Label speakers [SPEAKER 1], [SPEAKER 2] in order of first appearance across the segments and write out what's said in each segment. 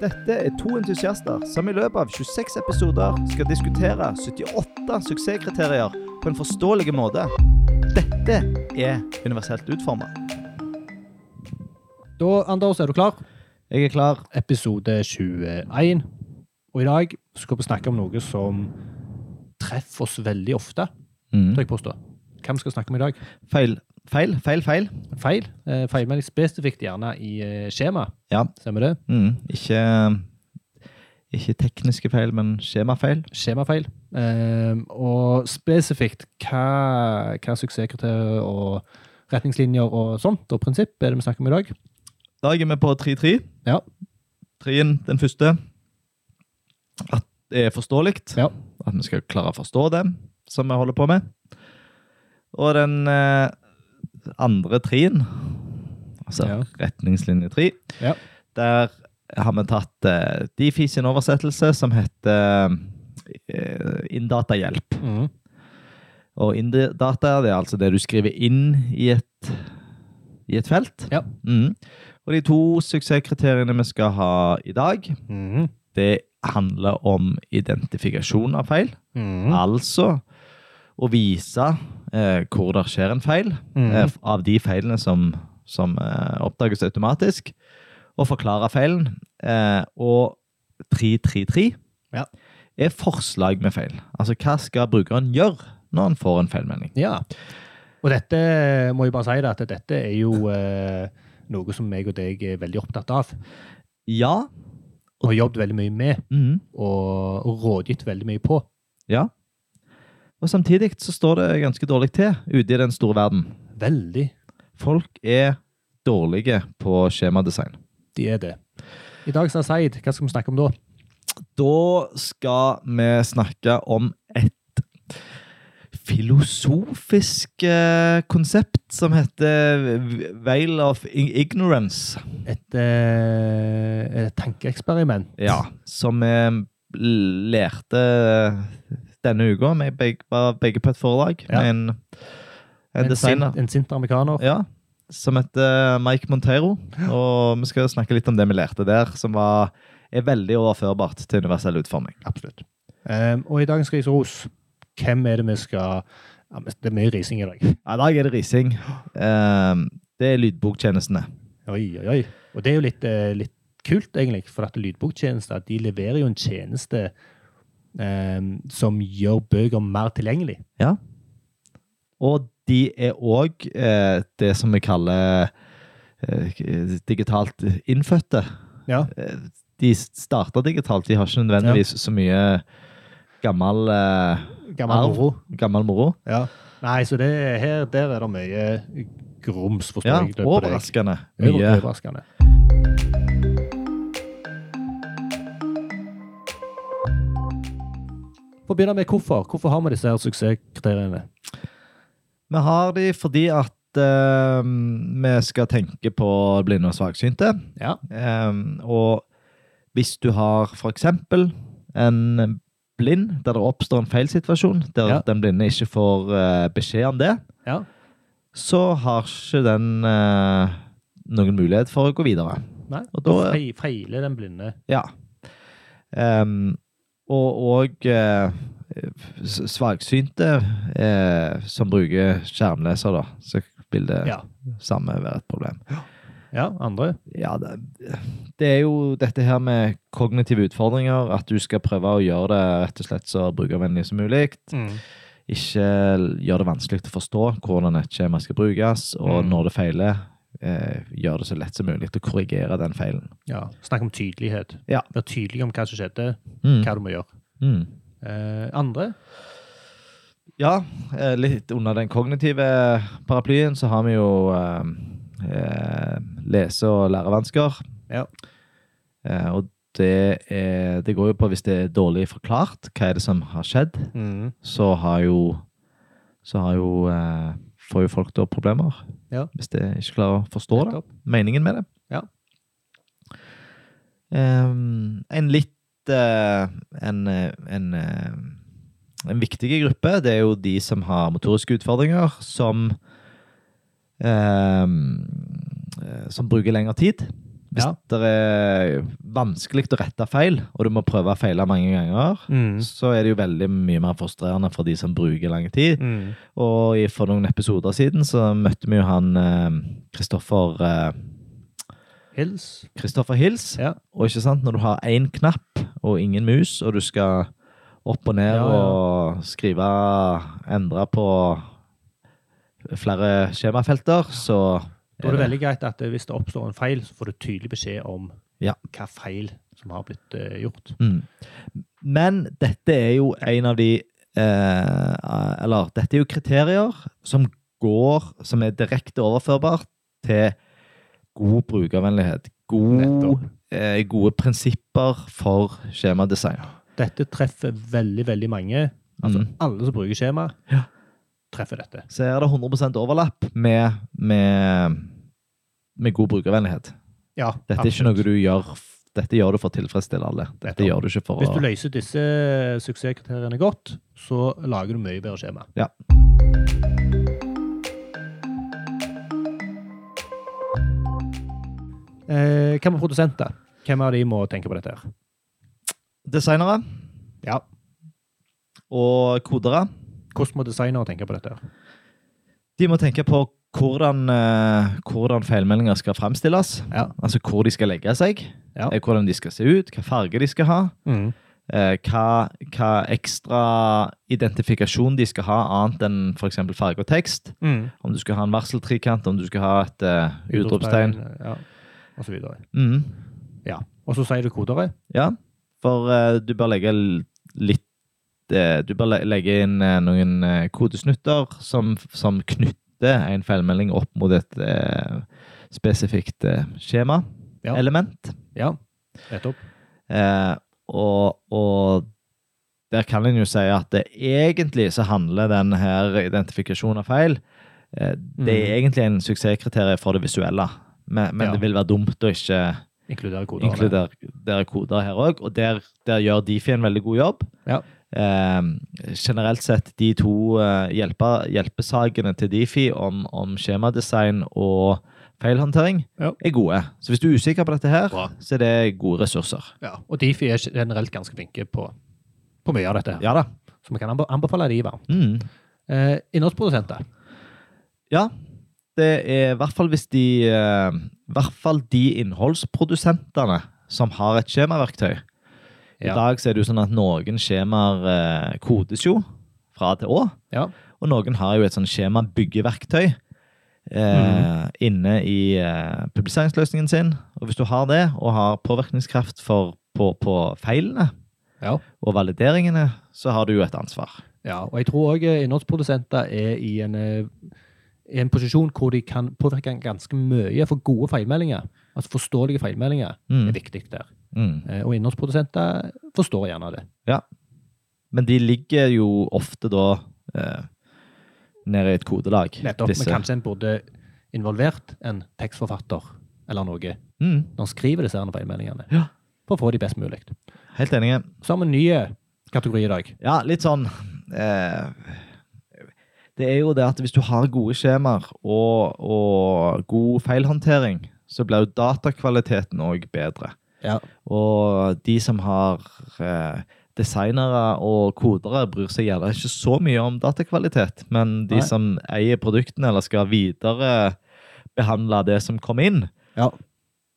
[SPEAKER 1] Dette er to entusiaster som i løpet av 26 episoder skal diskutere 78 suksesskriterier på en forståelig måte. Dette er universelt utforma.
[SPEAKER 2] Da, Anders, er du klar?
[SPEAKER 1] Jeg er klar.
[SPEAKER 2] Episode 21. Og i dag skal vi snakke om noe som treffer oss veldig ofte,
[SPEAKER 1] Mm.
[SPEAKER 2] tør jeg påstå. Hvem skal vi snakke om i dag?
[SPEAKER 1] Feil, feil, feil. feil.
[SPEAKER 2] Feil. Eh, feil, men spesifikt gjerne i eh, skjema.
[SPEAKER 1] Ja.
[SPEAKER 2] Stemmer det?
[SPEAKER 1] Mm. Ikke, ikke tekniske feil, men skjemafeil.
[SPEAKER 2] Skjemafeil. Eh, og spesifikt hva, hva suksesskriterier og retningslinjer og sånt, og prinsipp, er det vi snakker om i dag?
[SPEAKER 1] I dag er vi på 3-3.
[SPEAKER 2] Ja.
[SPEAKER 1] Trien, den første. At det er forståelig.
[SPEAKER 2] Ja.
[SPEAKER 1] At vi skal klare å forstå det som vi holder på med. Og den eh, andre trien, altså
[SPEAKER 2] Ja.
[SPEAKER 1] retningslinje 3,
[SPEAKER 2] Ja.
[SPEAKER 1] der har vi tatt eh, Difi sin oversettelse som heter eh, Inndatahjelp.
[SPEAKER 2] Mhm.
[SPEAKER 1] Og inndata det er altså det du skriver inn i et, i et felt.
[SPEAKER 2] Ja.
[SPEAKER 1] Mhm. Og de to suksesskriteriene vi skal ha i dag,
[SPEAKER 2] Mhm.
[SPEAKER 1] det handler om identifikasjon av feil.
[SPEAKER 2] Mhm.
[SPEAKER 1] Altså å vise eh, hvor det skjer en feil, eh,
[SPEAKER 2] Mhm.
[SPEAKER 1] av de feilene som, som eh, oppdages automatisk, og forklare feilen. Eh, og 333
[SPEAKER 2] Ja.
[SPEAKER 1] er forslag med feil. Altså hva skal brukeren gjøre når han får en feilmelding?
[SPEAKER 2] Ja. Og dette må jeg bare si det, at dette er jo eh, noe som meg og deg er veldig opptatt av.
[SPEAKER 1] Ja.
[SPEAKER 2] Og har jobbet veldig mye med,
[SPEAKER 1] mhm,
[SPEAKER 2] og, og rådgitt veldig mye på.
[SPEAKER 1] ja. Og samtidig så står det ganske dårlig til ute i den store verden.
[SPEAKER 2] Veldig.
[SPEAKER 1] Folk er dårlige på skjemadesign.
[SPEAKER 2] De er det. I dag sa Seid, hva skal vi snakke om da?
[SPEAKER 1] Da skal vi snakke om et filosofisk eh, konsept som heter Veil of Ig- Ignorance.
[SPEAKER 2] Et, eh, et tankeeksperiment.
[SPEAKER 1] Ja, som vi lærte eh, denne uka. Vi begge, var begge på et foredrag
[SPEAKER 2] Ja.
[SPEAKER 1] med en, en designer.
[SPEAKER 2] sint- En sint amerikaner.
[SPEAKER 1] Ja, som heter eh, Mike Monteiro. Og vi skal snakke litt om det vi lærte der, som var, er veldig overførbart til universell utforming.
[SPEAKER 2] Absolutt. Ehm, og i dagens Ris og ros, hvem er det vi skal ja, men Det er mye rising i dag.
[SPEAKER 1] Ja, I dag er det rising. Ehm, det er lydboktjenestene.
[SPEAKER 2] Oi, oi, oi. Og det er jo litt, eh, litt kult, egentlig, for at lydboktjenester de leverer jo en tjeneste ehm, som gjør bøker mer tilgjengelig.
[SPEAKER 1] Og de er òg eh, det som vi kaller eh, digitalt innfødte.
[SPEAKER 2] Ja.
[SPEAKER 1] Eh, De starter digitalt, de har ikke nødvendigvis så mye gammel, eh,
[SPEAKER 2] Gammel
[SPEAKER 1] Arv.
[SPEAKER 2] moro.
[SPEAKER 1] gammel moro.
[SPEAKER 2] Ja. Nei, så det her, der er det mye grums, forstår
[SPEAKER 1] Ja,
[SPEAKER 2] jeg. det på deg.
[SPEAKER 1] overraskende
[SPEAKER 2] Over-
[SPEAKER 1] mye.
[SPEAKER 2] Overraskende. Få begynne med hvorfor. Hvorfor har vi disse her suksesskriteriene?
[SPEAKER 1] Vi har de fordi at eh, vi skal tenke på blinde og svaksynte.
[SPEAKER 2] Ja.
[SPEAKER 1] Ehm, og hvis du har for eksempel en blind, der det oppstår en feilsituasjon, der
[SPEAKER 2] Ja.
[SPEAKER 1] den blinde ikke får eh, beskjed om det,
[SPEAKER 2] Ja.
[SPEAKER 1] så har ikke den eh, noen mulighet for å gå videre.
[SPEAKER 2] Nei,
[SPEAKER 1] Og
[SPEAKER 2] da
[SPEAKER 1] da-
[SPEAKER 2] fei- feiler den blinde.
[SPEAKER 1] Ja. Ehm, og og eh, s- svaksynte eh, som bruker skjermleser, da, så vil det
[SPEAKER 2] Ja.
[SPEAKER 1] samme være et problem.
[SPEAKER 2] Ja, andre.
[SPEAKER 1] Ja, det, det er jo dette her med kognitive utfordringer, at du skal prøve å gjøre det rett og slett så brukervennlig som mulig. Ikke gjør det vanskelig til å forstå hvordan et skjema skal brukes, og
[SPEAKER 2] Mm.
[SPEAKER 1] når det feiler, eh, gjør det så lett som mulig til å korrigere den feilen.
[SPEAKER 2] Ja. Snakk om tydelighet.
[SPEAKER 1] Ja.
[SPEAKER 2] Vær tydelig om hva som skjedde,
[SPEAKER 1] Mm.
[SPEAKER 2] hva du må gjøre.
[SPEAKER 1] Mm.
[SPEAKER 2] Eh, andre?
[SPEAKER 1] Ja, eh, litt under den kognitive paraplyen så har vi jo eh, eh, lese- og lærevansker.
[SPEAKER 2] Ja.
[SPEAKER 1] Eh, og det, er, det går jo på hvis det er dårlig forklart, hva er det som har skjedd, så har jo, så har jo eh, får jo folk da problemer.
[SPEAKER 2] Ja.
[SPEAKER 1] Hvis de ikke klarer å forstå det,
[SPEAKER 2] Nettopp.
[SPEAKER 1] meningen med det.
[SPEAKER 2] Ja.
[SPEAKER 1] Ehm, en litt eh, en, eh, en, eh, en viktig gruppe, det er jo de som har motoriske utfordringer, som ehm, eh, som bruker lengre tid Hvis
[SPEAKER 2] Ja.
[SPEAKER 1] det er vanskelig å rette feil, og du må prøve å feile mange ganger,
[SPEAKER 2] Mm.
[SPEAKER 1] så er det jo veldig mye mer frustrerende for de som bruker lang tid.
[SPEAKER 2] Mm.
[SPEAKER 1] Og i- for noen episoder siden så møtte vi jo han eh, Kristoffer eh,
[SPEAKER 2] Hils.
[SPEAKER 1] Kristoffer Hills.
[SPEAKER 2] Ja.
[SPEAKER 1] Og ikke sant, når du har én knapp og ingen mus, og du skal opp og ned
[SPEAKER 2] Ja, ja.
[SPEAKER 1] og skrive Endre på flere skjemafelter, så
[SPEAKER 2] Da er det veldig greit at eh, hvis det oppstår en feil, så får du tydelig beskjed om
[SPEAKER 1] Ja.
[SPEAKER 2] hva feil som har blitt eh, gjort.
[SPEAKER 1] Mm. Men dette er jo en av de eh, Eller dette er jo kriterier som går Som er direkte overførbart til god brukervennlighet. God,
[SPEAKER 2] Nettopp.
[SPEAKER 1] eh, gode prinsipper for skjemadesign.
[SPEAKER 2] Dette treffer veldig, veldig mange. Altså
[SPEAKER 1] Mm.
[SPEAKER 2] alle som bruker skjema,
[SPEAKER 1] Ja.
[SPEAKER 2] treffer dette.
[SPEAKER 1] Så er det 100 overlapp med, med, med god brukervennlighet.
[SPEAKER 2] Ja,
[SPEAKER 1] Dette er ikke
[SPEAKER 2] absolutt.
[SPEAKER 1] noe du gjør f- Dette gjør du for å tilfredsstille alle. Dette
[SPEAKER 2] Nettopp.
[SPEAKER 1] gjør du ikke for
[SPEAKER 2] Hvis
[SPEAKER 1] å
[SPEAKER 2] du løser disse suksesskriteriene godt, så lager du mye bedre skjema.
[SPEAKER 1] Ja.
[SPEAKER 2] Eh, hvem er produsenter? Hvem av de må tenke på dette? her?
[SPEAKER 1] Designere
[SPEAKER 2] Ja,
[SPEAKER 1] og kodere
[SPEAKER 2] Hvordan må designere tenke på dette? her?
[SPEAKER 1] De må tenke på hvordan, eh, hvordan feilmeldinger skal fremstilles.
[SPEAKER 2] Ja.
[SPEAKER 1] Altså hvor de skal legge seg,
[SPEAKER 2] Ja.
[SPEAKER 1] eh, hvordan de skal se ut, hva farge de skal ha,
[SPEAKER 2] Mm.
[SPEAKER 1] eh, hva, hva ekstra identifikasjon de skal ha annet enn f.eks. farge og tekst.
[SPEAKER 2] Mm.
[SPEAKER 1] Om du skal ha en varseltrikant, om du skal ha et eh, utropstegn.
[SPEAKER 2] Ja. Og så videre.
[SPEAKER 1] Mm.
[SPEAKER 2] Ja. Og så sier du kodere.
[SPEAKER 1] Ja, for eh, du bør legge l- litt eh, Du bør le legge inn eh, noen eh, kodesnutter som, som knytter en feilmelding opp mot et eh, spesifikt eh, skjema,
[SPEAKER 2] Ja.
[SPEAKER 1] element.
[SPEAKER 2] Ja, nettopp.
[SPEAKER 1] Eh, og, og der kan en jo si at det, egentlig så handler den her identifikasjonen av feil eh, Det er egentlig en suksesskriterium for det visuelle, men, men
[SPEAKER 2] Mm. Ja.
[SPEAKER 1] det vil være dumt å ikke
[SPEAKER 2] Inkludere Mm. kodere.
[SPEAKER 1] inkluder der koder her òg, og der, der gjør Difi en veldig god jobb.
[SPEAKER 2] Ja.
[SPEAKER 1] Eh, generelt sett, de to eh, hjelpe, hjelpesakene til Difi om, om skjemadesign og feilhåndtering
[SPEAKER 2] Ja.
[SPEAKER 1] er gode. Så hvis du er usikker på dette her,
[SPEAKER 2] Bra.
[SPEAKER 1] så er det gode ressurser.
[SPEAKER 2] Ja. Og Difi er generelt ganske flinke på, på mye av dette. her.
[SPEAKER 1] Ja da.
[SPEAKER 2] Så vi kan anbe- anbefale de, hva.
[SPEAKER 1] Mm.
[SPEAKER 2] Eh, innholdsprodusenter.
[SPEAKER 1] Ja, det er i hvert fall hvis de eh, I hvert fall de innholdsprodusentene som har et skjemaverktøy. I
[SPEAKER 2] Ja.
[SPEAKER 1] dag så er det jo sånn at noen skjemaer eh, kodes jo fra A til Å.
[SPEAKER 2] Ja.
[SPEAKER 1] Og noen har jo et sånn skjemabyggeverktøy eh,
[SPEAKER 2] Mm.
[SPEAKER 1] inne i eh, publiseringsløsningen sin. Og hvis du har det, og har påvirkningskraft for, på, på feilene
[SPEAKER 2] Ja.
[SPEAKER 1] og valideringene, så har du jo et ansvar.
[SPEAKER 2] ja. Og jeg tror òg innholdsprodusenter er i en, eh, i en posisjon hvor de kan påvirke ganske mye for gode feilmeldinger. Altså forståelige feilmeldinger
[SPEAKER 1] Mm.
[SPEAKER 2] er viktig der.
[SPEAKER 1] Mm.
[SPEAKER 2] Eh, og innholdsprodusenter forstår gjerne det.
[SPEAKER 1] Men de ligger jo ofte da eh, nede i et kodelag.
[SPEAKER 2] Nettopp.
[SPEAKER 1] disse.
[SPEAKER 2] Men kanskje en burde involvert en tekstforfatter eller noe
[SPEAKER 1] Mm,
[SPEAKER 2] når en skriver disse her feilmeldingene.
[SPEAKER 1] Ja.
[SPEAKER 2] For å få de best mulig.
[SPEAKER 1] helt enig.
[SPEAKER 2] Så har vi en ny kategori i dag.
[SPEAKER 1] Ja, litt sånn eh, Det er jo det at hvis du har gode skjemaer og, og god feilhåndtering, så blir jo datakvaliteten òg bedre.
[SPEAKER 2] Ja.
[SPEAKER 1] Og de som har eh, designere og kodere, bryr seg gjerne ikke så mye om datakvalitet, men de
[SPEAKER 2] Nei.
[SPEAKER 1] som eier produktene eller skal viderebehandle det som kom inn,
[SPEAKER 2] Ja.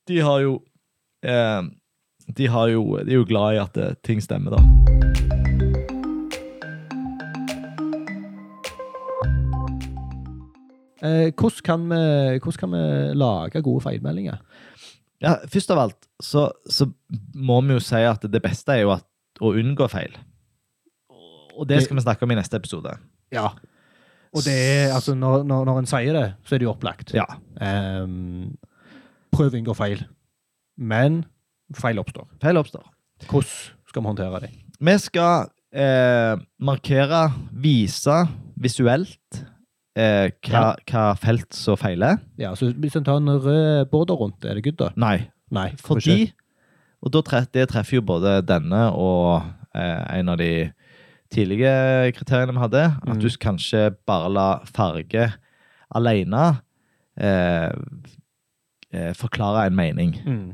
[SPEAKER 1] de har jo eh, de, har jo, de er jo glad i at eh, ting stemmer, da.
[SPEAKER 2] Eh, hvordan, kan vi, hvordan kan vi lage gode feilmeldinger?
[SPEAKER 1] Ja, først av alt så, så må vi jo si at det beste er jo at, å unngå feil. Og det skal vi snakke om i neste episode.
[SPEAKER 2] Ja. Og det er, altså, når, når, når en sier det, så er det jo opplagt.
[SPEAKER 1] Ja.
[SPEAKER 2] Ehm, prøv å unngå feil. Men feil oppstår.
[SPEAKER 1] Feil oppstår.
[SPEAKER 2] Hvordan skal vi håndtere det?
[SPEAKER 1] Vi skal eh, markere, vise visuelt eh, hva,
[SPEAKER 2] Ja.
[SPEAKER 1] hva felt som feiler.
[SPEAKER 2] Ja, så Hvis en tar en rød border rundt, er det good, da?
[SPEAKER 1] Nei,
[SPEAKER 2] Nei.
[SPEAKER 1] fordi Og da tre, det treffer jo både denne og eh, en av de tidlige kriteriene vi hadde. At
[SPEAKER 2] Mm.
[SPEAKER 1] du kanskje bare la farge alene eh, eh, forklare en mening.
[SPEAKER 2] Mm.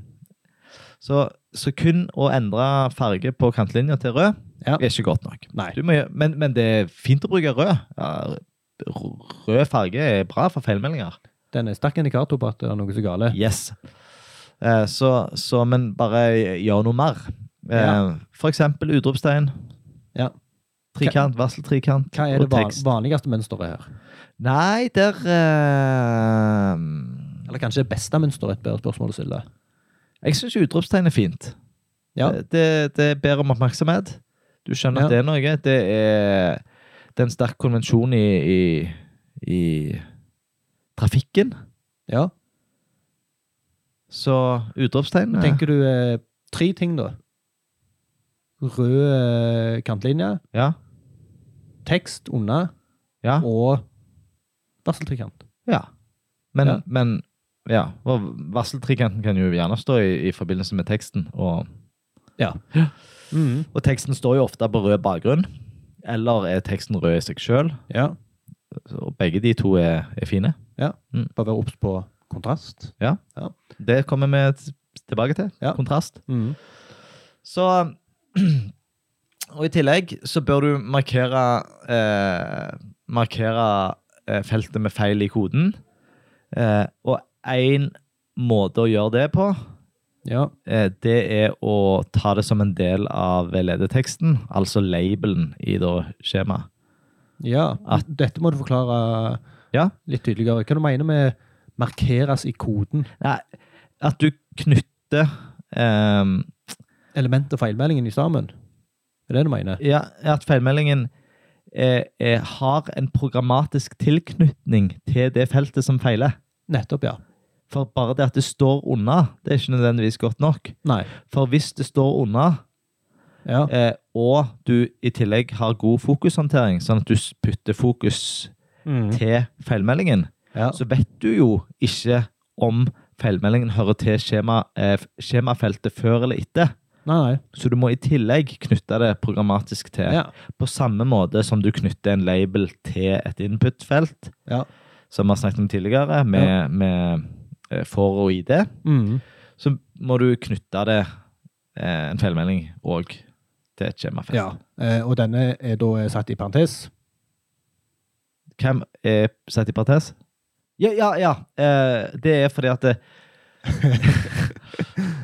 [SPEAKER 1] Så, så kun å endre farge på kantlinja til rød
[SPEAKER 2] Ja.
[SPEAKER 1] er ikke godt nok.
[SPEAKER 2] Nei.
[SPEAKER 1] Du må, gjø- men, men det er fint å bruke rød. Ja, r- rød farge er bra for feilmeldinger.
[SPEAKER 2] Den er sterk indikator på at det er noe som er gale.
[SPEAKER 1] Yes. Eh, Så, så, men bare gjør noe mer. Eh,
[SPEAKER 2] Ja.
[SPEAKER 1] For eksempel utropstegn.
[SPEAKER 2] Ja.
[SPEAKER 1] Trikant, varseltrikant
[SPEAKER 2] Hva er det
[SPEAKER 1] og
[SPEAKER 2] van
[SPEAKER 1] tekst.
[SPEAKER 2] vanligste mønsteret her?
[SPEAKER 1] Nei, der eh,
[SPEAKER 2] Eller kanskje det beste mønsteret et bedre spørsmål å stille.
[SPEAKER 1] Jeg syns utropstegn er fint. Eh,
[SPEAKER 2] Ja.
[SPEAKER 1] Det, det ber om oppmerksomhet. Du skjønner at det er noe. Det er, det er en sterk konvensjon i, i, i trafikken.
[SPEAKER 2] ja.
[SPEAKER 1] Så utropstegn eh,
[SPEAKER 2] Tenker du eh, tre ting, da? Rød eh, kantlinje,
[SPEAKER 1] Ja.
[SPEAKER 2] tekst unna
[SPEAKER 1] ja.
[SPEAKER 2] og varseltrikant.
[SPEAKER 1] Ja. Men,
[SPEAKER 2] Ja.
[SPEAKER 1] ja. men ja. og Varseltrikanten kan jo gjerne stå i, i forbindelse med teksten. Og,
[SPEAKER 2] Ja. Mhm.
[SPEAKER 1] og teksten står jo ofte på rød bakgrunn. Eller er teksten rød i seg sjøl?
[SPEAKER 2] ja.
[SPEAKER 1] Og begge de to er, er fine.
[SPEAKER 2] Bare være obs på kontrast.
[SPEAKER 1] Det kommer vi t- tilbake til.
[SPEAKER 2] Ja.
[SPEAKER 1] Kontrast.
[SPEAKER 2] Mhm.
[SPEAKER 1] Så Og i tillegg så bør du markere eh, Markere eh, feltet med feil i koden. Eh, og én måte å gjøre det på
[SPEAKER 2] Ja.
[SPEAKER 1] Eh, det er å ta det som en del av ledeteksten, altså labelen i da skjemaet.
[SPEAKER 2] Ja,
[SPEAKER 1] At-
[SPEAKER 2] dette må du forklare
[SPEAKER 1] Ja.
[SPEAKER 2] litt tydeligere. Hva du mener med 'markeres i koden'?
[SPEAKER 1] Nei, At du knytter ehm,
[SPEAKER 2] Element og feilmeldingen i sammen? Er det det du mener?
[SPEAKER 1] ja, At feilmeldingen eh, eh, har en programmatisk tilknytning til det feltet som feiler.
[SPEAKER 2] Nettopp, ja.
[SPEAKER 1] For bare det at det står unna, det er ikke nødvendigvis godt nok.
[SPEAKER 2] Nei.
[SPEAKER 1] For hvis det står unna,
[SPEAKER 2] Ja.
[SPEAKER 1] eh, og du i tillegg har god fokushåndtering, sånn at du s- putter fokus
[SPEAKER 2] Mhm.
[SPEAKER 1] til feilmeldingen,
[SPEAKER 2] ja.
[SPEAKER 1] Mm. så vet du jo ikke om feilmeldingen hører til skjema, eh, skjemafeltet før eller etter.
[SPEAKER 2] Nei, nei.
[SPEAKER 1] Så du må i tillegg knytte det programmatisk til.
[SPEAKER 2] Ja.
[SPEAKER 1] På samme måte som du knytter en label til et input-felt,
[SPEAKER 2] Ja.
[SPEAKER 1] som vi har snakket om tidligere, med, med eh, for og ID,
[SPEAKER 2] Mhm.
[SPEAKER 1] så må du knytte det, eh, en feilmelding òg til et skjemafelt.
[SPEAKER 2] ja. Eh, og denne er da eh, satt i parentes?
[SPEAKER 1] Hvem er satt i parentes? Ja, ja, ja. Eh, det er fordi at det,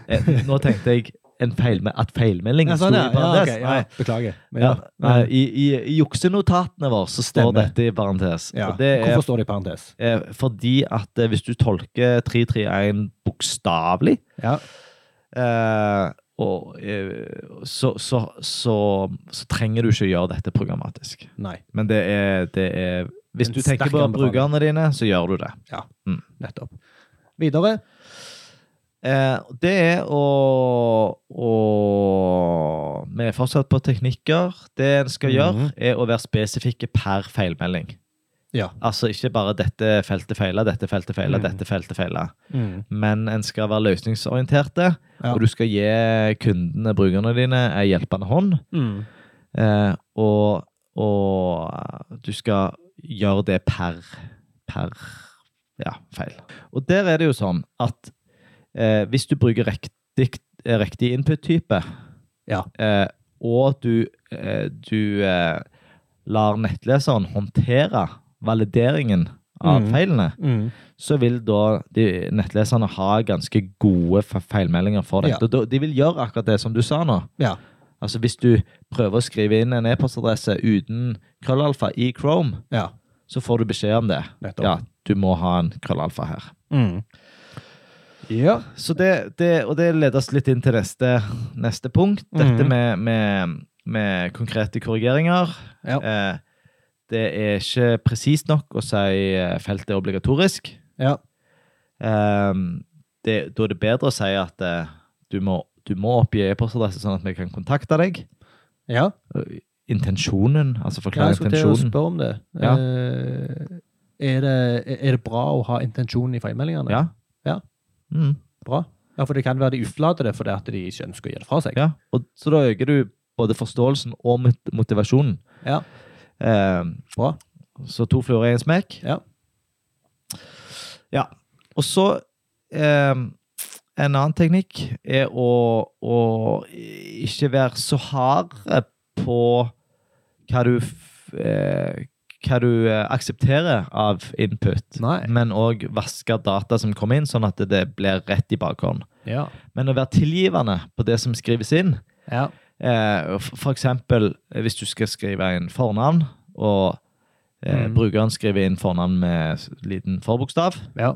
[SPEAKER 1] eh, Nå tenkte jeg en feilme, at feilmeldingen sto i parentes.
[SPEAKER 2] ok, sånn, ja. Beklager.
[SPEAKER 1] Nei,
[SPEAKER 2] Men
[SPEAKER 1] ja.
[SPEAKER 2] ja.
[SPEAKER 1] Nei, i, i, I juksenotatene våre så står
[SPEAKER 2] Stemmer.
[SPEAKER 1] dette i parentes.
[SPEAKER 2] Ja.
[SPEAKER 1] Og det er
[SPEAKER 2] Hvorfor står det i parentes?
[SPEAKER 1] eh, fordi at eh, hvis du tolker 331 bokstavelig,
[SPEAKER 2] Ja.
[SPEAKER 1] eh, og, eh, så, så, så, så trenger du ikke å gjøre dette programmatisk.
[SPEAKER 2] Nei.
[SPEAKER 1] Men det er, det er Hvis
[SPEAKER 2] En
[SPEAKER 1] du tenker
[SPEAKER 2] sterk
[SPEAKER 1] på
[SPEAKER 2] anbefaling.
[SPEAKER 1] brukerne dine, så gjør du det.
[SPEAKER 2] Nettopp. Videre.
[SPEAKER 1] Eh, det er å, å Vi er fortsatt på teknikker. Det en skal gjøre,
[SPEAKER 2] Mhm.
[SPEAKER 1] er å være spesifikke per feilmelding.
[SPEAKER 2] Ja.
[SPEAKER 1] Altså ikke bare 'dette feltet feiler', 'dette feltet feiler',
[SPEAKER 2] Mhm.
[SPEAKER 1] 'dette feltet feiler'.
[SPEAKER 2] Mhm.
[SPEAKER 1] Men en skal være løsningsorienterte,
[SPEAKER 2] Ja.
[SPEAKER 1] og du skal gi kundene, brukerne dine, ei hjelpende hånd.
[SPEAKER 2] Mhm.
[SPEAKER 1] Eh, og, og du skal gjøre det per, per ja, feil. Og der er det jo sånn at eh, hvis du bruker riktig, eh, riktig input-type,
[SPEAKER 2] Ja.
[SPEAKER 1] eh, og du, eh, du eh, lar nettleseren håndtere valideringen av
[SPEAKER 2] Mm.
[SPEAKER 1] feilene,
[SPEAKER 2] Mhm.
[SPEAKER 1] så vil da de, nettleserne ha ganske gode fe- feilmeldinger for dette.
[SPEAKER 2] Ja.
[SPEAKER 1] Og da- de vil gjøre akkurat det som du sa nå.
[SPEAKER 2] Ja.
[SPEAKER 1] Altså Hvis du prøver å skrive inn en e-postadresse uten krøllalfa i Chrome,
[SPEAKER 2] ja.
[SPEAKER 1] så får du beskjed om det.
[SPEAKER 2] Nettopp.
[SPEAKER 1] Ja, du må ha en krøllalfa her.
[SPEAKER 2] Mhm. Ja.
[SPEAKER 1] Så det, det, og det leder oss litt inn til neste, neste punkt. Dette
[SPEAKER 2] Mhm.
[SPEAKER 1] med, med, med konkrete korrigeringer.
[SPEAKER 2] Ja.
[SPEAKER 1] Eh, det er ikke presist nok å si eh, feltet er obligatorisk.
[SPEAKER 2] Ja.
[SPEAKER 1] Eh, det, da er det bedre å si at eh, du, må, du må oppgi e-postadresse, sånn at vi kan kontakte deg.
[SPEAKER 2] ja.
[SPEAKER 1] Intensjonen, altså
[SPEAKER 2] Ja,
[SPEAKER 1] forklare
[SPEAKER 2] jeg skulle til å
[SPEAKER 1] intensjonen.
[SPEAKER 2] spørre om det.
[SPEAKER 1] Ja.
[SPEAKER 2] Eh, Er det, er det bra å ha intensjonen i feilmeldingene?
[SPEAKER 1] Ja.
[SPEAKER 2] Ja.
[SPEAKER 1] Mm.
[SPEAKER 2] Bra. Ja, for det kan være de utelater det fordi at de ikke ønsker å gi det fra seg.
[SPEAKER 1] ja. Og, så da øker du både forståelsen og mot- motivasjonen.
[SPEAKER 2] Ja.
[SPEAKER 1] Eh,
[SPEAKER 2] Bra.
[SPEAKER 1] så to fluer i en smekk.
[SPEAKER 2] Ja.
[SPEAKER 1] Ja. Og så ehm, en annen teknikk er å, å ikke være så hard på hva du, f- eh, hva du eh, aksepterer av input,
[SPEAKER 2] Nei.
[SPEAKER 1] men òg vaske data som kommer inn, sånn at det blir rett i bakhånd.
[SPEAKER 2] Ja.
[SPEAKER 1] Men å være tilgivende på det som skrives inn,
[SPEAKER 2] ja.
[SPEAKER 1] Eh, f- For eksempel eh, hvis du skal skrive inn fornavn, og eh,
[SPEAKER 2] Mm.
[SPEAKER 1] brukeren skriver inn fornavn med s- liten forbokstav,
[SPEAKER 2] ja.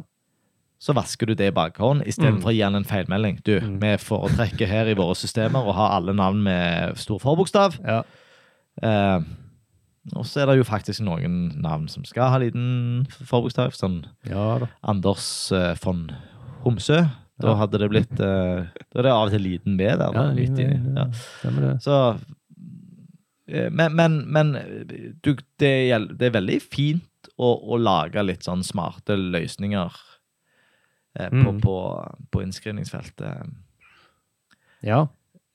[SPEAKER 1] så vasker du det i bakhånd
[SPEAKER 2] Mm.
[SPEAKER 1] istedenfor å gi han en feilmelding. Du,
[SPEAKER 2] Mm.
[SPEAKER 1] vi foretrekker her i våre systemer å ha alle navn med stor forbokstav.
[SPEAKER 2] ja.
[SPEAKER 1] Eh, og så er det jo faktisk noen navn som skal ha liten f- forbokstav, sånn
[SPEAKER 2] ja da.
[SPEAKER 1] Anders eh, von Homsø. Da
[SPEAKER 2] Ja.
[SPEAKER 1] hadde det blitt eh, Da er det av og til liten B der.
[SPEAKER 2] Ja,
[SPEAKER 1] da, midt i, ja.
[SPEAKER 2] Stemmer det.
[SPEAKER 1] Så eh, Men, men, men du, det, gjel- det er veldig fint å, å lage litt sånn smarte løsninger eh, på,
[SPEAKER 2] Mm.
[SPEAKER 1] på, på innskrivningsfeltet.
[SPEAKER 2] Ja.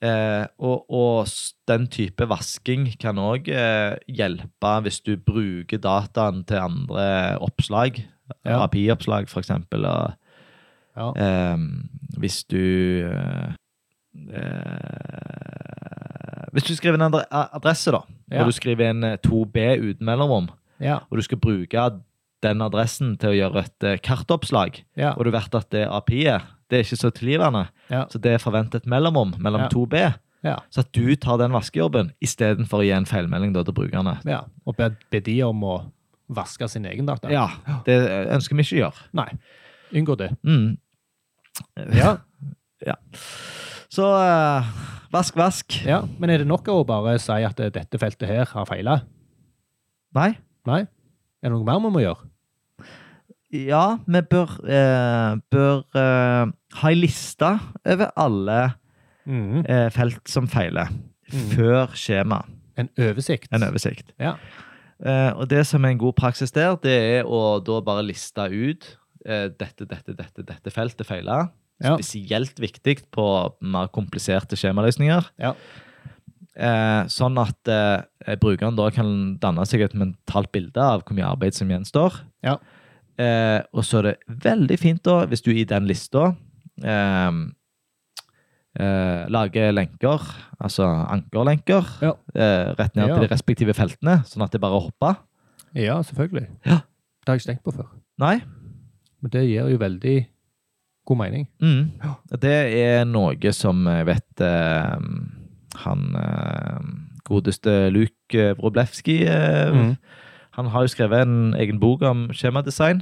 [SPEAKER 1] Eh, og, og s- den type vasking kan òg eh, hjelpe hvis du bruker dataen til andre oppslag.
[SPEAKER 2] Ja.
[SPEAKER 1] API-oppslag, for eksempel. Og,
[SPEAKER 2] Ja.
[SPEAKER 1] Eh, hvis du eh, eh, Hvis du skriver en andre- a- adresse, da,
[SPEAKER 2] Ja.
[SPEAKER 1] og du skriver en eh, 2B uten mellomrom,
[SPEAKER 2] Ja.
[SPEAKER 1] og du skal bruke den adressen til å gjøre et eh, kartoppslag,
[SPEAKER 2] Ja.
[SPEAKER 1] og du vet at det API-et det er ikke så tilgivende,
[SPEAKER 2] Ja.
[SPEAKER 1] så det er forventet mellomrom mellom
[SPEAKER 2] Ja.
[SPEAKER 1] 2B,
[SPEAKER 2] Ja.
[SPEAKER 1] så at du tar den vaskejobben istedenfor å gi en feilmelding da, til brukerne.
[SPEAKER 2] ja. Og be, be de om å vaske sin egen data.
[SPEAKER 1] Ja, det eh, ønsker vi ikke å gjøre.
[SPEAKER 2] Nei. Unngå det.
[SPEAKER 1] Mm.
[SPEAKER 2] Ja.
[SPEAKER 1] Så eh, vask, vask.
[SPEAKER 2] ja. Men er det nok å bare si at eh, dette feltet her har feila?
[SPEAKER 1] Nei.
[SPEAKER 2] Nei? Er det noe mer vi må gjøre?
[SPEAKER 1] Ja, vi bør, eh, bør eh, ha ei liste over alle
[SPEAKER 2] Mhm.
[SPEAKER 1] eh, felt som feiler,
[SPEAKER 2] Mm.
[SPEAKER 1] før skjema.
[SPEAKER 2] En oversikt.
[SPEAKER 1] En oversikt.
[SPEAKER 2] Ja.
[SPEAKER 1] Eh, og det som er en god praksis der, det er å da bare liste ut eh, dette, dette, dette, dette feltet feiler.
[SPEAKER 2] Ja.
[SPEAKER 1] Spesielt viktig på mer kompliserte skjemaløsninger.
[SPEAKER 2] Ja.
[SPEAKER 1] Eh, sånn at eh, brukeren da kan danne seg et mentalt bilde av hvor mye arbeid som gjenstår.
[SPEAKER 2] Ja.
[SPEAKER 1] Eh, og så er det veldig fint da, hvis du i den lista eh, eh, lager lenker, altså ankerlenker,
[SPEAKER 2] Ja.
[SPEAKER 1] eh, rett ned
[SPEAKER 2] Ja.
[SPEAKER 1] til de respektive feltene, sånn at det bare hopper.
[SPEAKER 2] ja, selvfølgelig.
[SPEAKER 1] Ja.
[SPEAKER 2] Det har jeg ikke tenkt på før.
[SPEAKER 1] Nei.
[SPEAKER 2] Men det gir jo veldig god mening.
[SPEAKER 1] Mm.
[SPEAKER 2] Ja.
[SPEAKER 1] Det er noe som jeg vet eh, han eh, godeste Luke Wroblewski eh,
[SPEAKER 2] Mhm.
[SPEAKER 1] Han har jo skrevet en egen bok om skjemadesign.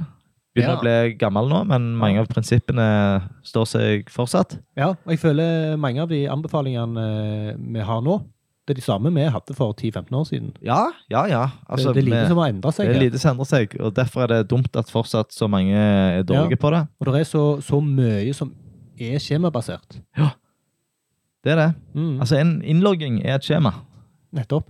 [SPEAKER 1] Begynner
[SPEAKER 2] Ja.
[SPEAKER 1] å bli gammel nå, men mange av prinsippene står seg fortsatt.
[SPEAKER 2] Ja, og jeg føler mange av de anbefalingene eh, vi har nå, det er de samme vi hadde for 10-15 år siden.
[SPEAKER 1] Ja, ja, ja. Altså,
[SPEAKER 2] det, det er lite
[SPEAKER 1] vi-
[SPEAKER 2] som har endra seg.
[SPEAKER 1] det er
[SPEAKER 2] her.
[SPEAKER 1] lite som endrer seg, og derfor er det dumt at fortsatt så mange er dårlige på det.
[SPEAKER 2] Og det er så, så mye som er skjemabasert.
[SPEAKER 1] Det er det.
[SPEAKER 2] Mm,
[SPEAKER 1] Altså, en innlogging er et skjema.
[SPEAKER 2] nettopp.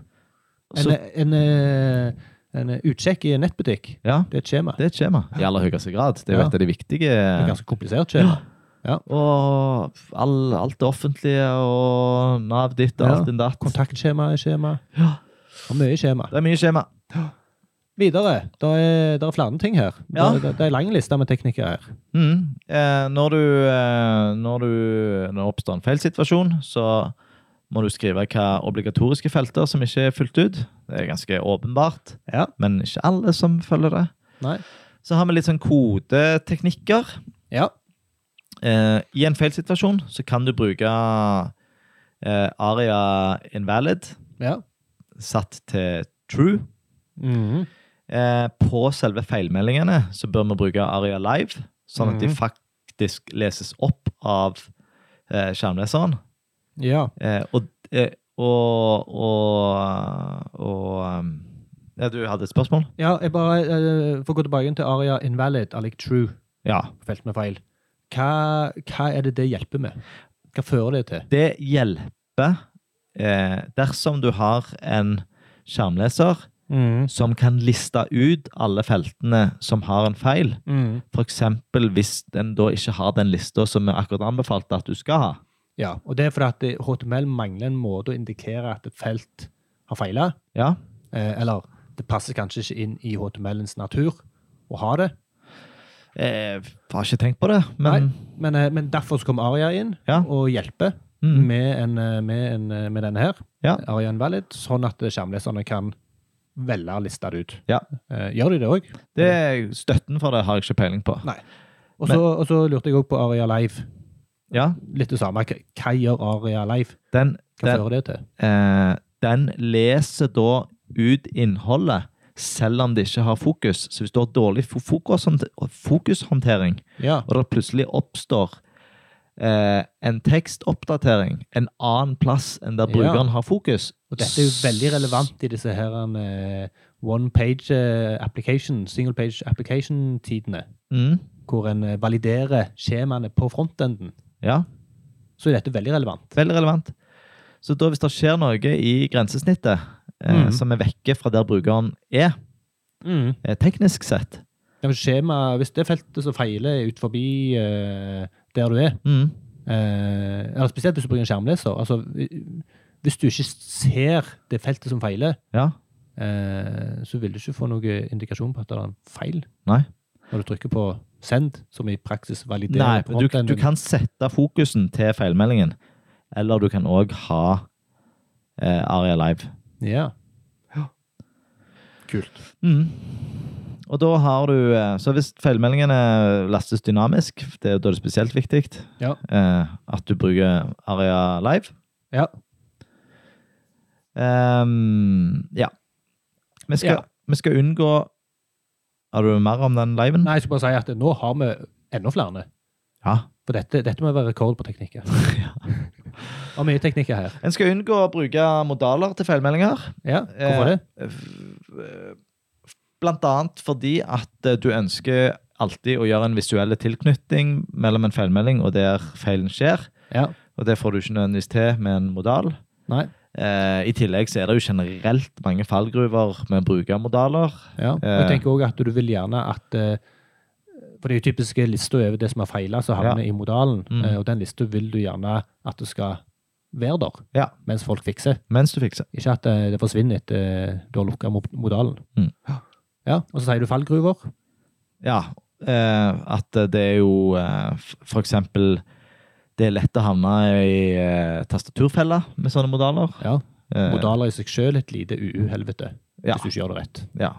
[SPEAKER 2] En,
[SPEAKER 1] Så,
[SPEAKER 2] en, eh, en utsjekk i en nettbutikk,
[SPEAKER 1] ja,
[SPEAKER 2] det er et skjema. Det
[SPEAKER 1] det er et skjema i aller høyeste grad. Det er jo
[SPEAKER 2] Ja.
[SPEAKER 1] et av de viktige
[SPEAKER 2] er et ganske komplisert skjema.
[SPEAKER 1] Og all, alt det offentlige og Nav ditt og
[SPEAKER 2] Ja.
[SPEAKER 1] alt din datt.
[SPEAKER 2] Kontaktskjema er skjema.
[SPEAKER 1] Ja.
[SPEAKER 2] Og mye skjema.
[SPEAKER 1] Det er mye skjema.
[SPEAKER 2] Videre. Det er, der er flere ting her. Det
[SPEAKER 1] Ja.
[SPEAKER 2] er- Det, det er en lang liste med teknikker her.
[SPEAKER 1] Mm. Eh, når, du, eh, når, du, når det oppstår en feilsituasjon, så må du skrive hva obligatoriske felter som ikke er fulgt ut. Det er ganske åpenbart,
[SPEAKER 2] Ja.
[SPEAKER 1] men ikke alle som følger det.
[SPEAKER 2] Nei.
[SPEAKER 1] Så har vi litt sånn kodeteknikker.
[SPEAKER 2] Ja.
[SPEAKER 1] Eh, I en feilsituasjon så kan du bruke eh, aria invalid
[SPEAKER 2] Ja.
[SPEAKER 1] satt til true.
[SPEAKER 2] Mhm.
[SPEAKER 1] Eh, på selve feilmeldingene så bør vi bruke Aria Live, sånn at de
[SPEAKER 2] Mhm.
[SPEAKER 1] faktisk leses opp av eh, skjermleseren.
[SPEAKER 2] ja.
[SPEAKER 1] Eh, og, eh, og og, og um, ja, Du hadde et spørsmål?
[SPEAKER 2] Ja, jeg bare eh, For å gå tilbake til aria invalid, er lik true,
[SPEAKER 1] Ja.
[SPEAKER 2] felt med feil. Hva, hva er det det hjelper med? Hva fører det til?
[SPEAKER 1] Det hjelper eh, dersom du har en skjermleser
[SPEAKER 2] Mhm.
[SPEAKER 1] som kan liste ut alle feltene som har en feil.
[SPEAKER 2] Mhm.
[SPEAKER 1] F.eks. hvis den da ikke har den lista som vi akkurat anbefalte at du skal ha.
[SPEAKER 2] Ja, og det er fordi at det- HTML mangler en måte å indikere at et felt har feila.
[SPEAKER 1] Ja.
[SPEAKER 2] Eh, Eller det passer kanskje ikke inn i HTML-ens natur å ha det.
[SPEAKER 1] Jeg har ikke tenkt på det, men
[SPEAKER 2] Men, eh, men derfor så kom Aria inn
[SPEAKER 1] Ja.
[SPEAKER 2] og hjelper
[SPEAKER 1] mm,
[SPEAKER 2] med, en, eh, med, en, eh, med denne her.
[SPEAKER 1] Ja.
[SPEAKER 2] Aria Invalid, sånn at skjermleserne kan velge lista det ut.
[SPEAKER 1] Ja.
[SPEAKER 2] Eh, Gjør de det òg?
[SPEAKER 1] det, støtten for det har jeg ikke peiling på.
[SPEAKER 2] Nei. Og så og så lurte jeg òg på Aria Live.
[SPEAKER 1] Ja,
[SPEAKER 2] Litt det samme. Hva- Hva gjør Aria Live?
[SPEAKER 1] den,
[SPEAKER 2] Hva
[SPEAKER 1] den,
[SPEAKER 2] fører det til?
[SPEAKER 1] eh, den leser da ut innholdet, selv om det ikke har fokus. Så hvis du har dårlig fo- fokushånd- fokushåndtering,
[SPEAKER 2] Ja.
[SPEAKER 1] og det plutselig oppstår eh, en tekstoppdatering en annen plass enn der
[SPEAKER 2] Ja.
[SPEAKER 1] brukeren har fokus
[SPEAKER 2] Og dette er jo veldig relevant i disse her eh, one page eh, application, single page application-tidene,
[SPEAKER 1] Mm,
[SPEAKER 2] hvor en eh, validerer skjemaene på frontenden.
[SPEAKER 1] ja,
[SPEAKER 2] Så er dette veldig relevant.
[SPEAKER 1] veldig relevant. Så da hvis det skjer noe i grensesnittet eh,
[SPEAKER 2] Mhm.
[SPEAKER 1] som er vekke fra der brukeren er, eh, teknisk sett
[SPEAKER 2] Ja, men skjema, hvis det feltet som feiler er ut forbi eh, der du er,
[SPEAKER 1] mm,
[SPEAKER 2] eh, eller spesielt hvis du bruker en skjermleser, altså hvi- hvis du ikke ser det feltet som feiler,
[SPEAKER 1] Ja.
[SPEAKER 2] eh, så vil du ikke få noen indikasjon på at det er en feil
[SPEAKER 1] Nei.
[SPEAKER 2] når du trykker på send, som i praksis
[SPEAKER 1] Nei,
[SPEAKER 2] validerer
[SPEAKER 1] du, du
[SPEAKER 2] frontenden.
[SPEAKER 1] kan sette fokusen til feilmeldingen, eller du kan òg ha eh, Aria Live.
[SPEAKER 2] Ja. Kult.
[SPEAKER 1] Mm. Og da har du eh, Så hvis feilmeldingene lastes dynamisk, det, er- da er det spesielt viktig
[SPEAKER 2] Ja.
[SPEAKER 1] eh, at du bruker Aria Live.
[SPEAKER 2] Ja.
[SPEAKER 1] Ehm, ja. Vi skal,
[SPEAKER 2] Ja.
[SPEAKER 1] vi skal unngå Har du mer om den liven?
[SPEAKER 2] Nei, jeg skulle bare si at nå har vi enda flere.
[SPEAKER 1] Ja.
[SPEAKER 2] For dette, dette må være rekord på teknikker. ja. Og mye teknikker her.
[SPEAKER 1] En skal unngå å bruke modaler til feilmeldinger.
[SPEAKER 2] Ja, hvorfor
[SPEAKER 1] Eh,
[SPEAKER 2] det?
[SPEAKER 1] Eh, Blant annet fordi at eh, du ønsker alltid å gjøre en visuell tilknytning mellom en feilmelding og der feilen skjer.
[SPEAKER 2] Ja.
[SPEAKER 1] Og det får du ikke nødvendigvis til med en modal.
[SPEAKER 2] Nei.
[SPEAKER 1] Eh, I tillegg så er det jo generelt mange fallgruver med bruk av modaler.
[SPEAKER 2] Ja. Og
[SPEAKER 1] eh.
[SPEAKER 2] jeg tenker òg at du vil gjerne at eh, For det er jo typiske lista over det som har feila, som havner i modalen.
[SPEAKER 1] Mm.
[SPEAKER 2] Eh, Og den lista vil du gjerne at det skal være der,
[SPEAKER 1] Ja.
[SPEAKER 2] mens folk fikser.
[SPEAKER 1] Mens du fikser.
[SPEAKER 2] Ikke at eh, det forsvinner etter eh, du har lukka modalen.
[SPEAKER 1] Mm.
[SPEAKER 2] Ja, Og så sier du fallgruver.
[SPEAKER 1] Ja, eh, at det er jo eh, f- for eksempel Det er lett å havne i eh, tastaturfella med sånne modaler.
[SPEAKER 2] Ja.
[SPEAKER 1] Eh,
[SPEAKER 2] Modaler i seg sjøl et lite uhelvete,
[SPEAKER 1] Ja.
[SPEAKER 2] hvis du ikke gjør det rett.
[SPEAKER 1] ja.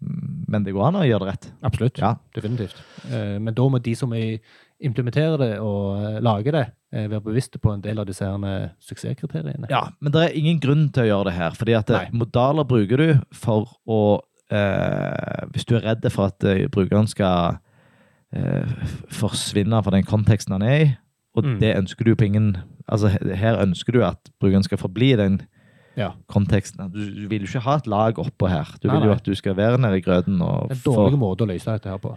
[SPEAKER 1] Mm, Men det går an å gjøre det rett.
[SPEAKER 2] Absolutt.
[SPEAKER 1] Ja.
[SPEAKER 2] Definitivt. Eh, Men da må de som i- implementerer det og eh, lager det, eh, være bevisste på en del av disse herne suksesskriteriene.
[SPEAKER 1] Ja, men det er ingen grunn til å gjøre det her. Fordi at eh, modaler bruker du for å eh, Hvis du er redd for at eh, brukeren skal eh, f- forsvinne fra den konteksten han er i, og
[SPEAKER 2] Mm.
[SPEAKER 1] det ønsker du på ingen Altså he- her ønsker du at brukeren skal forbli i den
[SPEAKER 2] Ja.
[SPEAKER 1] konteksten. Du, du vil jo ikke ha et lag oppå her. Du
[SPEAKER 2] Nei,
[SPEAKER 1] vil jo
[SPEAKER 2] nei.
[SPEAKER 1] at du skal være nede i grøten og
[SPEAKER 2] En
[SPEAKER 1] få-
[SPEAKER 2] dårlig måte å løse dette her på.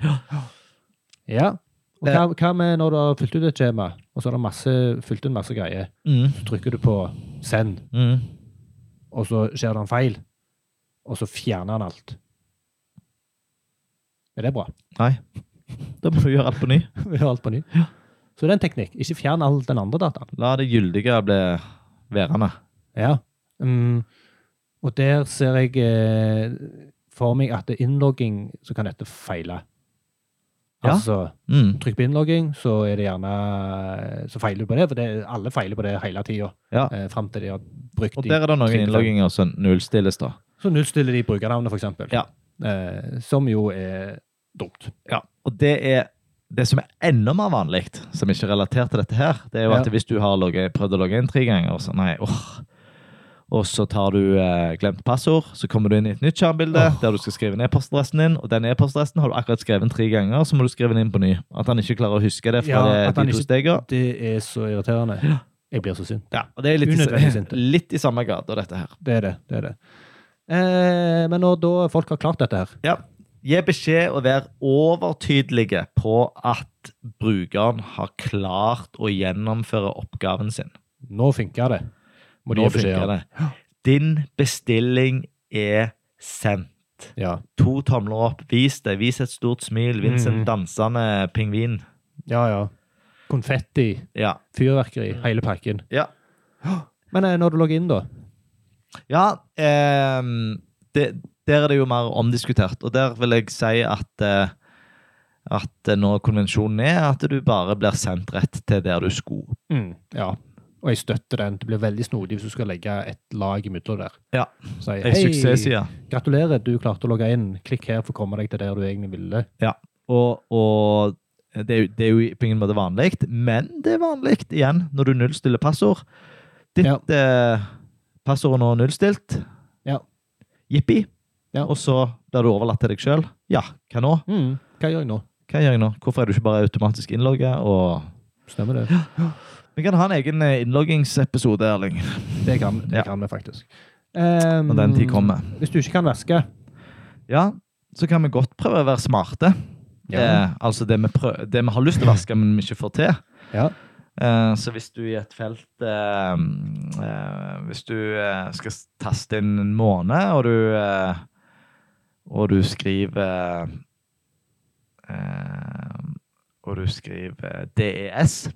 [SPEAKER 2] Ja. Og
[SPEAKER 1] Eh.
[SPEAKER 2] hva, hva med når du har fylt ut et skjema, og så har du masse, fylt ut masse greier,
[SPEAKER 1] mm,
[SPEAKER 2] så trykker du på send,
[SPEAKER 1] mm,
[SPEAKER 2] og så skjer det en feil, og så fjerner han alt. Er det bra?
[SPEAKER 1] Nei. Da må du gjøre alt på ny.
[SPEAKER 2] Vi gjør alt på ny. Så det er en teknikk. Ikke fjern all den andre dataen.
[SPEAKER 1] La det gyldige bli værende.
[SPEAKER 2] Ja. Mm. Og der ser jeg eh, for meg at det er innlogging så kan dette feile.
[SPEAKER 1] Ja.
[SPEAKER 2] Altså,
[SPEAKER 1] Mm,
[SPEAKER 2] trykk på innlogging, så er det gjerne eh, Så feiler du på det, for det, alle feiler på det hele tida.
[SPEAKER 1] ja.
[SPEAKER 2] Eh, Fram til de har brukt
[SPEAKER 1] Og
[SPEAKER 2] de.
[SPEAKER 1] der er det noen
[SPEAKER 2] Trygg-
[SPEAKER 1] innlogginger som nullstilles, da.
[SPEAKER 2] Så nullstiller de brukernavnet, f.eks.
[SPEAKER 1] Ja.
[SPEAKER 2] Eh, som jo er dumt.
[SPEAKER 1] Ja. Og det er det som er enda mer vanlig, som ikke er relatert til dette her, det er jo
[SPEAKER 2] Ja.
[SPEAKER 1] at hvis du har logget, prøvd å logge inn tre ganger, og så nei, åh. Og så tar du eh, glemt passord, så kommer du inn i et nytt skjermbilde
[SPEAKER 2] Åh.
[SPEAKER 1] der du skal skrive ned postadressen din, og den e-postadressen har du akkurat skrevet inn tre ganger, så må du skrive den inn på ny. At han ikke klarer å huske det fra
[SPEAKER 2] Ja,
[SPEAKER 1] det,
[SPEAKER 2] at han
[SPEAKER 1] de to
[SPEAKER 2] ikke-
[SPEAKER 1] stegene.
[SPEAKER 2] Det er så irriterende. Jeg blir så sint.
[SPEAKER 1] Ja, og det er litt,
[SPEAKER 2] Unødvendig
[SPEAKER 1] i-
[SPEAKER 2] sinte.
[SPEAKER 1] litt i samme grad av dette her.
[SPEAKER 2] Det er det. det, er det. Eh, men når da folk har klart dette her
[SPEAKER 1] Ja. Gi beskjed og vær overtydelige på at brukeren har klart å gjennomføre oppgaven sin.
[SPEAKER 2] Nå funker det. Må de
[SPEAKER 1] Nå
[SPEAKER 2] gi beskjed om.
[SPEAKER 1] funker det. Din bestilling er sendt.
[SPEAKER 2] Ja.
[SPEAKER 1] To tomler opp. Vis det. Vis et stort smil. Vis en
[SPEAKER 2] Mhm.
[SPEAKER 1] dansende pingvin.
[SPEAKER 2] ja, ja. Konfetti,
[SPEAKER 1] Ja.
[SPEAKER 2] fyrverkeri, hele pakken.
[SPEAKER 1] Ja.
[SPEAKER 2] Men eh, når du logger inn, da?
[SPEAKER 1] ja ehm, det, der er det jo mer omdiskutert, og der vil jeg si at eh, at eh, nå konvensjonen er at du bare blir sendt rett til der du skulle.
[SPEAKER 2] Mm, ja. Og jeg støtter den. Det blir veldig snodig hvis du skal legge et lag imellom der.
[SPEAKER 1] Ja.
[SPEAKER 2] Så jeg,
[SPEAKER 1] En
[SPEAKER 2] hei,
[SPEAKER 1] suksessside.
[SPEAKER 2] gratulerer, du klarte å logge inn. Klikk her for å komme deg til der du egentlig ville.
[SPEAKER 1] Og, og det, er jo, det er jo på ingen måte vanlig, men det er vanlig igjen når du nullstiller passord. Ditt
[SPEAKER 2] Ja.
[SPEAKER 1] eh, passord er nå nullstilt.
[SPEAKER 2] Ja.
[SPEAKER 1] Jippi.
[SPEAKER 2] Ja.
[SPEAKER 1] Og så blir du overlatt til deg sjøl. Ja, hva nå?
[SPEAKER 2] Mm, hva gjør jeg nå?
[SPEAKER 1] Hva gjør jeg nå? Hvorfor er du ikke bare automatisk innlogga? Og...
[SPEAKER 2] Stemmer det?
[SPEAKER 1] Vi kan ha en egen eh, innloggingsepisode, Erling,
[SPEAKER 2] Det kan, det
[SPEAKER 1] Ja.
[SPEAKER 2] kan vi faktisk. Um,
[SPEAKER 1] når den tid kommer.
[SPEAKER 2] Hvis du ikke kan vaske
[SPEAKER 1] Ja, så kan vi godt prøve å være smarte. Eh, altså det vi, prø- det vi har lyst til å vaske, men vi ikke får til.
[SPEAKER 2] Ja.
[SPEAKER 1] Eh, så hvis du i et felt eh, eh, Hvis du eh, skal s- taste inn en måned, og du, eh, og du skriver eh, Og du skriver DES,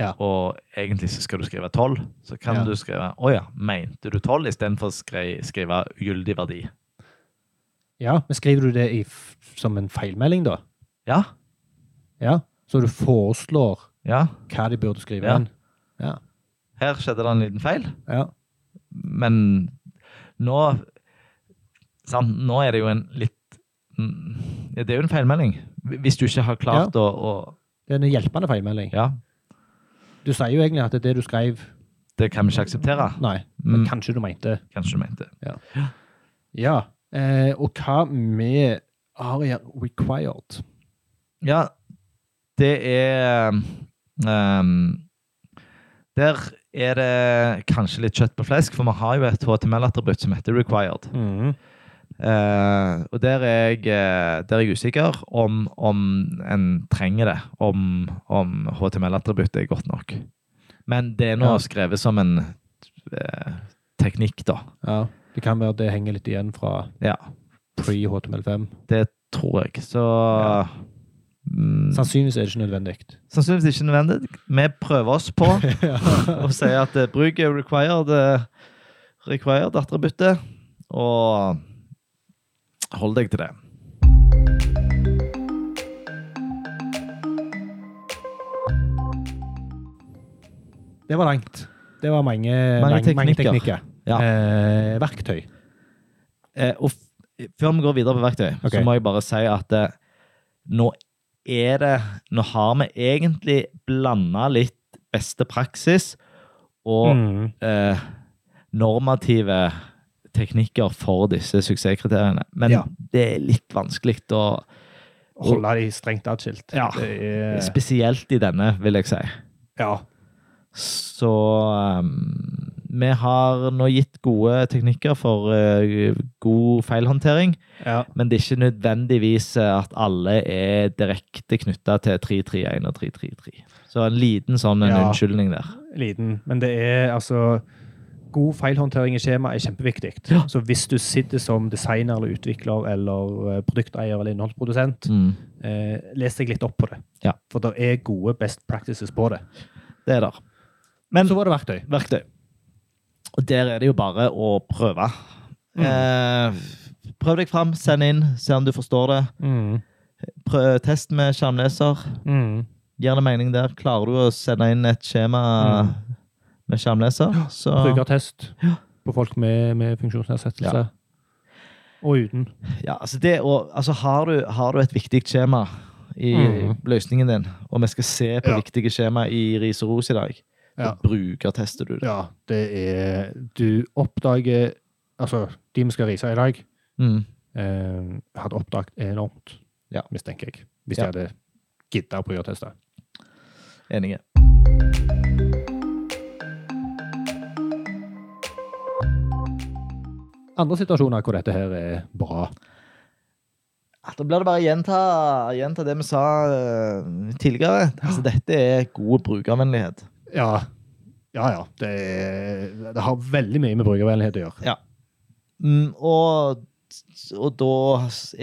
[SPEAKER 2] Ja.
[SPEAKER 1] og egentlig så skal du skrive 12, så kan
[SPEAKER 2] Ja.
[SPEAKER 1] du skrive 'Å ja, mente du 12?' istedenfor å skri- skrive gyldig verdi.
[SPEAKER 2] Ja, men skriver du det i, f- som en feilmelding, da?
[SPEAKER 1] Ja,
[SPEAKER 2] Ja. Så du foreslår
[SPEAKER 1] ja.
[SPEAKER 2] hva de burde skrive
[SPEAKER 1] Ja.
[SPEAKER 2] inn? Ja.
[SPEAKER 1] Her skjedde det en liten feil.
[SPEAKER 2] ja.
[SPEAKER 1] men nå sant? Nå er det jo en litt mm, ja, Det er jo en feilmelding. Hvis du ikke har klart å, å
[SPEAKER 2] Det er en hjelpende feilmelding.
[SPEAKER 1] Ja,
[SPEAKER 2] Du sier jo egentlig at det er det du skrev
[SPEAKER 1] det kan vi ikke akseptere.
[SPEAKER 2] Nei, men
[SPEAKER 1] Mm.
[SPEAKER 2] kanskje du mente
[SPEAKER 1] Kanskje du mente.
[SPEAKER 2] Ja. Eh, og hva med aria required?
[SPEAKER 1] Ja, det er ehm, Der er det kanskje litt kjøtt på flesk, for vi har jo et HTML-attributt som heter required.
[SPEAKER 2] Mm.
[SPEAKER 1] Eh, og der er, jeg, eh, der er jeg usikker om, om en trenger det, om, om HTML-attributtet er godt nok. Men det er nå
[SPEAKER 2] Ja.
[SPEAKER 1] skrevet som en eh, teknikk, da.
[SPEAKER 2] Ja. Det kan være det henger litt igjen fra
[SPEAKER 1] Ja,
[SPEAKER 2] pre-HTML5.
[SPEAKER 1] det tror jeg. Så
[SPEAKER 2] Ja.
[SPEAKER 1] mm,
[SPEAKER 2] Sannsynligvis er det ikke nødvendig.
[SPEAKER 1] Sannsynligvis ikke nødvendig. Vi prøver oss på å si at eh, bruk required, eh, required attributtet, og hold deg til det.
[SPEAKER 2] Det var langt. Det var mange,
[SPEAKER 1] Mange
[SPEAKER 2] mange, teknikker. Mange
[SPEAKER 1] teknikker.
[SPEAKER 2] teknikker.
[SPEAKER 1] Ja.
[SPEAKER 2] Eh, verktøy.
[SPEAKER 1] Eh, og f før vi går videre på verktøy,
[SPEAKER 2] Ok.
[SPEAKER 1] så må jeg bare si at eh, nå er det Nå har vi egentlig blanda litt beste praksis og
[SPEAKER 2] Mm.
[SPEAKER 1] eh, normative teknikker for disse suksesskriteriene. Men
[SPEAKER 2] Ja.
[SPEAKER 1] det er litt vanskelig å
[SPEAKER 2] Holde de strengt atskilt.
[SPEAKER 1] Ja.
[SPEAKER 2] Det er-
[SPEAKER 1] Spesielt i denne, vil jeg si.
[SPEAKER 2] ja.
[SPEAKER 1] Så um, vi har nå gitt gode teknikker for eh, god feilhåndtering.
[SPEAKER 2] ja.
[SPEAKER 1] Men det er ikke nødvendigvis eh, at alle er direkte knytta til 331 og 333. Så en liten sånn en
[SPEAKER 2] Ja.
[SPEAKER 1] unnskyldning der.
[SPEAKER 2] Liten. Men det er altså God feilhåndtering i skjema er kjempeviktig.
[SPEAKER 1] Ja.
[SPEAKER 2] Så hvis du sitter som designer eller utvikler eller eh, produkteier eller innholdsprodusent,
[SPEAKER 1] Mm.
[SPEAKER 2] eh, les deg litt opp på det.
[SPEAKER 1] Ja.
[SPEAKER 2] For det er gode best practices på det.
[SPEAKER 1] Det er der.
[SPEAKER 2] Men så var det verktøy.
[SPEAKER 1] Verktøy. Og der er det jo bare å prøve.
[SPEAKER 2] Mm.
[SPEAKER 1] Eh, prøv deg fram, send inn, se om du forstår det.
[SPEAKER 2] Mm.
[SPEAKER 1] Prøv, test med skjermleser. Gir det mening der? Klarer du å sende inn et skjema
[SPEAKER 2] Mm.
[SPEAKER 1] med skjermleser? Så
[SPEAKER 2] Brukertest
[SPEAKER 1] Ja.
[SPEAKER 2] på folk med, med funksjonsnedsettelse. Og uten.
[SPEAKER 1] Ja, altså det å altså har, du, har du et viktig skjema i
[SPEAKER 2] Mhm.
[SPEAKER 1] løsningen din, og vi skal se på
[SPEAKER 2] Ja.
[SPEAKER 1] viktige skjema i Ris og Ros i dag, så
[SPEAKER 2] Ja.
[SPEAKER 1] brukertester du det.
[SPEAKER 2] Ja, det er Du oppdager Altså, de vi skal rise i dag,
[SPEAKER 1] Mm.
[SPEAKER 2] eh, hadde oppdaget enormt,
[SPEAKER 1] Ja.
[SPEAKER 2] mistenker jeg. Hvis
[SPEAKER 1] Ja.
[SPEAKER 2] de hadde gidda å brukerteste.
[SPEAKER 1] Enige.
[SPEAKER 2] Andre situasjoner hvor dette her er bra.
[SPEAKER 1] Ja, Ah, Da blir det bare å gjenta, gjenta det vi sa eh, tidligere. Altså, dette er god brukervennlighet.
[SPEAKER 2] Ja, ja. ja. Det, er, det har veldig mye med brukervennlighet å gjøre.
[SPEAKER 1] Mm, og, og da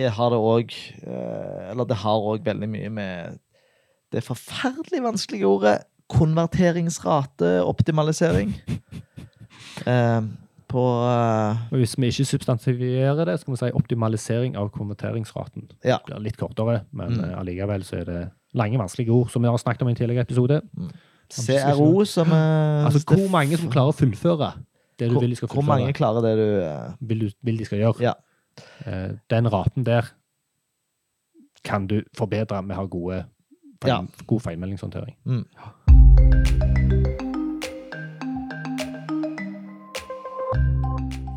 [SPEAKER 1] er- har det òg Eller det har òg veldig mye med det forferdelig vanskelige ordet konverteringsrate, optimalisering, eh, på på eh,
[SPEAKER 2] Og hvis vi ikke substansierer det, skal vi si optimalisering av konverteringsraten.
[SPEAKER 1] Ja.
[SPEAKER 2] Det blir litt kortere, men
[SPEAKER 1] Mm.
[SPEAKER 2] eh, allikevel så er det lange, vanskelige ord, som vi har snakket om i en tidligere episode.
[SPEAKER 1] CRO, som er
[SPEAKER 2] Altså hvor mange som klarer å fullføre det du
[SPEAKER 1] Hvor-
[SPEAKER 2] vil de skal
[SPEAKER 1] Hvor mange
[SPEAKER 2] fullføre.
[SPEAKER 1] klarer det du eh,
[SPEAKER 2] Vil, du, vil de skal gjøre.
[SPEAKER 1] Ja.
[SPEAKER 2] Eh, Den raten der kan du forbedre med å ha gode feil,
[SPEAKER 1] Ja.
[SPEAKER 2] god feilmeldingshåndtering.
[SPEAKER 1] Mm.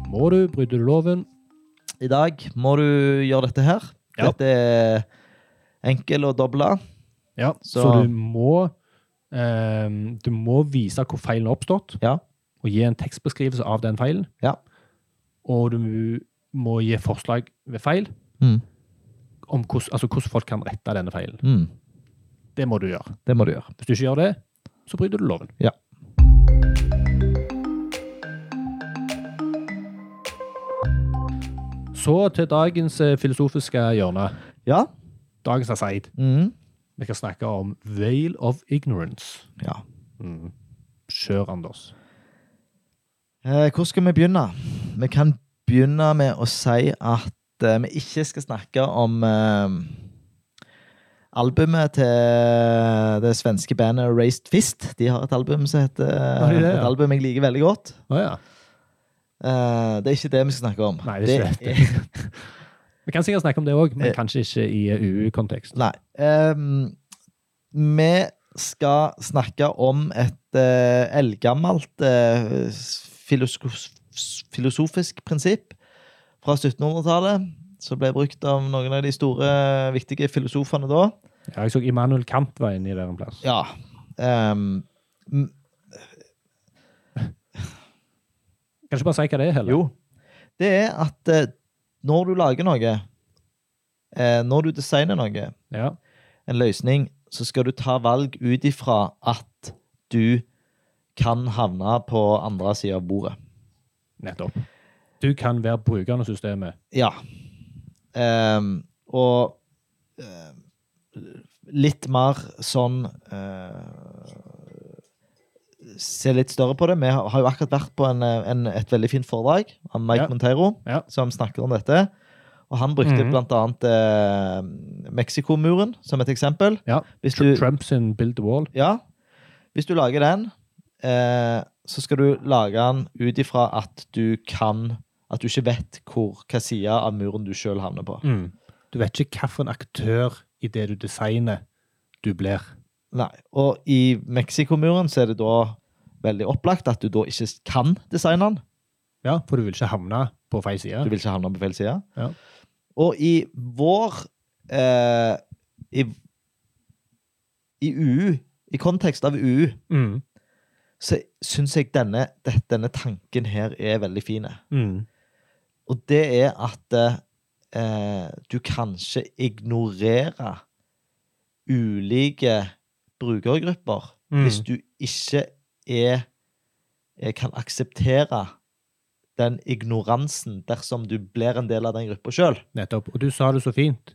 [SPEAKER 2] Må du, bryter du loven?
[SPEAKER 1] I dag må du gjøre dette her.
[SPEAKER 2] Ja.
[SPEAKER 1] Dette er enkel å doble.
[SPEAKER 2] Ja, så,
[SPEAKER 1] Så-
[SPEAKER 2] du må eh, Du må vise hvor feilen har oppstått,
[SPEAKER 1] Ja.
[SPEAKER 2] og gi en tekstbeskrivelse av den feilen.
[SPEAKER 1] Ja.
[SPEAKER 2] Og du må gi forslag ved feil
[SPEAKER 1] Mm.
[SPEAKER 2] om hvordan, altså hvordan folk kan rette denne feilen.
[SPEAKER 1] Mm.
[SPEAKER 2] Det må du gjøre.
[SPEAKER 1] Det må du gjøre.
[SPEAKER 2] Hvis du ikke gjør det, så bryter du loven.
[SPEAKER 1] Ja.
[SPEAKER 2] Så til dagens eh, filosofiske hjørne.
[SPEAKER 1] Ja.
[SPEAKER 2] Dagens aside.
[SPEAKER 1] Mm.
[SPEAKER 2] Vi skal snakke om veil of ignorance.
[SPEAKER 1] ja.
[SPEAKER 2] Kjør, Anders.
[SPEAKER 1] Eh, hvor skal vi begynne? Vi kan begynne med å si at eh, vi ikke skal snakke om eh, albumet til det svenske bandet Raised Fist. De har et album som heter
[SPEAKER 2] Har de det, ja?
[SPEAKER 1] Et album jeg liker veldig godt.
[SPEAKER 2] Å ja.
[SPEAKER 1] Eh, det er ikke det vi skal snakke om.
[SPEAKER 2] Nei, det er ikke
[SPEAKER 1] det. er-
[SPEAKER 2] Vi kan sikkert snakke om det òg, men
[SPEAKER 1] Eh.
[SPEAKER 2] kanskje ikke i UU-kontekst.
[SPEAKER 1] Nei. Ehm, vi skal snakke om et eh, eldgammelt eh, filosof filosofisk prinsipp fra 1700-tallet, som ble brukt av noen av de store, viktige filosofene da.
[SPEAKER 2] Ja, jeg så Immanuel Kant var inne i der en plass.
[SPEAKER 1] Ja. ehm, m-
[SPEAKER 2] Kan ikke bare si hva det er, heller?
[SPEAKER 1] jo. Det er at eh, når du lager noe, eh, når du designer noe,
[SPEAKER 2] Ja.
[SPEAKER 1] en løsning, så skal du ta valg ut ifra at du kan havne på andre sida av bordet.
[SPEAKER 2] Nettopp. Du kan være brukeren av systemet.
[SPEAKER 1] Ja. Ehm, og ehm, litt mer sånn eh, Se litt større på det. Vi har har jo akkurat vært på en, eh, en, et veldig fint foredrag av Mike
[SPEAKER 2] Ja.
[SPEAKER 1] Monteiro,
[SPEAKER 2] Ja.
[SPEAKER 1] som snakker om dette. Og han brukte
[SPEAKER 2] Mhm.
[SPEAKER 1] blant annet eh, Mexicomuren som et eksempel.
[SPEAKER 2] Ja.
[SPEAKER 1] Hvis
[SPEAKER 2] Tr- Trump sin Build the Wall.
[SPEAKER 1] Ja. Hvis du lager den, eh, så skal du lage den ut ifra at du kan At du ikke vet hvor, hva side av muren du sjøl havner på.
[SPEAKER 2] Mm. Du vet ikke hvilken aktør i det du designer du blir.
[SPEAKER 1] Nei. Og i Mexicomuren så er det da veldig opplagt at du da ikke kan designe den.
[SPEAKER 2] Ja, for du vil ikke havne på feil side.
[SPEAKER 1] Du vil ikke havne på feil side.
[SPEAKER 2] Ja.
[SPEAKER 1] Og i vår eh, i, I UU, i kontekst av UU,
[SPEAKER 2] Mm.
[SPEAKER 1] så syns jeg denne, denne tanken her er veldig fin.
[SPEAKER 2] Mm.
[SPEAKER 1] Og det er at eh, du kanskje ignorerer ulike brukergrupper
[SPEAKER 2] Mm.
[SPEAKER 1] hvis du ikke er, eh, kan akseptere den ignoransen dersom du blir en del av den gruppa sjøl.
[SPEAKER 2] Nettopp. Og du sa det så fint.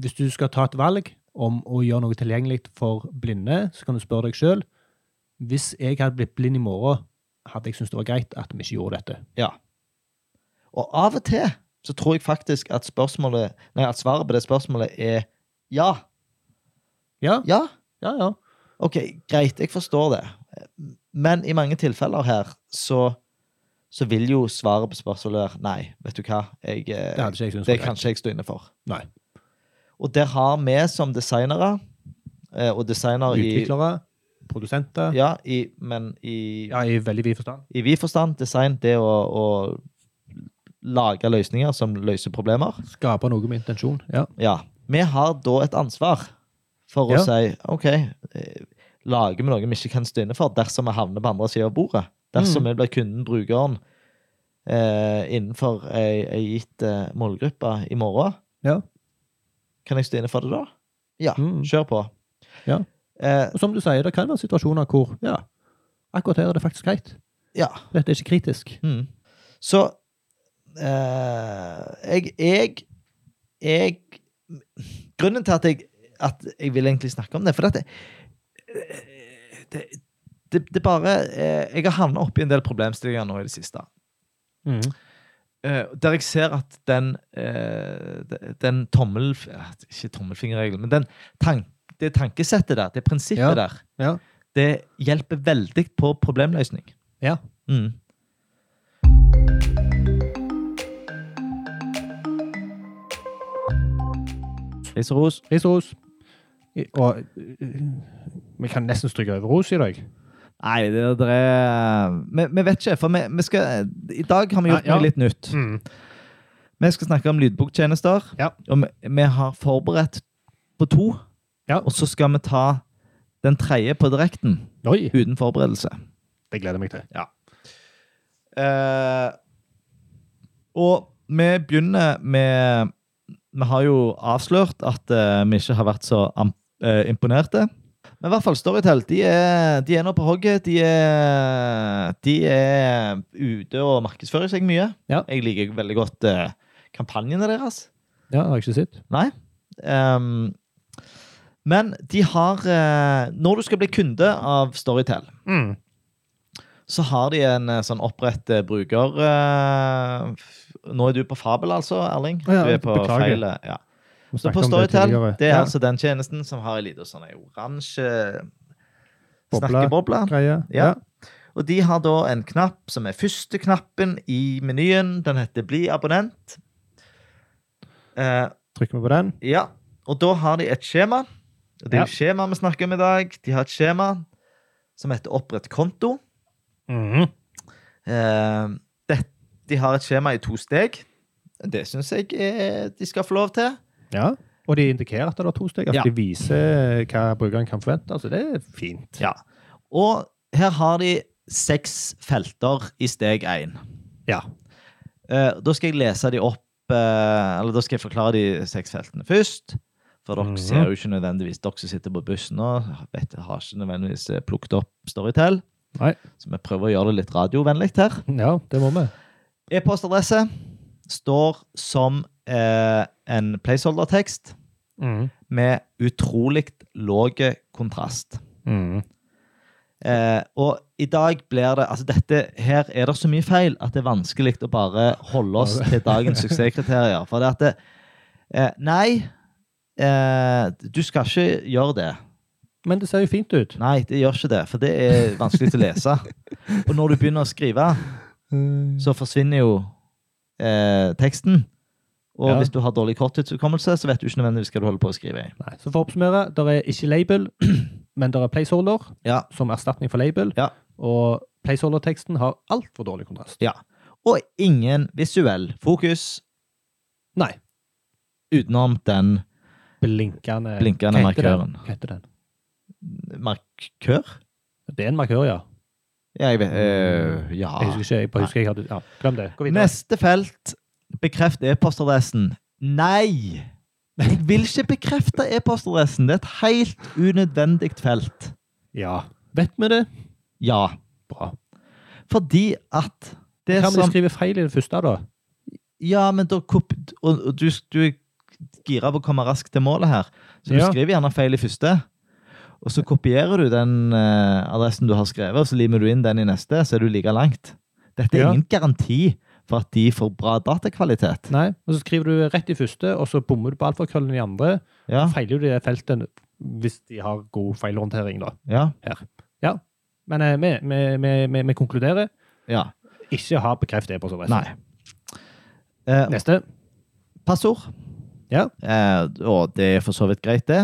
[SPEAKER 2] Hvis du skal ta et valg om å gjøre noe tilgjengelig for blinde, så kan du spørre deg sjøl. Hvis jeg hadde blitt blind i morgen, hadde jeg syntes det var greit at vi ikke gjorde dette.
[SPEAKER 1] Ja. Og av og til så tror jeg faktisk at, spørsmålet, nei, at svaret på det spørsmålet er ja.
[SPEAKER 2] Ja,
[SPEAKER 1] Ja,
[SPEAKER 2] ja, ja.
[SPEAKER 1] Ok, greit, jeg forstår det. Men i mange tilfeller her, så, så vil jo svaret på spørsmålet være nei, vet du hva, jeg, eh,
[SPEAKER 2] Det hadde ikke jeg syntes
[SPEAKER 1] det
[SPEAKER 2] var
[SPEAKER 1] kan
[SPEAKER 2] greit.
[SPEAKER 1] ikke jeg stå inne for.
[SPEAKER 2] Nei.
[SPEAKER 1] Og der har vi som designere, eh, og designer i,
[SPEAKER 2] Utviklere, produsenter. Ja,
[SPEAKER 1] ja, i Men i,
[SPEAKER 2] i veldig vid forstand.
[SPEAKER 1] i vid forstand, design, det å, å lage løsninger som løser problemer.
[SPEAKER 2] Skape noe med intensjon. Ja.
[SPEAKER 1] Ja. Vi har da et ansvar for å
[SPEAKER 2] Ja.
[SPEAKER 1] si OK, eh, lager vi noe vi ikke kan stå inne for, dersom vi havner på andre sida av bordet?
[SPEAKER 2] Mm.
[SPEAKER 1] Dersom vi blir kunden, brukeren, eh, innenfor ei, ei gitt eh, målgruppe i morgen,
[SPEAKER 2] Ja.
[SPEAKER 1] kan jeg stå inne for det da? Ja.
[SPEAKER 2] Mm.
[SPEAKER 1] Kjør på.
[SPEAKER 2] Ja.
[SPEAKER 1] Eh,
[SPEAKER 2] Og som du sier, det kan være situasjoner hvor ja, akkurat her er det faktisk greit.
[SPEAKER 1] ja.
[SPEAKER 2] Dette er ikke kritisk.
[SPEAKER 1] Mm. Så eh, jeg, jeg Jeg Grunnen til at jeg, at jeg vil egentlig snakke om det, for at det, det, det, det bare eh, Jeg har havna oppi en del problemstillinger nå i det siste.
[SPEAKER 2] Mm.
[SPEAKER 1] Eh, der jeg ser at den, eh, de- den tommel... eh, Ikke tommelfingerregelen, men den tan- det tankesettet der, det prinsippet
[SPEAKER 2] Ja.
[SPEAKER 1] der,
[SPEAKER 2] Ja.
[SPEAKER 1] det hjelper veldig på problemløsning.
[SPEAKER 2] Ja.
[SPEAKER 1] Mm. Ris og ros.
[SPEAKER 2] Ris og ros. I- Og øh, vi kan nesten stryke over ros i dag.
[SPEAKER 1] Nei, det, det er vi, vi vet ikke, for vi, vi skal I dag har vi gjort
[SPEAKER 2] Nei, ja. Mm.
[SPEAKER 1] noe litt nytt. Vi skal snakke om lydboktjenester.
[SPEAKER 2] Ja.
[SPEAKER 1] Og vi, vi har forberedt på to.
[SPEAKER 2] Ja.
[SPEAKER 1] Og så skal vi ta den tredje på direkten,
[SPEAKER 2] Oi,
[SPEAKER 1] uten forberedelse.
[SPEAKER 2] det gleder jeg meg til.
[SPEAKER 1] Eh, og vi begynner med Vi har jo avslørt at eh, vi ikke har vært så am- eh, imponerte. Men i hvert fall Storytel de er, de er nå på hogget. De er, de er ute og markedsfører seg mye.
[SPEAKER 2] Ja.
[SPEAKER 1] Jeg liker veldig godt eh, kampanjene deres.
[SPEAKER 2] Ja, har jeg ikke sett.
[SPEAKER 1] Ehm, men de har eh, Når du skal bli kunde av Storytel, så har de en eh, sånn opprett eh, bruker eh, f- Nå er du på Fabel, altså, Erling.
[SPEAKER 2] Ja,
[SPEAKER 1] du er på
[SPEAKER 2] beklager.
[SPEAKER 1] feil eh, ja.
[SPEAKER 2] Vi
[SPEAKER 1] Så
[SPEAKER 2] snakket
[SPEAKER 1] på
[SPEAKER 2] om
[SPEAKER 1] Storytel,
[SPEAKER 2] tidligere.
[SPEAKER 1] det er
[SPEAKER 2] Ja,
[SPEAKER 1] altså den tjenesten som har en liten sånn en oransje eh,
[SPEAKER 2] Boble.
[SPEAKER 1] snakkeboble.
[SPEAKER 2] greie.
[SPEAKER 1] Ja. Og de har da en knapp som er første knappen i menyen. Den heter 'Bli abonnent'. Eh,
[SPEAKER 2] Trykker vi på den.
[SPEAKER 1] ja, og da har de et skjema. Og det er jo skjema vi snakker om i dag. De har et skjema som heter 'Opprett konto'. Mm. Eh, det, de har et skjema i to steg. Det syns jeg eh, de skal få lov til.
[SPEAKER 2] Ja. Og de indikerer at det er to steg. At
[SPEAKER 1] Ja.
[SPEAKER 2] de viser eh, hva brukeren kan forvente. Altså, det er fint.
[SPEAKER 1] Ja. Og her har de seks felter i steg én.
[SPEAKER 2] Ja.
[SPEAKER 1] Eh, da skal jeg lese de opp eh, Eller da skal jeg forklare de seks feltene først. For dere
[SPEAKER 2] Mhm.
[SPEAKER 1] ser jo ikke nødvendigvis Dere som sitter på bussen nå, vet, har ikke nødvendigvis eh, plukket opp Storytel.
[SPEAKER 2] Nei.
[SPEAKER 1] Så vi prøver å gjøre det litt radiovennlig her.
[SPEAKER 2] ja, det må vi.
[SPEAKER 1] E-postadresse står som eh, en placeholder-tekst Mm. med utrolig lav kontrast. Mm. Eh, og i dag blir det Altså, dette her er det så mye feil at det er vanskelig å bare holde oss til dagens suksesskriterier. For det at det, eh, Nei, eh, du skal ikke gjøre det.
[SPEAKER 2] Men det ser jo fint ut.
[SPEAKER 1] Nei, det gjør ikke det, for det er vanskelig til å lese. Og når du begynner å skrive, så forsvinner jo eh, teksten. Og
[SPEAKER 2] Ja.
[SPEAKER 1] hvis du har dårlig korttidshukommelse, så vet du ikke nødvendigvis hva du holder på å skrive i.
[SPEAKER 2] Nei. Så for å oppsummere, det er ikke label, men det er placeholder
[SPEAKER 1] Ja.
[SPEAKER 2] som erstatning for label.
[SPEAKER 1] Ja.
[SPEAKER 2] Og placeholder-teksten har altfor dårlig kontrast.
[SPEAKER 1] Ja. Og ingen visuell fokus
[SPEAKER 2] Nei.
[SPEAKER 1] utenom den
[SPEAKER 2] Blinkende,
[SPEAKER 1] Blinkende
[SPEAKER 2] Hva heter den?
[SPEAKER 1] markøren.
[SPEAKER 2] Hva heter den?
[SPEAKER 1] markør.
[SPEAKER 2] Det er en markør, ja.
[SPEAKER 1] Ja, jeg vet øh, Ja.
[SPEAKER 2] Mm. Jeg husker ikke, jeg bare husker jeg hadde ja, Glem det. Gå videre.
[SPEAKER 1] Neste felt. Bekreft e-postadressen. Nei! Jeg vil ikke bekrefte e-postadressen. Det er et helt unødvendig felt.
[SPEAKER 2] Ja. Vet vi det?
[SPEAKER 1] Ja.
[SPEAKER 2] Bra.
[SPEAKER 1] Fordi at det
[SPEAKER 2] Hva om de
[SPEAKER 1] som
[SPEAKER 2] skriver feil i det første, da?
[SPEAKER 1] Ja, men da kop- Og, og du, du er gira på å komme raskt til målet her, så du
[SPEAKER 2] Ja.
[SPEAKER 1] skriver gjerne feil i første. Og så kopierer du den eh, adressen du har skrevet, og så limer du inn den i neste, så er du like langt. Dette er
[SPEAKER 2] Ja.
[SPEAKER 1] ingen garanti for at de får bra datakvalitet.
[SPEAKER 2] Nei. Og så skriver du rett i første, og så bommer du på alfakrøllen i andre.
[SPEAKER 1] Ja,
[SPEAKER 2] Feiler du i det feltet hvis de har god feilhåndtering, da.
[SPEAKER 1] ja,
[SPEAKER 2] Men eh, vi, vi, vi, vi, vi konkluderer.
[SPEAKER 1] ja.
[SPEAKER 2] Ikke ha bekreftet e-postadresse.
[SPEAKER 1] Nei. Eh,
[SPEAKER 2] Neste.
[SPEAKER 1] passord.
[SPEAKER 2] Ja.
[SPEAKER 1] Eh, og det er for så vidt greit, det.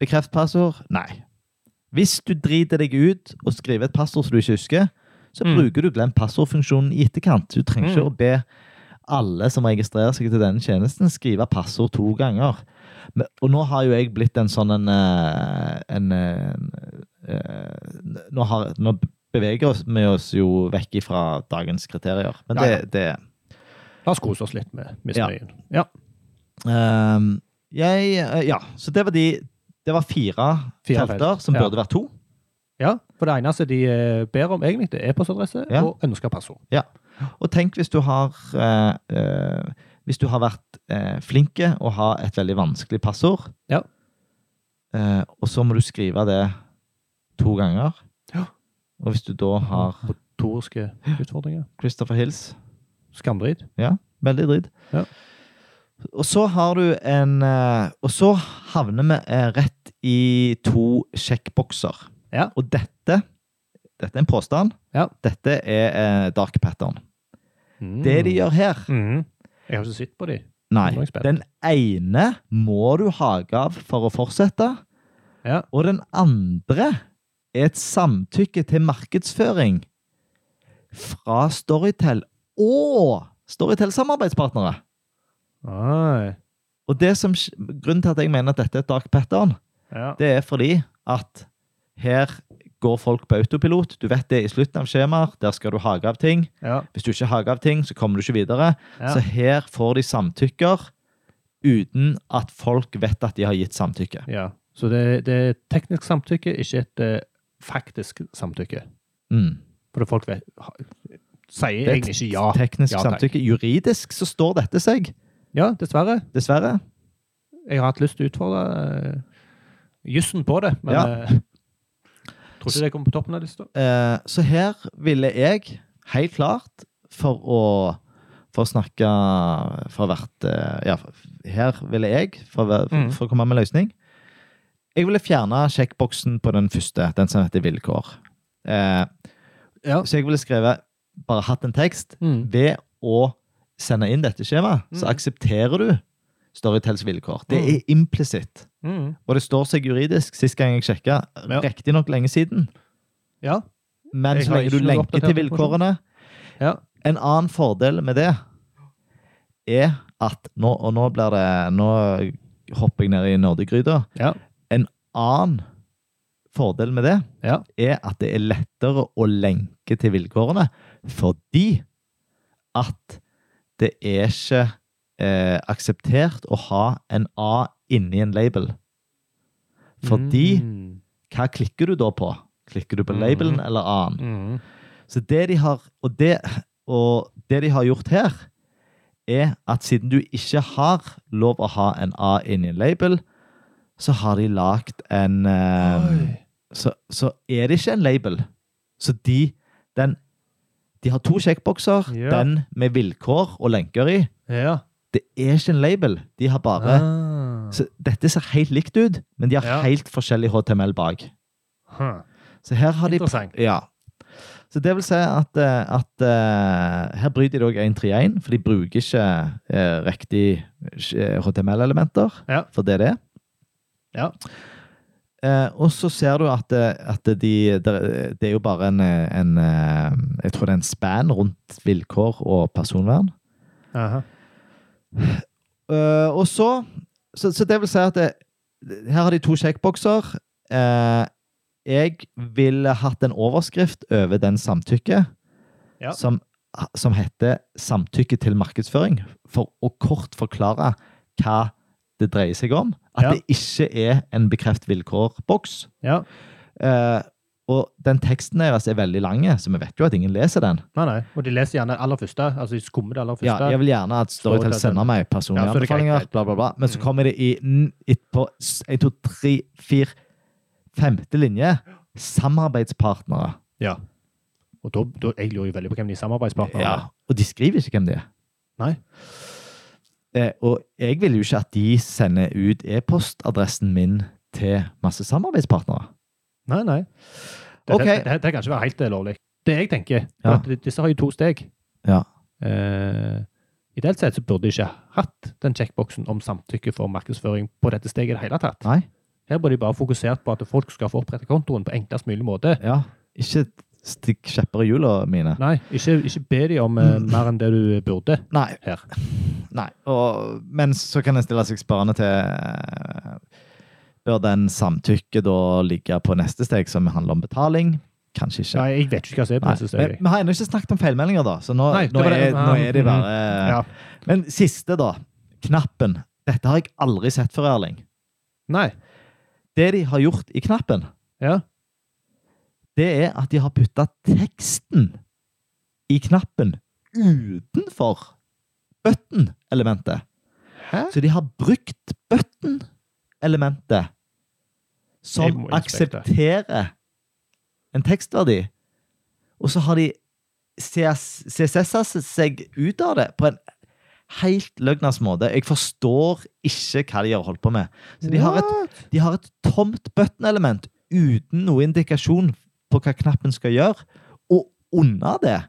[SPEAKER 1] Bekreft passord. Nei. Hvis du driter deg ut og skriver et passord som du ikke husker, så
[SPEAKER 2] Mm.
[SPEAKER 1] bruker du den passordfunksjonen i etterkant. Du trenger ikke
[SPEAKER 2] Mm.
[SPEAKER 1] å be alle som registrerer seg til denne tjenesten, skrive passord to ganger. Men, og nå har jo jeg blitt en sånn en, eh, en, eh, eh, nå, har, nå beveger oss- vi oss jo vekk ifra dagens kriterier. Men
[SPEAKER 2] Ja,
[SPEAKER 1] det,
[SPEAKER 2] ja.
[SPEAKER 1] det
[SPEAKER 2] La oss kose oss litt med misnøyen. Ja.
[SPEAKER 1] Ehm, jeg, eh, ja, så det var de Det var fire,
[SPEAKER 2] Fire
[SPEAKER 1] felter som
[SPEAKER 2] ja.
[SPEAKER 1] burde vært to.
[SPEAKER 2] Ja. For det eneste de eh, ber om, egentlig, det er e-postadresse
[SPEAKER 1] Ja.
[SPEAKER 2] og ønska passord.
[SPEAKER 1] Og tenk hvis du har eh, eh, Hvis du har vært eh, flinke og har et veldig vanskelig passord,
[SPEAKER 2] Ja.
[SPEAKER 1] Eh, og så må du skrive det to ganger.
[SPEAKER 2] Ja.
[SPEAKER 1] Og hvis du da har
[SPEAKER 2] Motoriske utfordringer.
[SPEAKER 1] Christopher Hills
[SPEAKER 2] Skamdrit.
[SPEAKER 1] Veldig dritt.
[SPEAKER 2] Ja.
[SPEAKER 1] Og så har du en eh, Og så havner vi eh, rett i to sjekkbokser.
[SPEAKER 2] Ja.
[SPEAKER 1] Og dette Dette er en påstand.
[SPEAKER 2] Ja.
[SPEAKER 1] Dette er eh, dark pattern. Det de gjør her
[SPEAKER 2] Mhm. Jeg har ikke sett på de.
[SPEAKER 1] Nei.
[SPEAKER 2] Nå er jeg spent.
[SPEAKER 1] Den ene må du hage av for å fortsette.
[SPEAKER 2] Ja.
[SPEAKER 1] Og den andre er et samtykke til markedsføring fra Storytel og Storytel-samarbeidspartnere.
[SPEAKER 2] Oi.
[SPEAKER 1] Og det som, Grunnen til at jeg mener at dette er et dark pattern,
[SPEAKER 2] Ja.
[SPEAKER 1] det er fordi at her går folk på autopilot. Du vet det er i slutten av skjemaer. Der skal du hage av ting.
[SPEAKER 2] Ja.
[SPEAKER 1] Hvis du ikke hager av ting, så kommer du ikke videre.
[SPEAKER 2] Ja.
[SPEAKER 1] Så her får de samtykker uten at folk vet at de har gitt samtykke.
[SPEAKER 2] ja. Så det, det er teknisk samtykke, ikke et eh, faktisk samtykke.
[SPEAKER 1] Mm.
[SPEAKER 2] For folk vet, ha, sier
[SPEAKER 1] Det er
[SPEAKER 2] egentlig ikke ja.
[SPEAKER 1] Teknisk
[SPEAKER 2] Ja, takk.
[SPEAKER 1] samtykke. Juridisk så står dette seg,
[SPEAKER 2] Ja, dessverre.
[SPEAKER 1] dessverre.
[SPEAKER 2] Jeg har hatt lyst til å utfordre eh, jussen på det, men
[SPEAKER 1] Ja.
[SPEAKER 2] eh, tror ikke det kommer på toppen av lista.
[SPEAKER 1] Eh, så her ville jeg, helt klart, for å for å snakke for å vært eh, Ja, her ville jeg, for, å være-
[SPEAKER 2] Mm.
[SPEAKER 1] for å komme med en løsning Jeg ville fjerne sjekkboksen på den første, den som heter vilkår. Eh,
[SPEAKER 2] Ja.
[SPEAKER 1] Så jeg ville skrevet bare hatt en tekst.
[SPEAKER 2] Mm.
[SPEAKER 1] Ved å sende inn dette skjemaet, så
[SPEAKER 2] Mm.
[SPEAKER 1] aksepterer du Storytels vilkår. Det
[SPEAKER 2] Mm.
[SPEAKER 1] er implisitt.
[SPEAKER 2] Mm.
[SPEAKER 1] Og det står seg juridisk, sist gang jeg sjekka,
[SPEAKER 2] Ja.
[SPEAKER 1] riktignok lenge siden.
[SPEAKER 2] Ja.
[SPEAKER 1] Men
[SPEAKER 2] Jeg
[SPEAKER 1] så
[SPEAKER 2] har
[SPEAKER 1] lenge
[SPEAKER 2] ikke
[SPEAKER 1] du
[SPEAKER 2] noe
[SPEAKER 1] lenker til
[SPEAKER 2] oppdatert informasjon.
[SPEAKER 1] vilkårene
[SPEAKER 2] Ja.
[SPEAKER 1] En annen fordel med det er at nå, Og nå blir det Nå hopper jeg ned i nerdegryta.
[SPEAKER 2] Ja.
[SPEAKER 1] En annen fordel med det
[SPEAKER 2] Ja.
[SPEAKER 1] er at det er lettere å lenke til vilkårene fordi at det er ikke eh, akseptert å ha en A inni en label. Fordi
[SPEAKER 2] Mm.
[SPEAKER 1] hva klikker du da på? Klikker du på
[SPEAKER 2] Mhm.
[SPEAKER 1] labelen eller annen?
[SPEAKER 2] Mm.
[SPEAKER 1] Så det de har, og det, og det de har gjort her, er at siden du ikke har lov å ha en A inni en label, så har de lagd en eh,
[SPEAKER 2] Oi.
[SPEAKER 1] så, så er det ikke en label. Så de, den, de har to sjekkbokser,
[SPEAKER 2] Ja.
[SPEAKER 1] den med vilkår og lenker i.
[SPEAKER 2] Ja.
[SPEAKER 1] Det er ikke en label. De har bare
[SPEAKER 2] Ah.
[SPEAKER 1] så Dette ser helt likt ut, men de har
[SPEAKER 2] Ja.
[SPEAKER 1] helt forskjellig HTML bak.
[SPEAKER 2] Huh.
[SPEAKER 1] Så her har de
[SPEAKER 2] Interessant.
[SPEAKER 1] Ja. Så det vil si at, eh, at eh, her bryter de òg 131, for de bruker ikke eh, riktig eh, HTML-elementer
[SPEAKER 2] Ja.
[SPEAKER 1] for det det er.
[SPEAKER 2] Ja.
[SPEAKER 1] Eh, og så ser du at, eh, at de, der- det er jo bare en, eh, en eh, Jeg tror det er en span rundt vilkår og personvern.
[SPEAKER 2] Aha.
[SPEAKER 1] Eh, og så, så Så det vil si at det, her har de to sjekkbokser. Eh, jeg ville hatt en overskrift over den samtykket
[SPEAKER 2] Ja.
[SPEAKER 1] som, som heter 'Samtykke til markedsføring', for å kort forklare hva det dreier seg om. At
[SPEAKER 2] Ja.
[SPEAKER 1] det ikke er en bekreft vilkår-boks.
[SPEAKER 2] Ja.
[SPEAKER 1] Eh, og den teksten deres er veldig lang, så vi vet jo at ingen leser den.
[SPEAKER 2] Nei, nei. Og de leser gjerne aller første. Altså, de skummer det aller
[SPEAKER 1] Ja,
[SPEAKER 2] første.
[SPEAKER 1] jeg vil gjerne at Storytel
[SPEAKER 2] Storytel
[SPEAKER 1] sender meg personlige
[SPEAKER 2] Ja, så er det greit,
[SPEAKER 1] anbefalinger,
[SPEAKER 2] greit.
[SPEAKER 1] bla, bla, bla. Men så
[SPEAKER 2] Mm.
[SPEAKER 1] kommer det i n- etterpå s- en, to, tre, fire, femte linje. Samarbeidspartnere.
[SPEAKER 2] Ja. Og da, da, jeg lurer jo veldig på hvem de samarbeidspartnerne
[SPEAKER 1] Ja, og de skriver ikke hvem det er.
[SPEAKER 2] Nei.
[SPEAKER 1] Eh, og jeg vil jo ikke at de sender ut e-postadressen min til masse samarbeidspartnere.
[SPEAKER 2] Nei, nei. Det,
[SPEAKER 1] Ok.
[SPEAKER 2] det, det, det kan ikke være helt eh, lovlig. Det jeg tenker,
[SPEAKER 1] Ja.
[SPEAKER 2] er at de- disse har jo to steg.
[SPEAKER 1] Ja.
[SPEAKER 2] Eh, ideelt sett så burde de ikke hatt den checkboxen om samtykke for markedsføring på dette steget i det hele tatt.
[SPEAKER 1] Nei?
[SPEAKER 2] Her burde de bare fokusert på at folk skal få opprette kontoen på enklest mulig måte.
[SPEAKER 1] Ja. Ikke stikk kjepper i hjula mine.
[SPEAKER 2] Nei, ikke, ikke be de om eh, mer enn det du burde
[SPEAKER 1] Nei.
[SPEAKER 2] her.
[SPEAKER 1] Nei. Og, men så kan en stille seg spørrende til eh, Bør den samtykke da ligge på neste steg, som handler om betaling? Kanskje ikke.
[SPEAKER 2] Nei, jeg vet ikke hva som er på
[SPEAKER 1] Nei.
[SPEAKER 2] neste
[SPEAKER 1] Men
[SPEAKER 2] steg.
[SPEAKER 1] vi har ennå ikke snakket om feilmeldinger, da. Så nå,
[SPEAKER 2] Nei, det
[SPEAKER 1] nå,
[SPEAKER 2] var
[SPEAKER 1] er,
[SPEAKER 2] det.
[SPEAKER 1] nå er de bare
[SPEAKER 2] Ja.
[SPEAKER 1] Men siste, da. Knappen. Dette har jeg aldri sett før, Erling.
[SPEAKER 2] Nei.
[SPEAKER 1] Det de har gjort i knappen,
[SPEAKER 2] Ja.
[SPEAKER 1] det er at de har putta teksten i knappen utenfor button-elementet.
[SPEAKER 2] Hæ?
[SPEAKER 1] Så de har brukt button-elementet
[SPEAKER 2] Jeg
[SPEAKER 1] som
[SPEAKER 2] må inspektere.
[SPEAKER 1] aksepterer en tekstverdi. Og så har de CSS-er seg ut av det på en helt løgnas måte. Jeg forstår ikke hva de har holdt på med. Så de har et, de har et tomt button-element uten noe indikasjon på hva knappen skal gjøre. Og under det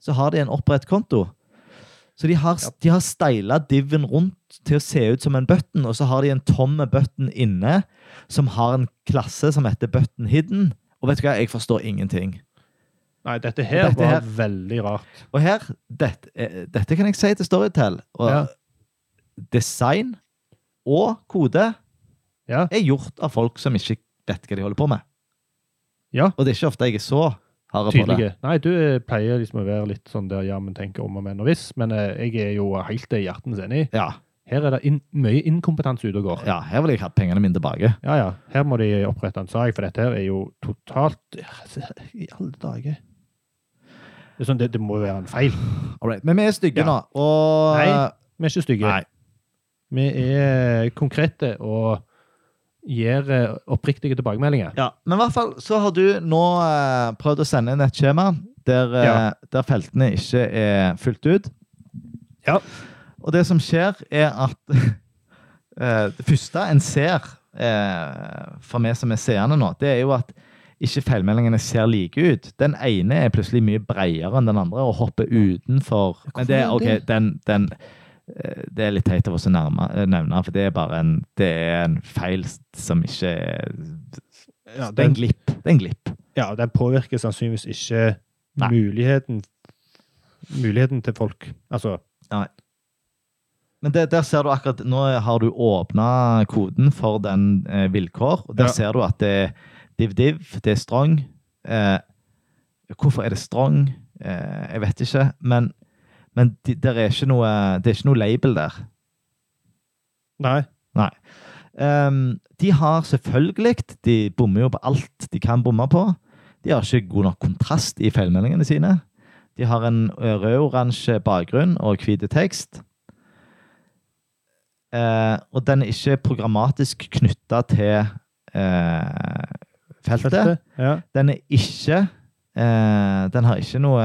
[SPEAKER 1] så har de en opprett konto. Så de har,
[SPEAKER 2] Ja.
[SPEAKER 1] de har steila diven rundt til å se ut som en button, og så har de en tomme button inne som har en klasse som heter button hidden. Og vet du hva, jeg forstår ingenting.
[SPEAKER 2] Nei, dette her
[SPEAKER 1] Dette
[SPEAKER 2] var
[SPEAKER 1] her-
[SPEAKER 2] veldig rart.
[SPEAKER 1] Og her, dette, eh, dette kan jeg si til Storytel. Og
[SPEAKER 2] Ja.
[SPEAKER 1] Design og kode
[SPEAKER 2] Ja.
[SPEAKER 1] er gjort av folk som ikke vet hva de holder på med.
[SPEAKER 2] Ja.
[SPEAKER 1] Og det er ikke ofte jeg er så hard på det.
[SPEAKER 2] Tydelige. Nei, du pleier liksom å være litt sånn der ja, men tenker om og men og hvis, men eh, jeg er jo helt eh, hjertens enig.
[SPEAKER 1] Ja,
[SPEAKER 2] Her er det inn, mye inkompetanse ute og går.
[SPEAKER 1] ja, her vil jeg hatt pengene mine tilbake.
[SPEAKER 2] Ja, ja. Her må de opprette en sak, for dette her er jo totalt I alle dager. Det, er sånn, det, det må jo være en feil.
[SPEAKER 1] Alright. Men vi er stygge
[SPEAKER 2] Ja.
[SPEAKER 1] nå, og
[SPEAKER 2] Nei. Vi er ikke stygge.
[SPEAKER 1] Nei.
[SPEAKER 2] Vi er konkrete og gir eh, oppriktige tilbakemeldinger.
[SPEAKER 1] Ja, Men i hvert fall så har du nå eh, prøvd å sende inn et skjema der, eh,
[SPEAKER 2] Ja.
[SPEAKER 1] der feltene ikke er fylt ut.
[SPEAKER 2] Ja.
[SPEAKER 1] Og det som skjer, er at eh, det første en ser eh, fra vi som er seerne nå, det er jo at ikke feilmeldingene ser like ut. Den ene er plutselig mye bredere enn den andre og hopper utenfor. Men det, er-
[SPEAKER 2] Hvorfor er
[SPEAKER 1] ok,
[SPEAKER 2] det?
[SPEAKER 1] den, den, eh, det er litt teit av oss å nærme, eh, nevne, for det er bare en, det er en feil som ikke er
[SPEAKER 2] Ja,
[SPEAKER 1] Det er en
[SPEAKER 2] den,
[SPEAKER 1] glipp. Det er en glipp.
[SPEAKER 2] ja, den påvirker sannsynligvis ikke
[SPEAKER 1] Nei.
[SPEAKER 2] muligheten Muligheten til folk. Altså
[SPEAKER 1] Men det, der ser du akkurat, Nå har du åpna koden for den eh, vilkår, og der
[SPEAKER 2] Ja.
[SPEAKER 1] ser du at det er div-div, det er strong. Eh, hvorfor er det strong? Eh, jeg vet ikke. Men, men de, der er ikke noe, det er ikke noe label der.
[SPEAKER 2] Nei.
[SPEAKER 1] Ehm, de har selvfølgelig De bommer jo på alt de kan bomme på. De har ikke god nok kontrast i feilmeldingene sine. De har en ø, rød-oransje bakgrunn og hvit tekst. Eh, og den er ikke programmatisk knytta til eh, feltet.
[SPEAKER 2] feltet. Ja.
[SPEAKER 1] Den er ikke eh, Den har ikke noe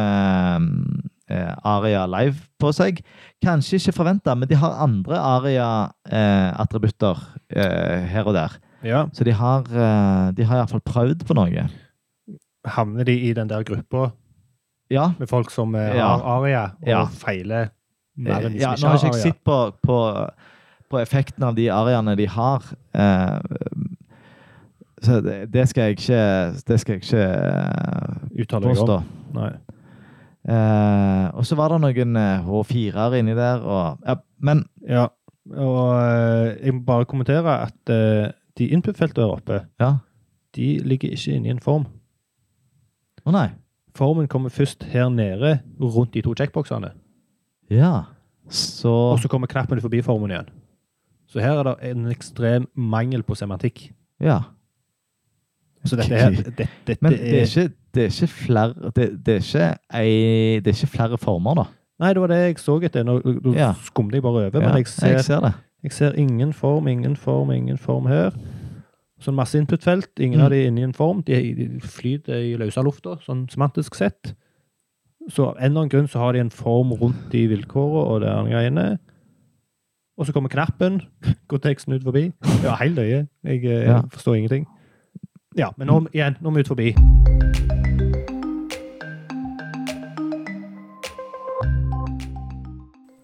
[SPEAKER 1] eh, Aria Live på seg. Kanskje ikke forventa, men de har andre Aria-attributter eh, her og der.
[SPEAKER 2] ja.
[SPEAKER 1] Så de har, eh, de har iallfall prøvd på noe.
[SPEAKER 2] Havner de i den der gruppa
[SPEAKER 1] Ja.
[SPEAKER 2] med folk som eh,
[SPEAKER 1] Ja.
[SPEAKER 2] har aria, og
[SPEAKER 1] Ja.
[SPEAKER 2] feiler
[SPEAKER 1] Ja,
[SPEAKER 2] mer enn de som
[SPEAKER 1] nå har
[SPEAKER 2] ikke
[SPEAKER 1] ikke jeg
[SPEAKER 2] Eh, har aria?
[SPEAKER 1] sett på, på, på effekten av de ariene de har. Eh, så det, det skal jeg ikke Det skal jeg ikke eh,
[SPEAKER 2] Uttaler jeg om.
[SPEAKER 1] påstå.
[SPEAKER 2] Nei.
[SPEAKER 1] Eh, og så var det noen eh, H4-er inni der. Og, ja, men
[SPEAKER 2] Ja, og eh, jeg må bare kommentere at eh, de input-feltene der oppe,
[SPEAKER 1] ja.
[SPEAKER 2] de ligger ikke inne i en form.
[SPEAKER 1] Å nei.
[SPEAKER 2] Formen kommer først her nede, rundt de to checkboxene.
[SPEAKER 1] Ja. Så
[SPEAKER 2] Og så kommer knappen forbi formen igjen. Så her er det en ekstrem mangel på semantikk.
[SPEAKER 1] Ja.
[SPEAKER 2] Så dette her, dette, dette
[SPEAKER 1] Men det er
[SPEAKER 2] er
[SPEAKER 1] ikke, det er ikke flere det, det, er ikke ei, det er ikke flere former, da.
[SPEAKER 2] Nei, det var det jeg så etter. Nå nå
[SPEAKER 1] Ja.
[SPEAKER 2] skumte jeg bare over, men
[SPEAKER 1] Ja,
[SPEAKER 2] jeg ser,
[SPEAKER 1] jeg ser det.
[SPEAKER 2] jeg ser ingen form, ingen form, ingen form her. Så en masse input-felt. Ingen
[SPEAKER 1] Mm.
[SPEAKER 2] av de er inne i en form. De, de flyter i løse lufta, sånn semantisk sett. Så av en eller annen grunn så har de en form rundt de vilkårene og de andre greiene. Og så kommer knappen. Går teksten ut forbi. Ja, helt løye. Jeg eh,
[SPEAKER 1] Ja.
[SPEAKER 2] forstår ingenting. Ja, men nå, igjen, nå er vi ut forbi.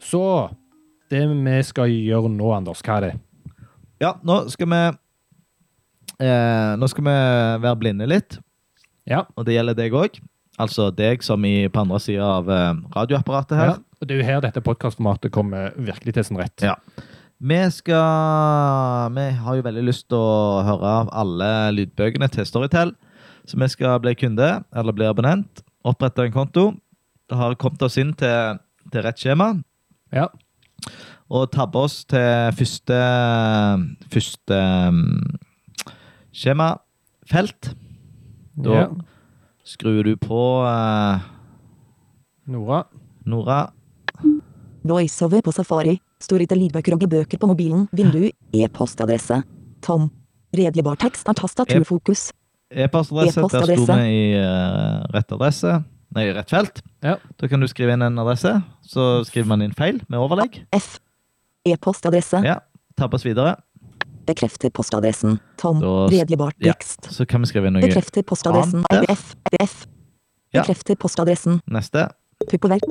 [SPEAKER 2] Så det vi skal gjøre nå, Anders, hva er det?
[SPEAKER 1] Ja, nå skal vi eh, Nå skal vi være blinde litt,
[SPEAKER 2] Ja.
[SPEAKER 1] og det gjelder deg òg. Altså deg som i, på andre sida av eh, radioapparatet her.
[SPEAKER 2] Ja, og det er jo her dette podkastformatet kommer virkelig til sin rett.
[SPEAKER 1] Ja. Vi skal Vi har jo veldig lyst til å høre av alle lydbøkene til Storytel. Så vi skal bli kunde, eller bli abonnent. Opprette en konto. Det har kommet oss inn til, til rett skjema.
[SPEAKER 2] Ja.
[SPEAKER 1] Og tabbe oss til første Første mm, skjemafelt. Da
[SPEAKER 2] Ja.
[SPEAKER 1] skrur du på, eh,
[SPEAKER 2] Nora.
[SPEAKER 1] Nora.
[SPEAKER 3] VoiceOver på Safari. Storytel lydbøker og gebøker på mobilen. Vindu. E-postadresse. Tom. Redeligbar tekst er tastaturfokus.
[SPEAKER 1] E-postadresse. Der sto
[SPEAKER 3] E-postadresse.
[SPEAKER 1] vi i eh, rett adresse. nei, rett felt.
[SPEAKER 2] Ja.
[SPEAKER 1] Da kan du skrive inn en adresse. Så skriver man inn feil med overlegg.
[SPEAKER 3] F. E-postadresse.
[SPEAKER 1] Ja, Tabbes videre.
[SPEAKER 3] Bekrefter postadressen. Tom.
[SPEAKER 1] Da-
[SPEAKER 3] Redegjort
[SPEAKER 1] ja.
[SPEAKER 3] tekst.
[SPEAKER 1] Så kan vi skrive inn noe
[SPEAKER 3] Bekrefter postadressen.
[SPEAKER 1] Annet der.
[SPEAKER 3] F. F.
[SPEAKER 1] Ja.
[SPEAKER 3] Bekrefter postadressen.
[SPEAKER 1] neste.
[SPEAKER 3] Puppoverk.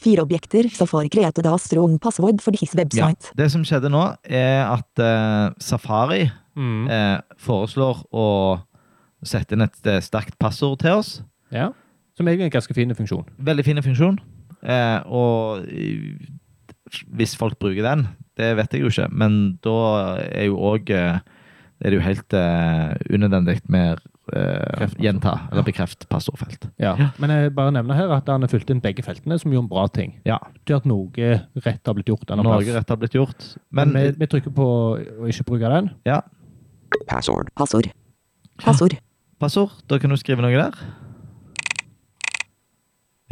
[SPEAKER 3] Fire objekter. Safari created a strong password for his
[SPEAKER 1] Ja.
[SPEAKER 3] website.
[SPEAKER 1] Det som skjedde nå, er at eh, Safari
[SPEAKER 2] Mm.
[SPEAKER 1] eh, foreslår å sette inn et eh, sterkt passord til oss.
[SPEAKER 2] ja. Som egentlig er en ganske fin funksjon.
[SPEAKER 1] Veldig fin funksjon. Eh, og eh, hvis folk bruker den, det vet jeg jo ikke, men da er jo òg eh, er det jo helt eh, unødvendig med eh,
[SPEAKER 2] Bekreft, altså.
[SPEAKER 1] gjenta eller
[SPEAKER 2] Ja.
[SPEAKER 1] bekreft passordfelt.
[SPEAKER 2] Ja.
[SPEAKER 1] Ja.
[SPEAKER 2] Men jeg bare nevner her at han har fulgt inn begge feltene, som gjorde en bra ting.
[SPEAKER 1] Ja.
[SPEAKER 2] Til at noe rett har blitt gjort. en plass.
[SPEAKER 1] Norge rett har blitt gjort. Men
[SPEAKER 2] Men vi, vi trykker på å ikke bruke den.
[SPEAKER 1] ja,
[SPEAKER 4] Password.
[SPEAKER 3] Passord. Passord.
[SPEAKER 1] passord. Da kan du skrive noe der.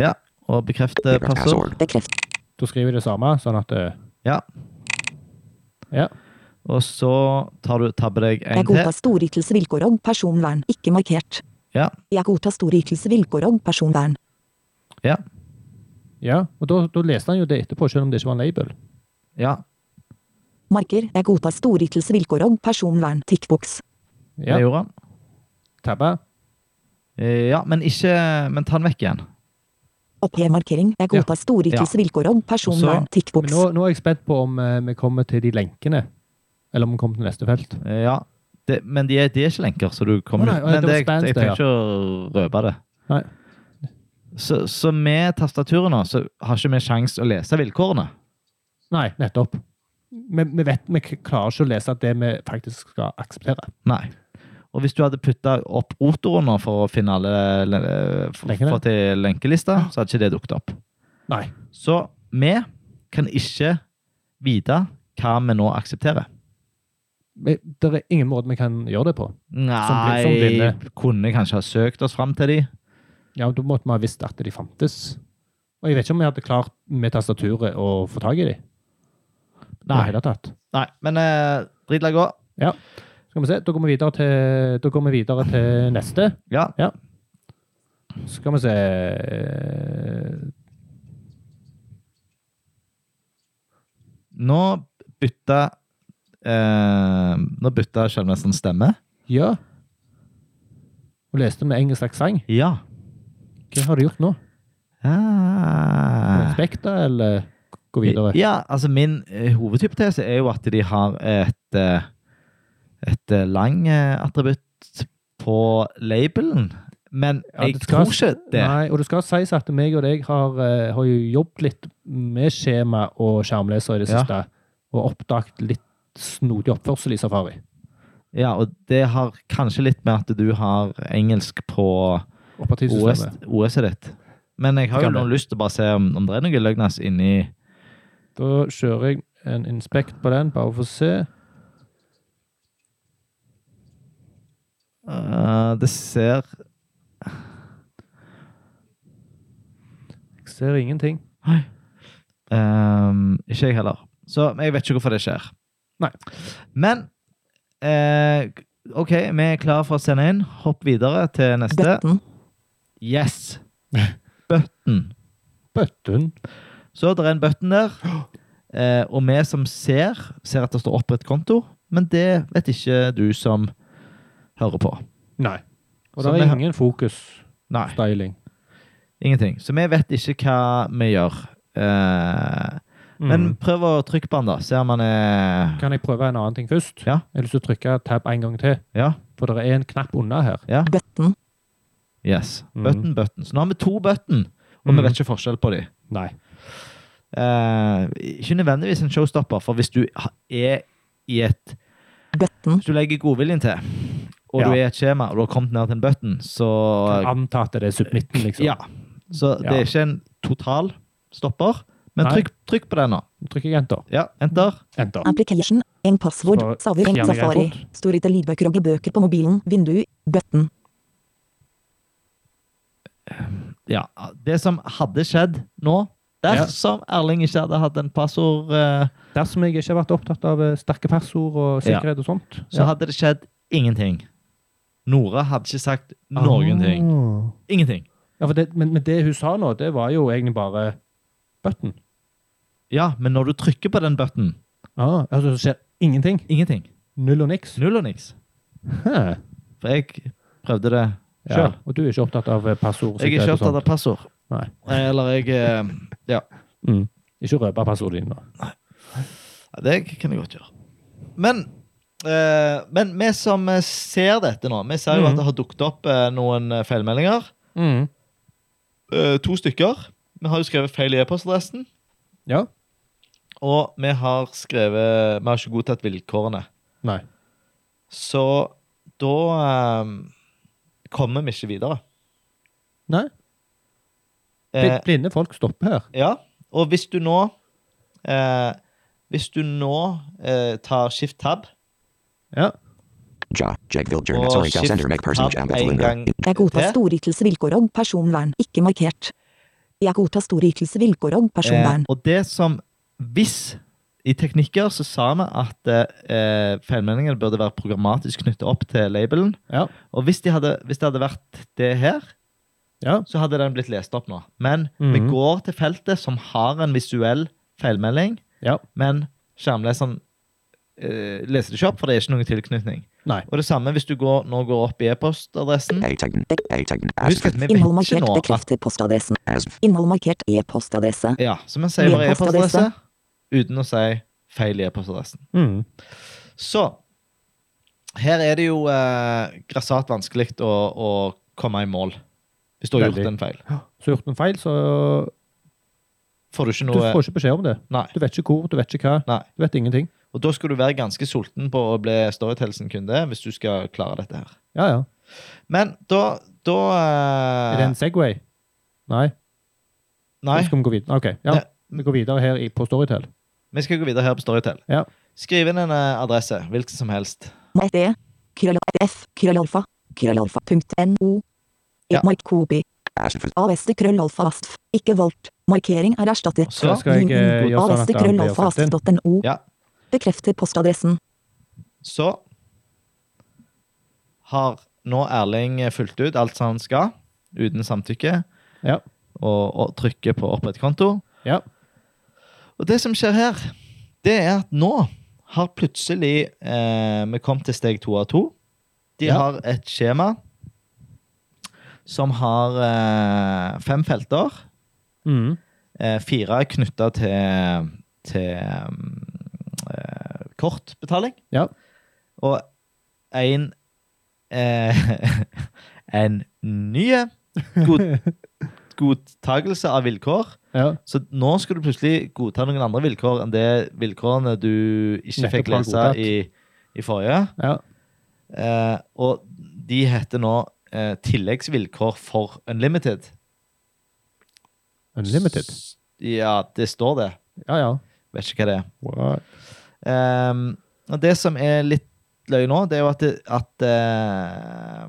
[SPEAKER 1] Ja, og bekrefte
[SPEAKER 4] Bekreft
[SPEAKER 1] passord.
[SPEAKER 3] Bekreft.
[SPEAKER 2] Da skriver jeg det samme, sånn at eh,
[SPEAKER 1] Ja.
[SPEAKER 2] Ja.
[SPEAKER 1] Og så tar du tabbe deg en
[SPEAKER 3] Jeg godtar
[SPEAKER 1] til.
[SPEAKER 3] storytelsesvilkår og personvern. Ikke markert.
[SPEAKER 1] Ja.
[SPEAKER 3] Jeg godtar storytelsesvilkår og personvern.
[SPEAKER 1] Ja.
[SPEAKER 2] Ja, og da, da leste han jo det etterpå, selv om det ikke var en label.
[SPEAKER 1] ja.
[SPEAKER 3] Marker. Jeg godtar storytelsesvilkår og personvern. Tikkboks.
[SPEAKER 1] Det
[SPEAKER 2] Ja,
[SPEAKER 1] gjorde han.
[SPEAKER 2] Tabbe.
[SPEAKER 1] Eh, Ja, men ikke Men ta den vekk igjen.
[SPEAKER 3] Opphev markering. Jeg godtar storytelsesvilkår og personvern.
[SPEAKER 1] Så-
[SPEAKER 2] Men
[SPEAKER 3] Tikkboks.
[SPEAKER 2] nå, nå er jeg spent på om eh, vi kommer til de lenkene. Eller om vi kommer til neste felt.
[SPEAKER 1] Eh, Ja, det, men de er, de er ikke lenker, så du kommer
[SPEAKER 2] Å, nei,
[SPEAKER 1] ut.
[SPEAKER 2] å,
[SPEAKER 1] Men
[SPEAKER 2] det var
[SPEAKER 1] det, jeg,
[SPEAKER 2] spans
[SPEAKER 1] jeg
[SPEAKER 2] det,
[SPEAKER 1] trenger ikke å røpe det.
[SPEAKER 2] Nei.
[SPEAKER 1] Så, så med tastaturet nå, så har ikke vi sjans å lese vilkårene.
[SPEAKER 2] Nei, nettopp. Vi, vi vet vi k- klarer ikke å lese det vi faktisk skal akseptere.
[SPEAKER 1] Nei. Og hvis du hadde putta opp rotoren nå for å finne alle le- for,
[SPEAKER 2] Lenkene?
[SPEAKER 1] for til lenkelista, så hadde ikke det dukket opp.
[SPEAKER 2] Nei.
[SPEAKER 1] Så vi kan ikke vite hva vi nå aksepterer.
[SPEAKER 2] Vi, det er ingen måte vi kan gjøre det på.
[SPEAKER 1] Nei,
[SPEAKER 2] som blinde.
[SPEAKER 1] kunne kanskje ha søkt oss fram til de.
[SPEAKER 2] Ja, Da måtte vi ha visst at de fantes. Og jeg vet ikke om vi hadde klart med tastaturet å få tak i de. I det
[SPEAKER 1] Nei.
[SPEAKER 2] hele tatt.
[SPEAKER 1] Nei, men eh, drit la gå.
[SPEAKER 2] Ja. Skal vi se. Da går vi videre til, da går vi videre til neste.
[SPEAKER 1] Ja.
[SPEAKER 2] Skal vi se
[SPEAKER 1] Nå bytta eh, Nå bytta Skjelmesen stemme.
[SPEAKER 2] Ja. Og leste med engelsk aksent.
[SPEAKER 1] Ja.
[SPEAKER 2] Hva har du gjort nå?
[SPEAKER 1] Ah.
[SPEAKER 2] Spekter, eller gå videre?
[SPEAKER 1] Ja, altså min eh, hovedhypotese er jo at de har et eh, et eh, lang eh, attributt på labelen. Men
[SPEAKER 2] Ja,
[SPEAKER 1] jeg
[SPEAKER 2] det skal-
[SPEAKER 1] tror ikke det.
[SPEAKER 2] Nei, og det skal sies at meg og deg har, eh, har jo jobbet litt med skjema og skjermleser i det
[SPEAKER 1] Ja.
[SPEAKER 2] siste, og oppdaget litt snodig oppførsel i Safari.
[SPEAKER 1] Ja, og det har kanskje litt med at du har engelsk på OS,
[SPEAKER 2] Operativsystemet.
[SPEAKER 1] OS-et ditt. Men jeg har jo
[SPEAKER 2] Kan det.
[SPEAKER 1] nå lyst til å bare se om, om det er noe løgnas inni
[SPEAKER 2] Da kjører jeg en inspekt på den, bare for å se.
[SPEAKER 1] Eh, Det ser
[SPEAKER 2] Jeg ser ingenting.
[SPEAKER 1] Ehm, ikke jeg heller. Så jeg vet ikke hvorfor det skjer.
[SPEAKER 2] Nei.
[SPEAKER 1] Men eh, OK, vi er klare for å sende inn. Hopp videre til neste.
[SPEAKER 3] Button.
[SPEAKER 1] Yes! Button.
[SPEAKER 2] Bøtten.
[SPEAKER 1] Så det er en button der. Eh, og vi som ser, ser at det står opprett konto, men det vet ikke du som hører på.
[SPEAKER 2] Nei. Og
[SPEAKER 1] Så
[SPEAKER 2] det
[SPEAKER 1] vi
[SPEAKER 2] er
[SPEAKER 1] har-
[SPEAKER 2] ingen
[SPEAKER 1] Nei.
[SPEAKER 2] fokus-styling.
[SPEAKER 1] Ingenting. Så vi vet ikke hva vi gjør. Eh, Men
[SPEAKER 2] Men
[SPEAKER 1] prøv å trykke på den, da. Se om den er
[SPEAKER 2] kan jeg prøve en annen ting først?
[SPEAKER 1] Ja.
[SPEAKER 2] Jeg har lyst til å trykke tab en gang til,
[SPEAKER 1] Ja.
[SPEAKER 2] for det er en knapp unna her.
[SPEAKER 3] Button.
[SPEAKER 1] Yes.
[SPEAKER 2] Mhm.
[SPEAKER 1] Button, button. Så nå har vi to button, og
[SPEAKER 2] Mhm.
[SPEAKER 1] vi vet ikke forskjell på dem.
[SPEAKER 2] Nei.
[SPEAKER 1] ikke nødvendigvis en showstopper, for hvis du ha- er i et
[SPEAKER 3] Button.
[SPEAKER 1] Hvis du legger godviljen til, og
[SPEAKER 2] Ja.
[SPEAKER 1] du er i et skjema, og du har kommet ned til en button, så
[SPEAKER 2] Anta at det er submitten, liksom.
[SPEAKER 1] Ja. Så det
[SPEAKER 2] Ja.
[SPEAKER 1] er ikke en total stopper, men
[SPEAKER 2] Nei.
[SPEAKER 1] trykk, trykk på den nå.
[SPEAKER 2] Nå trykker jeg enter.
[SPEAKER 1] Ja, Enter.
[SPEAKER 2] Enter.
[SPEAKER 3] Application. En password.
[SPEAKER 2] Så-
[SPEAKER 3] Saver. En
[SPEAKER 2] Fjerne
[SPEAKER 3] safari.
[SPEAKER 2] greport.
[SPEAKER 3] Står ikke lydbøker og bøker på mobilen. Vindu. Button.
[SPEAKER 1] Ja. Det som hadde skjedd nå,
[SPEAKER 2] Ja.
[SPEAKER 1] dersom Erling ikke hadde hatt en passord eh,
[SPEAKER 2] Dersom jeg ikke har vært opptatt av eh, sterke passord og sikkerhet og sånt
[SPEAKER 1] så hadde det
[SPEAKER 2] Ah.
[SPEAKER 1] skjedd ingenting. Nora hadde ikke sagt noen ting. Ingenting.
[SPEAKER 2] Ja, for det, men, men det hun sa nå, det var jo egentlig bare button.
[SPEAKER 1] Ja, men når du trykker på den button,
[SPEAKER 2] Ah, altså, det skjer ingenting.
[SPEAKER 1] ingenting.
[SPEAKER 2] Null og niks.
[SPEAKER 1] Null og niks.
[SPEAKER 2] Hæ.
[SPEAKER 1] For jeg prøvde det
[SPEAKER 2] Ja.
[SPEAKER 1] sjøl.
[SPEAKER 2] Og du er ikke opptatt av eh, passord?
[SPEAKER 1] Jeg er ikke
[SPEAKER 2] sikkerhet og
[SPEAKER 1] opptatt av passord.
[SPEAKER 2] Nei.
[SPEAKER 1] Eller jeg eh, Ja.
[SPEAKER 2] sånt? Mm. Ikke røpe passordet ditt nå.
[SPEAKER 1] Ja, Det kan jeg godt gjøre. Men, eh, men vi som eh, ser dette nå, vi ser jo
[SPEAKER 2] Mhm.
[SPEAKER 1] at det har dukket opp eh, noen eh, feilmeldinger.
[SPEAKER 2] Mm.
[SPEAKER 1] Eh, to stykker. Vi har jo skrevet feil i e-postadressen.
[SPEAKER 2] Ja.
[SPEAKER 1] Og vi har skrevet Vi har ikke godtatt vilkårene.
[SPEAKER 2] Nei.
[SPEAKER 1] Så da eh, kommer vi ikke videre.
[SPEAKER 2] Nei. Bl-
[SPEAKER 1] Eh,
[SPEAKER 2] Blinde folk stopper her.
[SPEAKER 1] ja. Og hvis du nå eh, Hvis du nå eh, tar skift tab
[SPEAKER 2] Ja.
[SPEAKER 4] Ja, Jegvil
[SPEAKER 1] Og
[SPEAKER 4] Jernat Sorika
[SPEAKER 1] skift
[SPEAKER 4] Sender Meg Person
[SPEAKER 1] tab
[SPEAKER 4] Jam
[SPEAKER 1] en
[SPEAKER 4] Bethlunda.
[SPEAKER 1] gang
[SPEAKER 3] Jeg godtar
[SPEAKER 1] til.
[SPEAKER 3] storytelsesvilkår og personvern, ikke markert. Jeg godtar storytelsesvilkår og personvern.
[SPEAKER 1] Eh, og det som Hvis I teknikker så sa vi at eh, feilmeldingene burde være programmatisk knyttet opp til labelen.
[SPEAKER 2] Ja.
[SPEAKER 1] Og hvis, de hadde, hvis det hadde vært det her,
[SPEAKER 2] Ja.
[SPEAKER 1] så hadde den blitt lest opp nå. Men vi
[SPEAKER 2] Mhm.
[SPEAKER 1] går til feltet som har en visuell feilmelding,
[SPEAKER 2] Ja.
[SPEAKER 1] men skjermleseren eh, leser det ikke opp, for det er ikke noen tilknytning.
[SPEAKER 2] Nei.
[SPEAKER 1] Og det samme hvis du går, nå går opp i e-postadressen.
[SPEAKER 4] A-Tegn, A-Tegn,
[SPEAKER 1] Husk at
[SPEAKER 4] Aspen,
[SPEAKER 1] vi vet
[SPEAKER 3] Innhold
[SPEAKER 1] ikke
[SPEAKER 3] markert
[SPEAKER 1] nå at
[SPEAKER 3] bekrefter postadressen.
[SPEAKER 4] Asv,
[SPEAKER 3] Innhold markert e-postadresse.
[SPEAKER 1] Ja, så vi sier bare
[SPEAKER 3] E-postadresse.
[SPEAKER 1] e-postadresse uten å si feil i e-postadressen.
[SPEAKER 2] Mm.
[SPEAKER 1] Så her er det jo eh, grassat vanskelig å, å komme i mål hvis du har
[SPEAKER 2] Veldig.
[SPEAKER 1] gjort en feil.
[SPEAKER 2] Ah, Så gjort noen feil, så
[SPEAKER 1] Får du ikke
[SPEAKER 2] Du
[SPEAKER 1] noe
[SPEAKER 2] får ikke beskjed om det.
[SPEAKER 1] Nei.
[SPEAKER 2] Du vet ikke hvor, du vet ikke hva.
[SPEAKER 1] Nei.
[SPEAKER 2] Du vet ingenting.
[SPEAKER 1] Og da skal du være ganske sulten på å bli Storytel sin kunde hvis du skal klare dette her.
[SPEAKER 2] Ja, ja.
[SPEAKER 1] Men da, da eh,
[SPEAKER 2] Er det en Segway? Nei.
[SPEAKER 1] Nei,
[SPEAKER 2] Så Skal vi gå videre? Ok, ja.
[SPEAKER 1] Nei.
[SPEAKER 2] Vi går videre her i, på Storytel.
[SPEAKER 1] vi skal gå videre her på Storytel.
[SPEAKER 2] Ja.
[SPEAKER 1] Skriv inn en eh, adresse, hvilken som helst.
[SPEAKER 3] Nei, det. e. Krøllalfa. F. Krøllalfa. Krøllalfa. Punkt. NO.
[SPEAKER 1] Ja.
[SPEAKER 3] Mark Kobi.
[SPEAKER 4] Asv,
[SPEAKER 3] AVS krøllalfa astf. Ikke valgt. Markering er erstattet.
[SPEAKER 1] Så
[SPEAKER 2] skal jeg, eh, gjøre sånn at
[SPEAKER 3] AVS
[SPEAKER 2] det blir
[SPEAKER 3] krøllalfa
[SPEAKER 2] sendt
[SPEAKER 3] astf.no.
[SPEAKER 1] Ja.
[SPEAKER 3] Bekrefter postadressen.
[SPEAKER 1] Så har nå Erling fulgt ut alt som han skal, uten samtykke,
[SPEAKER 2] Ja.
[SPEAKER 1] og, og trykker på opprett konto.
[SPEAKER 2] Ja.
[SPEAKER 1] Og det som skjer her, det er at nå har plutselig eh, vi kommet til steg to av to. De
[SPEAKER 2] Ja.
[SPEAKER 1] har et skjema som har eh, fem felter.
[SPEAKER 2] Mm.
[SPEAKER 1] Eh, fire er knytta til, til mm, eh, kortbetaling.
[SPEAKER 2] Ja.
[SPEAKER 1] Og en eh, En ny god, godtagelse av vilkår.
[SPEAKER 2] ja.
[SPEAKER 1] Så nå skal du plutselig godta noen andre vilkår enn det vilkårene du ikke
[SPEAKER 2] Nettopp
[SPEAKER 1] fikk
[SPEAKER 2] har
[SPEAKER 1] lese
[SPEAKER 2] godtatt.
[SPEAKER 1] i, i forrige.
[SPEAKER 2] Ja.
[SPEAKER 1] Eh, og de heter nå eh, tilleggsvilkår for Unlimited.
[SPEAKER 2] Unlimited.
[SPEAKER 1] S- Ja, det står det.
[SPEAKER 2] Ja, ja.
[SPEAKER 1] Vet ikke hva det er.
[SPEAKER 2] What?
[SPEAKER 1] Ehm, og det som er litt løye nå, det er jo at, det, at eh,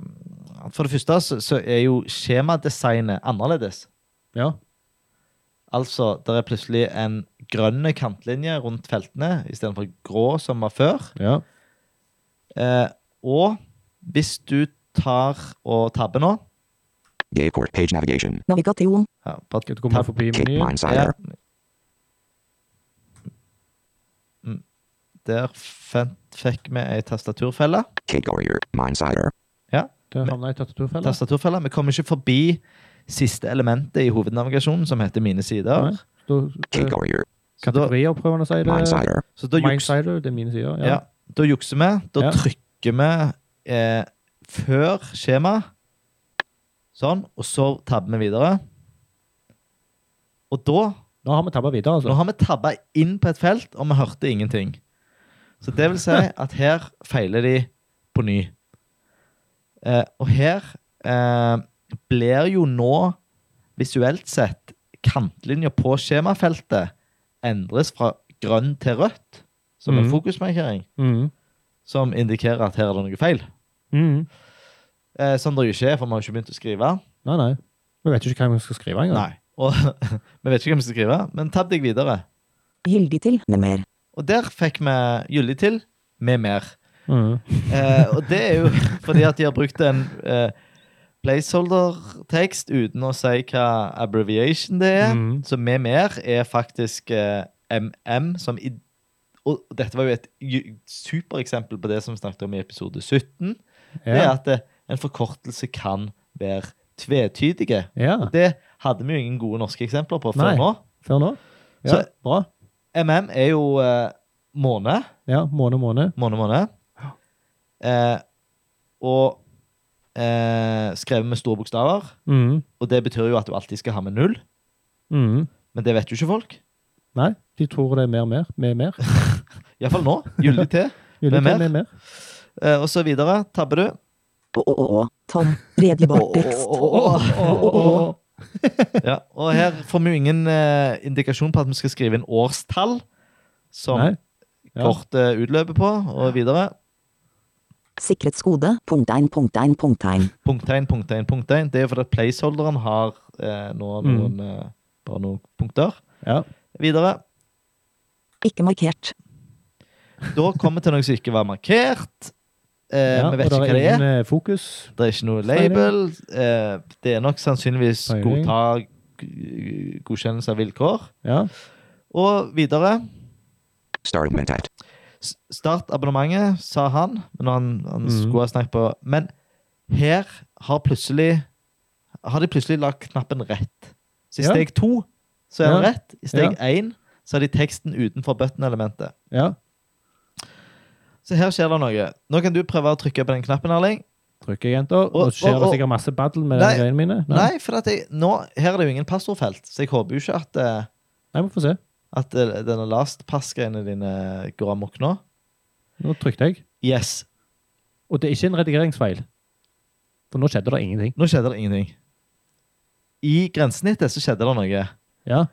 [SPEAKER 1] at For det første så, så er jo skjemadesignet annerledes.
[SPEAKER 2] Ja.
[SPEAKER 1] Altså, det er plutselig en grønn kantlinje rundt feltene istedenfor grå som var før.
[SPEAKER 2] Ja.
[SPEAKER 1] Eh, og hvis du tar og tabber nå
[SPEAKER 4] Gay Court Page Navigation,
[SPEAKER 3] Navigasjon.
[SPEAKER 1] ja, bare
[SPEAKER 2] Skal du komme
[SPEAKER 1] tab-
[SPEAKER 2] forbi
[SPEAKER 4] Kick
[SPEAKER 2] menyen?
[SPEAKER 4] Mindsider,
[SPEAKER 1] Mm. Der fant, fikk vi ei tastaturfelle.
[SPEAKER 4] Kick Warrior, Mindsider,
[SPEAKER 2] Det havna i tastaturfella?
[SPEAKER 1] tastaturfelle. Vi kommer ikke forbi siste elementet i hovednavigasjonen, som heter 'mine sider'.
[SPEAKER 2] Nei. Da,
[SPEAKER 4] Kick
[SPEAKER 2] eh,
[SPEAKER 4] Warrior,
[SPEAKER 1] Så da,
[SPEAKER 2] kategorier, prøver han å si det.
[SPEAKER 4] Mindsider,
[SPEAKER 1] så da, juks,
[SPEAKER 2] Mindsider, det er mine sider.
[SPEAKER 1] ja.
[SPEAKER 2] Ja.
[SPEAKER 1] da jukser vi. Da
[SPEAKER 2] Ja.
[SPEAKER 1] trykker vi eh, før skjema. Sånn. Og så tabber vi videre. Og da
[SPEAKER 2] Nå har vi tabba videre,
[SPEAKER 1] Nå
[SPEAKER 2] altså.
[SPEAKER 1] har vi tabba inn på et felt, og vi hørte ingenting. Så det vil si at her feiler de på ny. Eh, og her eh, blir jo nå, visuelt sett, kantlinja på skjemafeltet endres fra grønn til rødt, som en
[SPEAKER 2] Mhm.
[SPEAKER 1] fokusmarkering,
[SPEAKER 2] Mm.
[SPEAKER 1] som indikerer at her er det noe feil.
[SPEAKER 2] Mm.
[SPEAKER 1] Eh, som det jo ikke er, for vi har jo ikke begynt å skrive.
[SPEAKER 2] Nei, nei. Vi vet jo ikke hva vi skal skrive engang.
[SPEAKER 1] Nei. Og vi vet ikke hvem som skal skrive, men tabb deg videre.
[SPEAKER 3] Gyldig til. Med mer.
[SPEAKER 1] Og der fikk vi gyldig til med mer.
[SPEAKER 2] Mm.
[SPEAKER 1] Eh, og det er jo fordi at de har brukt en eh, placeholder-tekst uten å si hva abbreviation det er.
[SPEAKER 2] Mhm.
[SPEAKER 1] Så med mer er faktisk eh, MM, som i Og dette var jo et ju- supereksempel på det som vi snakket om i episode 17. Det er
[SPEAKER 2] Ja.
[SPEAKER 1] at eh, en forkortelse kan være tvetydige.
[SPEAKER 2] ja.
[SPEAKER 1] Det hadde vi jo ingen gode norske eksempler på før
[SPEAKER 2] Nei.
[SPEAKER 1] nå.
[SPEAKER 2] Før nå. Ja,
[SPEAKER 1] Så-
[SPEAKER 2] bra.
[SPEAKER 1] MM er jo eh, måned.
[SPEAKER 2] Ja, måned, måned.
[SPEAKER 1] Måned, måned. Eh, og eh, skrevet med store bokstaver.
[SPEAKER 2] Mhm.
[SPEAKER 1] Og det betyr jo at du alltid skal ha med null,
[SPEAKER 2] Mhm.
[SPEAKER 1] men det vet jo ikke folk.
[SPEAKER 2] Nei, de tror det er mer, mer, mer, mer.
[SPEAKER 1] Iallfall nå. Gyldig T.
[SPEAKER 2] Vil du
[SPEAKER 1] Mer,
[SPEAKER 2] ta
[SPEAKER 1] mer?
[SPEAKER 2] med mer?
[SPEAKER 1] Eh, og så videre. Tabber du.
[SPEAKER 3] Å, å, å, å. Tom, redegjør tekst.
[SPEAKER 1] Åh. Ja, og her får vi jo ingen eh, indikasjon på at vi skal skrive inn årstall, som
[SPEAKER 2] Nei. Ja.
[SPEAKER 1] kortet utløper på, og videre.
[SPEAKER 3] Sikkerhetskode, punktegn, punktegn, punktegn.
[SPEAKER 1] Punkttegn, punkttegn, punkttegn. Det er jo fordi at placeholderen har eh,
[SPEAKER 2] Mm.
[SPEAKER 1] nå noen, eh, bare noen punkter.
[SPEAKER 2] Ja.
[SPEAKER 1] Videre.
[SPEAKER 3] Ikke markert.
[SPEAKER 1] Da kommer vi til noe som ikke var markert. Eh,
[SPEAKER 2] ja.
[SPEAKER 1] vi vet ikke
[SPEAKER 2] og der
[SPEAKER 1] hva det er.
[SPEAKER 2] ingen, eh, Fokus.
[SPEAKER 1] Det er ikke noe label. Eh, det er nok sannsynligvis
[SPEAKER 2] Peiling.
[SPEAKER 1] godta g- godkjennelse av vilkår.
[SPEAKER 2] Ja.
[SPEAKER 1] Og videre.
[SPEAKER 4] Start mentat.
[SPEAKER 1] S- Start abonnementet, sa han, men han, han
[SPEAKER 2] Mhm.
[SPEAKER 1] skulle ha snakket på Men her har plutselig Har de plutselig lagt knappen rett. Så i
[SPEAKER 2] Ja.
[SPEAKER 1] steg to så er den
[SPEAKER 2] Ja.
[SPEAKER 1] rett. I steg én så har de teksten utenfor button-elementet.
[SPEAKER 2] ja.
[SPEAKER 1] Så her skjer det noe. Nå kan du prøve å trykke på den knappen, Erling.
[SPEAKER 2] Trykker jenter. Nå
[SPEAKER 1] Og-
[SPEAKER 2] skjer
[SPEAKER 1] og-
[SPEAKER 2] det
[SPEAKER 1] og-
[SPEAKER 2] sikkert masse battle med
[SPEAKER 1] Nei.
[SPEAKER 2] de greiene mine.
[SPEAKER 1] Nei, for at jeg, nå, her er det jo ingen passordfelt, så jeg håper jo ikke at eh,
[SPEAKER 2] Nei, vi får se.
[SPEAKER 1] At eh, denne lastpass-greiene dine går amok nå?
[SPEAKER 2] Nå trykte jeg.
[SPEAKER 1] Yes.
[SPEAKER 2] Og det er ikke en redigeringsfeil. For nå skjedde det ingenting.
[SPEAKER 1] Nå skjedde det ingenting. I grensesnittet så skjedde det noe.
[SPEAKER 2] Ja.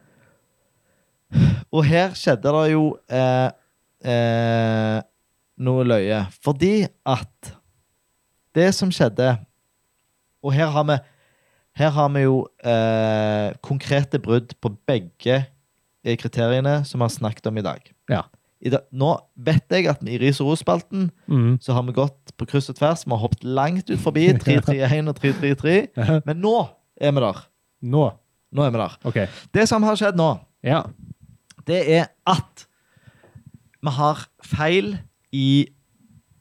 [SPEAKER 1] Og her skjedde det jo eh, eh, noe løye. Fordi at det som skjedde Og her har vi, her har vi jo eh, konkrete brudd på begge eh, kriteriene som vi har snakket om i dag.
[SPEAKER 2] Ja.
[SPEAKER 1] I da, nå vet jeg at i ris- og ros-spalten
[SPEAKER 2] Mhm.
[SPEAKER 1] så har vi gått på kryss og tvers. Vi har hoppet langt ut forbi 3-3-1 og 3-3-3. Men nå er vi der.
[SPEAKER 2] Nå.
[SPEAKER 1] Nå er vi der.
[SPEAKER 2] OK.
[SPEAKER 1] Det som har skjedd nå,
[SPEAKER 2] Ja.
[SPEAKER 1] det er at vi har feil i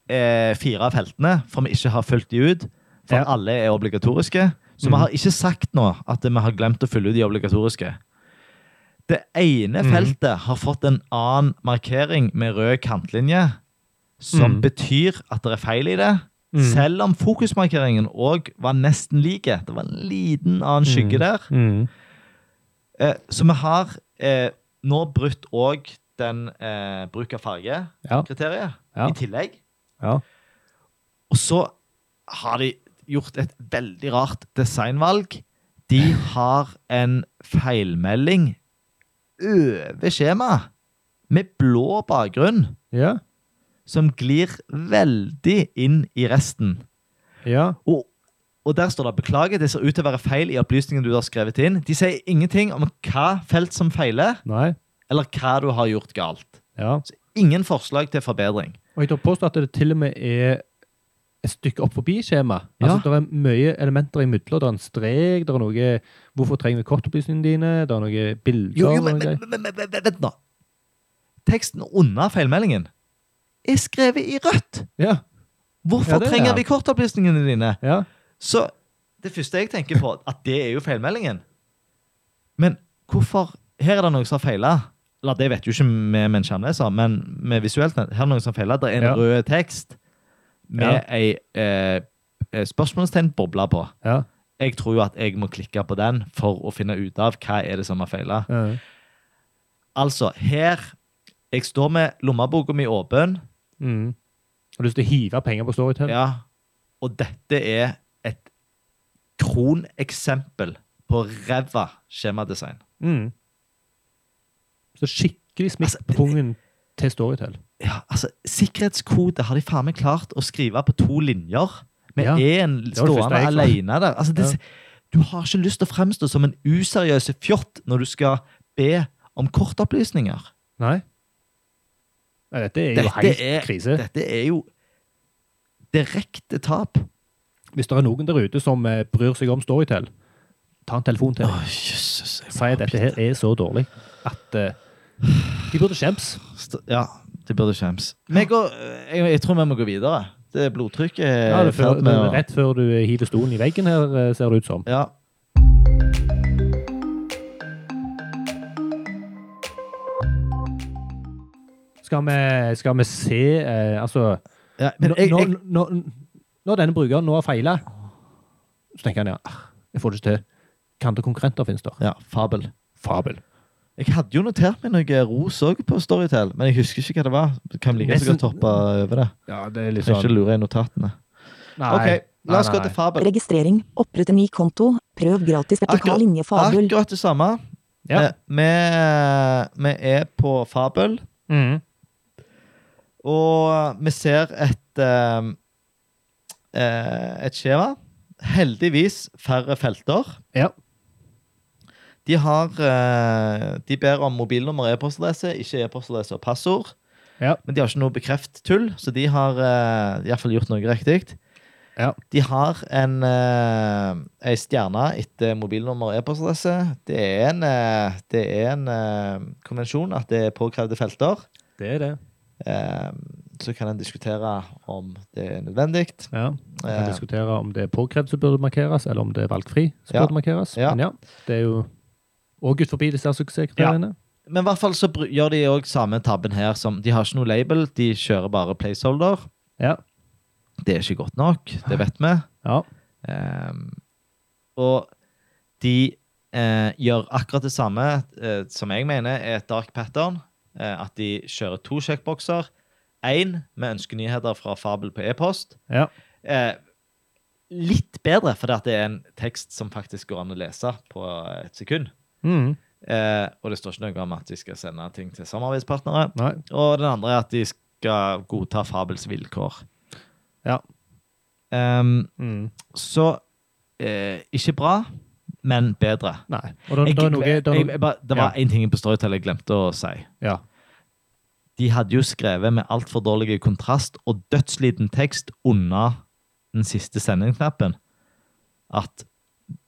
[SPEAKER 1] eh, fire av feltene, for vi ikke har fulgt de ut. For
[SPEAKER 2] Ja.
[SPEAKER 1] alle er obligatoriske. Så vi
[SPEAKER 2] Mhm.
[SPEAKER 1] har ikke sagt nå at vi har glemt å fylle ut de obligatoriske. Det ene
[SPEAKER 2] Mhm.
[SPEAKER 1] feltet har fått en annen markering med rød kantlinje, som
[SPEAKER 2] Mhm.
[SPEAKER 1] betyr at det er feil i det.
[SPEAKER 2] Mhm.
[SPEAKER 1] Selv om fokusmarkeringen òg var nesten lik. Det var en liten annen skygge
[SPEAKER 2] Mhm.
[SPEAKER 1] der.
[SPEAKER 2] Mhm.
[SPEAKER 1] Eh, så vi har eh, nå brutt òg den eh, bruk av
[SPEAKER 2] Ja.
[SPEAKER 1] farge-kriteriet
[SPEAKER 2] Ja.
[SPEAKER 1] i tillegg.
[SPEAKER 2] Ja.
[SPEAKER 1] Og så har de gjort et veldig rart designvalg. De har en feilmelding over skjemaet med blå bakgrunn
[SPEAKER 2] Ja.
[SPEAKER 1] som glir veldig inn i resten.
[SPEAKER 2] Ja.
[SPEAKER 1] Og, og der står det 'beklager, det ser ut til å være feil i opplysningene du har skrevet inn'. De sier ingenting om hva felt som feiler,
[SPEAKER 2] Nei.
[SPEAKER 1] eller hva du har gjort galt.
[SPEAKER 2] Ja.
[SPEAKER 1] Så ingen forslag til forbedring.
[SPEAKER 2] Og jeg tør påstå at det til og med er et stykke opp forbi skjemaet. Altså, det er mye elementer imidler. Det er en strek, det er noe Hvorfor trenger vi kortopplysningene dine? Det er noe bilder
[SPEAKER 1] Jo, jo,
[SPEAKER 2] og
[SPEAKER 1] men,
[SPEAKER 2] noe
[SPEAKER 1] men,
[SPEAKER 2] greier.
[SPEAKER 1] men, men, men vent nå. Teksten under feilmeldingen er skrevet i rødt.
[SPEAKER 2] Ja.
[SPEAKER 1] Hvorfor
[SPEAKER 2] Ja, det er
[SPEAKER 1] trenger
[SPEAKER 2] det.
[SPEAKER 1] vi kortopplysningene dine?
[SPEAKER 2] Ja.
[SPEAKER 1] Så det første jeg tenker på, at det er jo feilmeldingen. Men hvorfor Her er det noe som har feila. Eller det vet jo ikke vi med en skjermleser, men med visuelt nett. Her er det noe som har feila. Det er en
[SPEAKER 2] Ja.
[SPEAKER 1] rød tekst med
[SPEAKER 2] Ja.
[SPEAKER 1] ei eh, eh, spørsmålstegn-boble på.
[SPEAKER 2] Ja.
[SPEAKER 1] Jeg tror jo at jeg må klikke på den for å finne ut av hva er det som har feila.
[SPEAKER 2] Ja.
[SPEAKER 1] Altså, her Jeg står med lommeboka mi åpen,
[SPEAKER 2] Mm. Har du lyst til å hive penger på Storytel?
[SPEAKER 1] ja, og dette er et kroneksempel på ræva skjemadesign.
[SPEAKER 2] Mm. Så skikkelig smitt
[SPEAKER 1] Altså,
[SPEAKER 2] på pungen til Storytel.
[SPEAKER 1] Ja, altså, Sikkerhetskode har de faen meg klart å skrive på to linjer, med
[SPEAKER 2] Ja,
[SPEAKER 1] én
[SPEAKER 2] det første
[SPEAKER 1] stående
[SPEAKER 2] jeg klarte.
[SPEAKER 1] alene der. Altså, det,
[SPEAKER 2] Ja.
[SPEAKER 1] Du har ikke lyst til å fremstå som en useriøs fjott når du skal be om kortopplysninger.
[SPEAKER 2] Nei? Nei, Dette er jo
[SPEAKER 1] Dette
[SPEAKER 2] helt
[SPEAKER 1] er-
[SPEAKER 2] krise.
[SPEAKER 1] Dette er jo direkte tap.
[SPEAKER 2] Hvis det er noen der ute som eh, bryr seg om Storytel, ta en telefon til dem.
[SPEAKER 1] Jesus. jeg må
[SPEAKER 2] Si at dette her er så dårlig at eh, de burde skjemmes.
[SPEAKER 1] St- Ja, de burde skjemmes. Vi går- eh, Jeg, jeg tror vi må gå videre. Det blodtrykket er
[SPEAKER 2] Ja, det er
[SPEAKER 1] i ferd
[SPEAKER 2] før,
[SPEAKER 1] med å-
[SPEAKER 2] rett før du hiver stolen i veggen her, eh, ser det ut som.
[SPEAKER 1] Ja.
[SPEAKER 2] Skal vi, skal vi se eh, Altså
[SPEAKER 1] ja. Men
[SPEAKER 2] Når
[SPEAKER 1] jeg, jeg,
[SPEAKER 2] når- når- når denne brukeren nå har feila, så tenker han ja, ah, jeg får det ikke til. Hva andre konkurrenter finnes der?
[SPEAKER 1] ja, fabel.
[SPEAKER 2] Fabel.
[SPEAKER 1] Jeg hadde jo notert meg noe ros òg på Storytel, men jeg husker ikke hva det var. Kan like så
[SPEAKER 2] Nesten-
[SPEAKER 1] godt hoppe over det.
[SPEAKER 2] Ja, det er litt sånn-
[SPEAKER 1] Trenger ikke lure i notatene. ok, La oss
[SPEAKER 2] nei,
[SPEAKER 1] gå
[SPEAKER 2] nei.
[SPEAKER 1] til fabel.
[SPEAKER 3] Registrering. Opprette ny konto. Prøv gratis vertikal
[SPEAKER 1] Akkurat-
[SPEAKER 3] linje fabel.
[SPEAKER 1] Akkurat det samme.
[SPEAKER 2] Ja.
[SPEAKER 1] Eh, Vi, eh, vi er på fabel,
[SPEAKER 2] Mhm.
[SPEAKER 1] og vi ser et eh, eh, et skjema. Heldigvis færre felter.
[SPEAKER 2] ja.
[SPEAKER 1] De har eh, De ber om mobilnummer, e-postadresse, ikke e-postadresse og passord.
[SPEAKER 2] Ja.
[SPEAKER 1] Men de har ikke noe bekreft-tull, så de har eh, i hvert fall gjort noe riktig.
[SPEAKER 2] Ja.
[SPEAKER 1] De har en eh, ei stjerne etter mobilnummer og e-postadresse. Det er en, eh, det er en eh, konvensjon at det er påkrevde felter.
[SPEAKER 2] Det er det.
[SPEAKER 1] Eh, så kan en diskutere om det er nødvendig.
[SPEAKER 2] Ja. Vi kan
[SPEAKER 1] Eh.
[SPEAKER 2] diskutere om det er påkrevd som burde markeres, eller om det er valgfri som
[SPEAKER 1] Ja.
[SPEAKER 2] burde markeres.
[SPEAKER 1] Ja.
[SPEAKER 2] Men ja, det er jo òg ut forbi disse suksesskriteriene.
[SPEAKER 1] Men i hvert fall så br- gjør de òg samme tabben her. Som, de har ikke noe label, de kjører bare placeholder.
[SPEAKER 2] Ja.
[SPEAKER 1] Det er ikke godt nok, det vet vi.
[SPEAKER 2] Ja.
[SPEAKER 1] Ehm, og de eh, gjør akkurat det samme eh, som jeg mener er et dark pattern. Eh, at de kjører to sjekkbokser. Én med ønskenyheter fra Fabel på e-post.
[SPEAKER 2] Ja.
[SPEAKER 1] Eh, litt bedre, for det er en tekst som faktisk går an å lese på et sekund.
[SPEAKER 2] Mhm.
[SPEAKER 1] Eh, og det står ikke noe om at de skal sende ting til samarbeidspartnere.
[SPEAKER 2] Nei.
[SPEAKER 1] Og den andre er at de skal godta Fabels vilkår.
[SPEAKER 2] Ja.
[SPEAKER 1] Ehm,
[SPEAKER 2] Mhm.
[SPEAKER 1] så eh, ikke bra, men bedre.
[SPEAKER 2] Nei. Og det,
[SPEAKER 1] Jeg,
[SPEAKER 2] det er noe, det er
[SPEAKER 1] jeg,
[SPEAKER 2] noe
[SPEAKER 1] jeg, bare- det var én ting på Storytel jeg glemte å si.
[SPEAKER 2] Ja.
[SPEAKER 1] De hadde jo skrevet med altfor dårlig kontrast og dødsliten tekst under den siste sendingsknappen at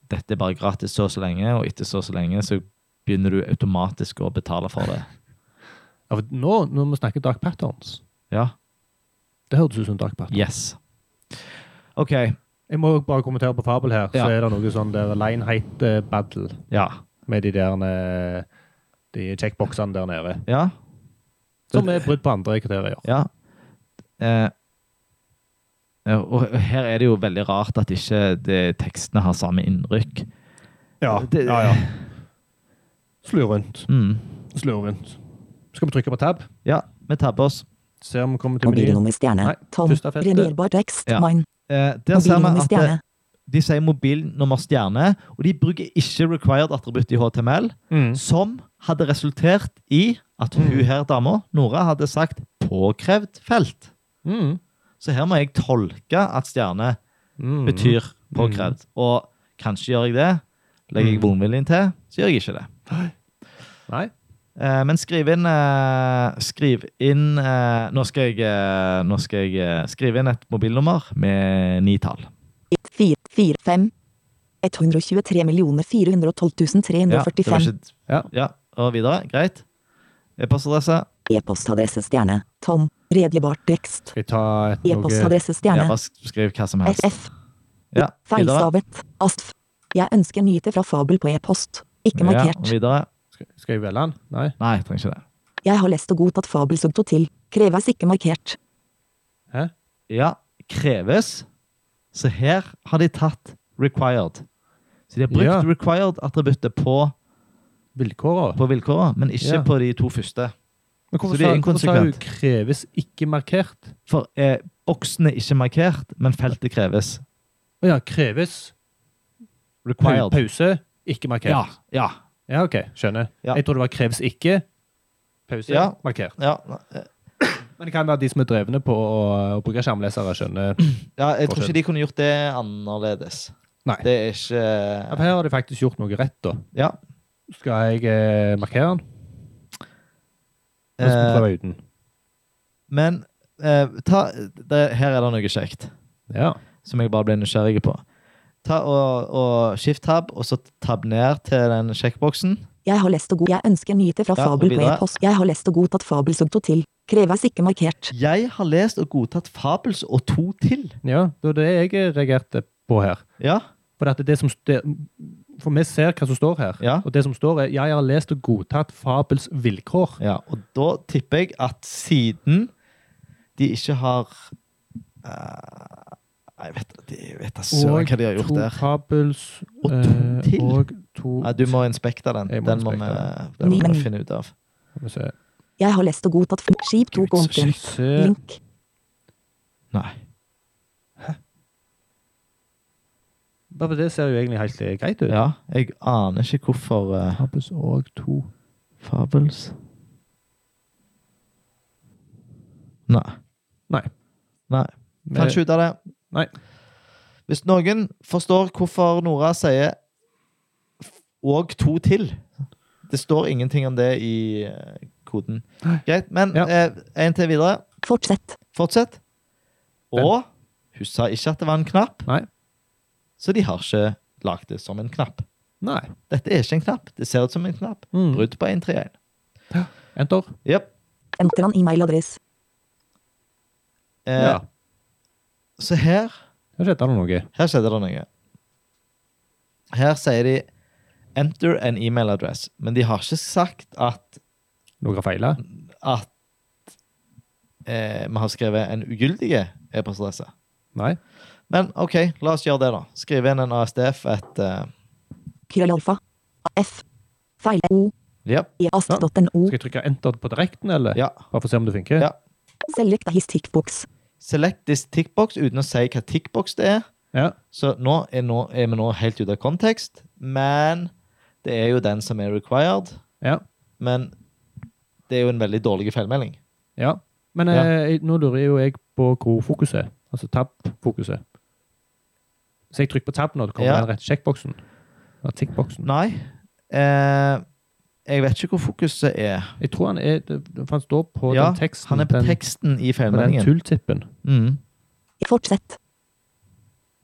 [SPEAKER 1] dette er bare gratis så og så lenge, og etter så og så lenge så begynner du automatisk å betale for det.
[SPEAKER 2] Ja, for Nå, når vi snakker dark patterns
[SPEAKER 1] Ja.
[SPEAKER 2] Det hørtes ut som dark pattern.
[SPEAKER 1] Yes. OK.
[SPEAKER 2] Jeg må jo bare kommentere på Fabel her.
[SPEAKER 1] Ja.
[SPEAKER 2] Så er det noe sånn der Lineheit eh, battle
[SPEAKER 1] Ja.
[SPEAKER 2] med de der eh, De checkboxene der nede.
[SPEAKER 1] Ja.
[SPEAKER 2] Som er brudd på andre kriterier.
[SPEAKER 1] Ja. Eh, ja, og og her er det jo veldig rart at ikke det, tekstene har samme innrykk.
[SPEAKER 2] Ja,
[SPEAKER 1] Det-
[SPEAKER 2] ja, ja. Slur rundt.
[SPEAKER 1] Mm.
[SPEAKER 2] Slur rundt. Skal vi trykke på tab?
[SPEAKER 1] Ja, vi tabber oss.
[SPEAKER 2] Se om vi kommer til menyen.
[SPEAKER 3] Mobilnummer stjerne.
[SPEAKER 2] Nei,
[SPEAKER 3] Tom.
[SPEAKER 2] første feltet.
[SPEAKER 3] Reverbar tekst.
[SPEAKER 1] Ja.
[SPEAKER 3] Mine.
[SPEAKER 1] Eh, der ser vi
[SPEAKER 3] Mobilnummer
[SPEAKER 1] at det,
[SPEAKER 3] stjerne.
[SPEAKER 1] de sier mobilnummer stjerne, og de bruker ikke required attributt i HTML,
[SPEAKER 2] Mm.
[SPEAKER 1] som hadde resultert i at hun her dama, Nora, hadde sagt påkrevd felt.
[SPEAKER 2] Mm.
[SPEAKER 1] Så her må jeg tolke at stjerne
[SPEAKER 2] Mm.
[SPEAKER 1] betyr påkrevd. Mhm. Og kanskje gjør jeg det. Legger jeg vondviljen til, så gjør jeg ikke det.
[SPEAKER 2] Nei?
[SPEAKER 1] Eh, men skriv inn eh, Skriv inn eh, Nå skal jeg, eh, nå skal jeg eh, skrive inn et mobilnummer med ni tall. Ja, det var
[SPEAKER 3] 445 123 412 345.
[SPEAKER 1] ikke,
[SPEAKER 2] Ja.
[SPEAKER 1] ja, og videre. Greit. E-postadresse.
[SPEAKER 3] E-postadresse stjerne. Tom. Redebar tekst.
[SPEAKER 2] Skal jeg ta et noe
[SPEAKER 3] E-postadresse
[SPEAKER 1] Ja,
[SPEAKER 3] stjerne.
[SPEAKER 1] bare sk- skriv hva som helst.
[SPEAKER 3] SF.
[SPEAKER 1] Ja, videre.
[SPEAKER 3] Feilstavet. Astf. Jeg ønsker nyheter fra Fabel på e-post. Ikke
[SPEAKER 1] Ja,
[SPEAKER 3] markert.
[SPEAKER 1] og videre.
[SPEAKER 2] Skal- Skal jeg velge den? Nei?
[SPEAKER 1] Nei, jeg trenger ikke det.
[SPEAKER 3] Jeg har lest og godtatt Fabel som to til. Kreves ikke markert.
[SPEAKER 2] Hæ?
[SPEAKER 1] Ja, kreves. Så her har de tatt required. Så de har brukt
[SPEAKER 2] Ja.
[SPEAKER 1] required-attributtet på,
[SPEAKER 2] Vilkårene?
[SPEAKER 1] på vilkårene, men ikke
[SPEAKER 2] Ja.
[SPEAKER 1] på de to første.
[SPEAKER 2] Men hvorfor
[SPEAKER 1] Så det er
[SPEAKER 2] sa- hvorfor sa hun
[SPEAKER 1] inkonsekvent.
[SPEAKER 2] kreves ikke markert?
[SPEAKER 1] For eh, boksen er ikke markert, men feltet kreves.
[SPEAKER 2] Å ja, kreves. Pau-
[SPEAKER 1] Required.
[SPEAKER 2] Pause, ikke markert.
[SPEAKER 1] Ja, ja.
[SPEAKER 2] Ja, ok, skjønner.
[SPEAKER 1] Ja.
[SPEAKER 2] Jeg tror det var kreves ikke. Pause,
[SPEAKER 1] Ja.
[SPEAKER 2] markert.
[SPEAKER 1] Ja, ne-
[SPEAKER 2] Men det kan være de som er drevne på å, å bruke skjermlesere, skjønner.
[SPEAKER 1] ja jeg tror
[SPEAKER 2] Forskjell.
[SPEAKER 1] ikke de kunne gjort det annerledes.
[SPEAKER 2] Nei.
[SPEAKER 1] Det er ikke
[SPEAKER 2] Ja, for her har de faktisk gjort noe rett, da.
[SPEAKER 1] Ja.
[SPEAKER 2] Skal jeg eh, markere den? Eller skal vi
[SPEAKER 1] Eh,
[SPEAKER 2] prøve uten?
[SPEAKER 1] men eh, ta, det, her er det noe kjekt.
[SPEAKER 2] Ja.
[SPEAKER 1] som jeg bare ble nysgjerrig på. Ta, og, og Skift tab, og så tab ned til den sjekkboksen.
[SPEAKER 3] Jeg har lest og god Jeg ønsker nyheter fra
[SPEAKER 1] Ja, og
[SPEAKER 3] Fabel på
[SPEAKER 1] videre.
[SPEAKER 3] e-post. Jeg har lest og godtatt Fabels og to til. Kreves ikke markert.
[SPEAKER 1] Jeg har lest og godtatt Fabels og to til.
[SPEAKER 2] Ja, det var det jeg eh, reagerte på her.
[SPEAKER 1] Ja,
[SPEAKER 2] For, at det som, det, for vi ser hva som står her.
[SPEAKER 1] ja.
[SPEAKER 2] Og det som står er 'Jeg har lest og godtatt Fabels vilkår'.
[SPEAKER 1] Ja, og da tipper jeg at siden de ikke har eh, Jeg vet jeg vet da søren hva de har gjort
[SPEAKER 2] to
[SPEAKER 1] der.
[SPEAKER 2] Fabels
[SPEAKER 1] Og to
[SPEAKER 2] eh,
[SPEAKER 1] til.
[SPEAKER 2] Og to
[SPEAKER 1] Nei, du må inspekte den.
[SPEAKER 2] Jeg må
[SPEAKER 1] Den må vi,
[SPEAKER 2] inspektere
[SPEAKER 1] den må vi
[SPEAKER 3] Ni.
[SPEAKER 1] finne ut av.
[SPEAKER 2] Skal vi se.
[SPEAKER 3] Jeg har lest og godtatt f- Skip tok
[SPEAKER 1] Gud, så
[SPEAKER 2] Skal vi
[SPEAKER 3] åpen.
[SPEAKER 2] se.
[SPEAKER 3] Link.
[SPEAKER 1] Nei.
[SPEAKER 2] Bare det ser jo egentlig helt eh, greit ut.
[SPEAKER 1] Ja, jeg aner ikke hvorfor eh,
[SPEAKER 2] Fabels og to
[SPEAKER 1] Fabels Nei.
[SPEAKER 2] Nei.
[SPEAKER 1] Nei. Fant ikke ut av det.
[SPEAKER 2] Nei.
[SPEAKER 1] Hvis noen forstår hvorfor Nora sier f- og to til Det står ingenting om det i eh, koden.
[SPEAKER 2] Nei.
[SPEAKER 1] Greit, men
[SPEAKER 2] Ja.
[SPEAKER 1] eh, en til videre.
[SPEAKER 3] Fortsett.
[SPEAKER 1] Fortsett. Og hun sa ikke at det var en knapp,
[SPEAKER 2] Nei.
[SPEAKER 1] så de har ikke lagd det som en knapp.
[SPEAKER 2] Nei.
[SPEAKER 1] Dette er ikke en knapp. Det ser ut som en knapp.
[SPEAKER 2] Mm.
[SPEAKER 1] Brudd på 131.
[SPEAKER 2] Enter.
[SPEAKER 1] Jepp.
[SPEAKER 3] Enter han e-mailadress.
[SPEAKER 1] Eh,
[SPEAKER 2] Ja.
[SPEAKER 1] Så her
[SPEAKER 2] Her skjedde det noe.
[SPEAKER 1] Her skjedde det noe. Her sier de 'enter an email address', men de har ikke sagt at
[SPEAKER 2] Noe har feila.
[SPEAKER 1] at eh, vi har skrevet en ugyldig e-postadresse.
[SPEAKER 2] Nei.
[SPEAKER 1] Men OK, la oss gjøre det, da. Skrive inn en ASDF et eh,
[SPEAKER 3] Krøllalfa. F. Feil. O.
[SPEAKER 1] Japp.
[SPEAKER 3] East.no.
[SPEAKER 2] Skal jeg trykke enter på direkten, eller?
[SPEAKER 1] Ja.
[SPEAKER 2] Bare for å se om det funker?
[SPEAKER 1] Ja.
[SPEAKER 3] Select his tickbox.
[SPEAKER 1] Select this tickbox uten å si hva tickbox det er.
[SPEAKER 2] Ja.
[SPEAKER 1] Så nå er, nå er vi nå helt ute av kontekst, men det er jo den som er required.
[SPEAKER 2] Ja.
[SPEAKER 1] Men det er jo en veldig dårlig feilmelding.
[SPEAKER 2] ja. Men
[SPEAKER 1] Ja.
[SPEAKER 2] eh, nå lurer jo jeg på hvor fokuset er. Altså tab-fokuset. Så jeg trykker på tab nå, det kommer
[SPEAKER 1] Ja.
[SPEAKER 2] den rette sjekkboksen. Ja, tikkboksen.
[SPEAKER 1] Nei. Eh, jeg vet ikke hvor fokuset er.
[SPEAKER 2] Jeg tror han er det- For han står på
[SPEAKER 1] Ja,
[SPEAKER 2] den teksten.
[SPEAKER 1] Han er på
[SPEAKER 2] den,
[SPEAKER 1] teksten i
[SPEAKER 2] på den
[SPEAKER 1] feilmeldingen.
[SPEAKER 2] tulltippen.
[SPEAKER 1] Mm.
[SPEAKER 3] Fortsett.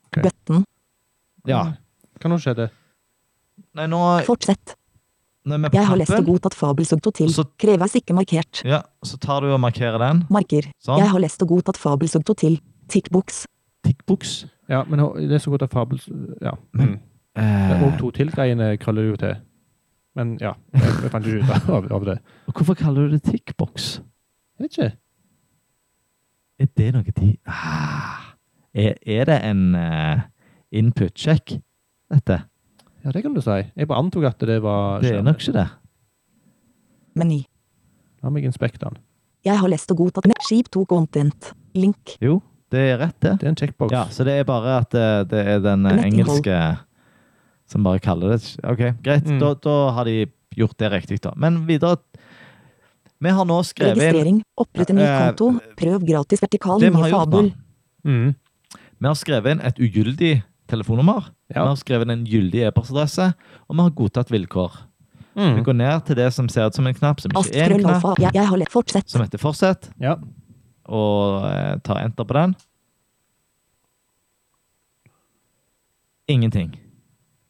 [SPEAKER 2] Ok.
[SPEAKER 3] Button.
[SPEAKER 1] Ja.
[SPEAKER 2] Mm. Hva nå skjedde?
[SPEAKER 1] Nei, nå
[SPEAKER 3] Fortsett.
[SPEAKER 1] når vi er på
[SPEAKER 3] Jeg har lest og
[SPEAKER 1] knappen,
[SPEAKER 3] godtatt Fabels og to til.
[SPEAKER 1] Så-
[SPEAKER 3] Kreves ikke markert.
[SPEAKER 1] ja, så tar du og markerer den.
[SPEAKER 3] Marker.
[SPEAKER 1] Sånn.
[SPEAKER 3] Jeg har lest og godtatt Fabels og to til. Tickbox.
[SPEAKER 1] Tickbox.
[SPEAKER 2] Ja, men nå- det er så godt at fabels... Ja.
[SPEAKER 1] Men-
[SPEAKER 2] Det er
[SPEAKER 1] Eh,
[SPEAKER 2] Og to til-greiene krøller jo til. Men ja, jeg, jeg fant ikke ut av, av det.
[SPEAKER 1] og Eh, hvorfor kaller du det tickbox?
[SPEAKER 2] Jeg vet ikke.
[SPEAKER 1] Er det noe de ah, er, er det en eh, input-sjekk, dette?
[SPEAKER 2] Ja, det kan du si. Jeg bare antok at det var
[SPEAKER 1] Det er nok ikke det.
[SPEAKER 3] Meny.
[SPEAKER 2] La meg inspekte den.
[SPEAKER 3] Jeg har lest og godtatt Skip tok content. Link.
[SPEAKER 1] Jo, det er rett, det.
[SPEAKER 2] Det er en checkbox.
[SPEAKER 1] Ja, Så det er bare at det, det er den eh,
[SPEAKER 3] Netting hole.
[SPEAKER 1] engelske som bare kaller det Ok, greit.
[SPEAKER 2] Mm.
[SPEAKER 1] Da, da har de gjort det riktig, da. Men videre Vi har nå skrevet inn
[SPEAKER 3] Registrering. Opprette ny
[SPEAKER 1] Eh,
[SPEAKER 3] konto. Prøv gratis vertikal
[SPEAKER 1] Det vi
[SPEAKER 3] nye
[SPEAKER 1] har gjort nå.
[SPEAKER 3] fabel.
[SPEAKER 2] Mhm.
[SPEAKER 1] Vi har skrevet inn et ugyldig telefonnummer.
[SPEAKER 2] Ja.
[SPEAKER 1] Vi har skrevet inn en gyldig e-postadresse, og vi har godtatt vilkår. Vi
[SPEAKER 2] Mhm.
[SPEAKER 1] går ned til det som ser ut som en knapp, som ikke er en knapp,
[SPEAKER 3] Astrøllalfa. Jeg, jeg har lest Fortsett.
[SPEAKER 1] som heter 'fortsett',
[SPEAKER 2] ja.
[SPEAKER 1] og eh, tar enter på den. Ingenting.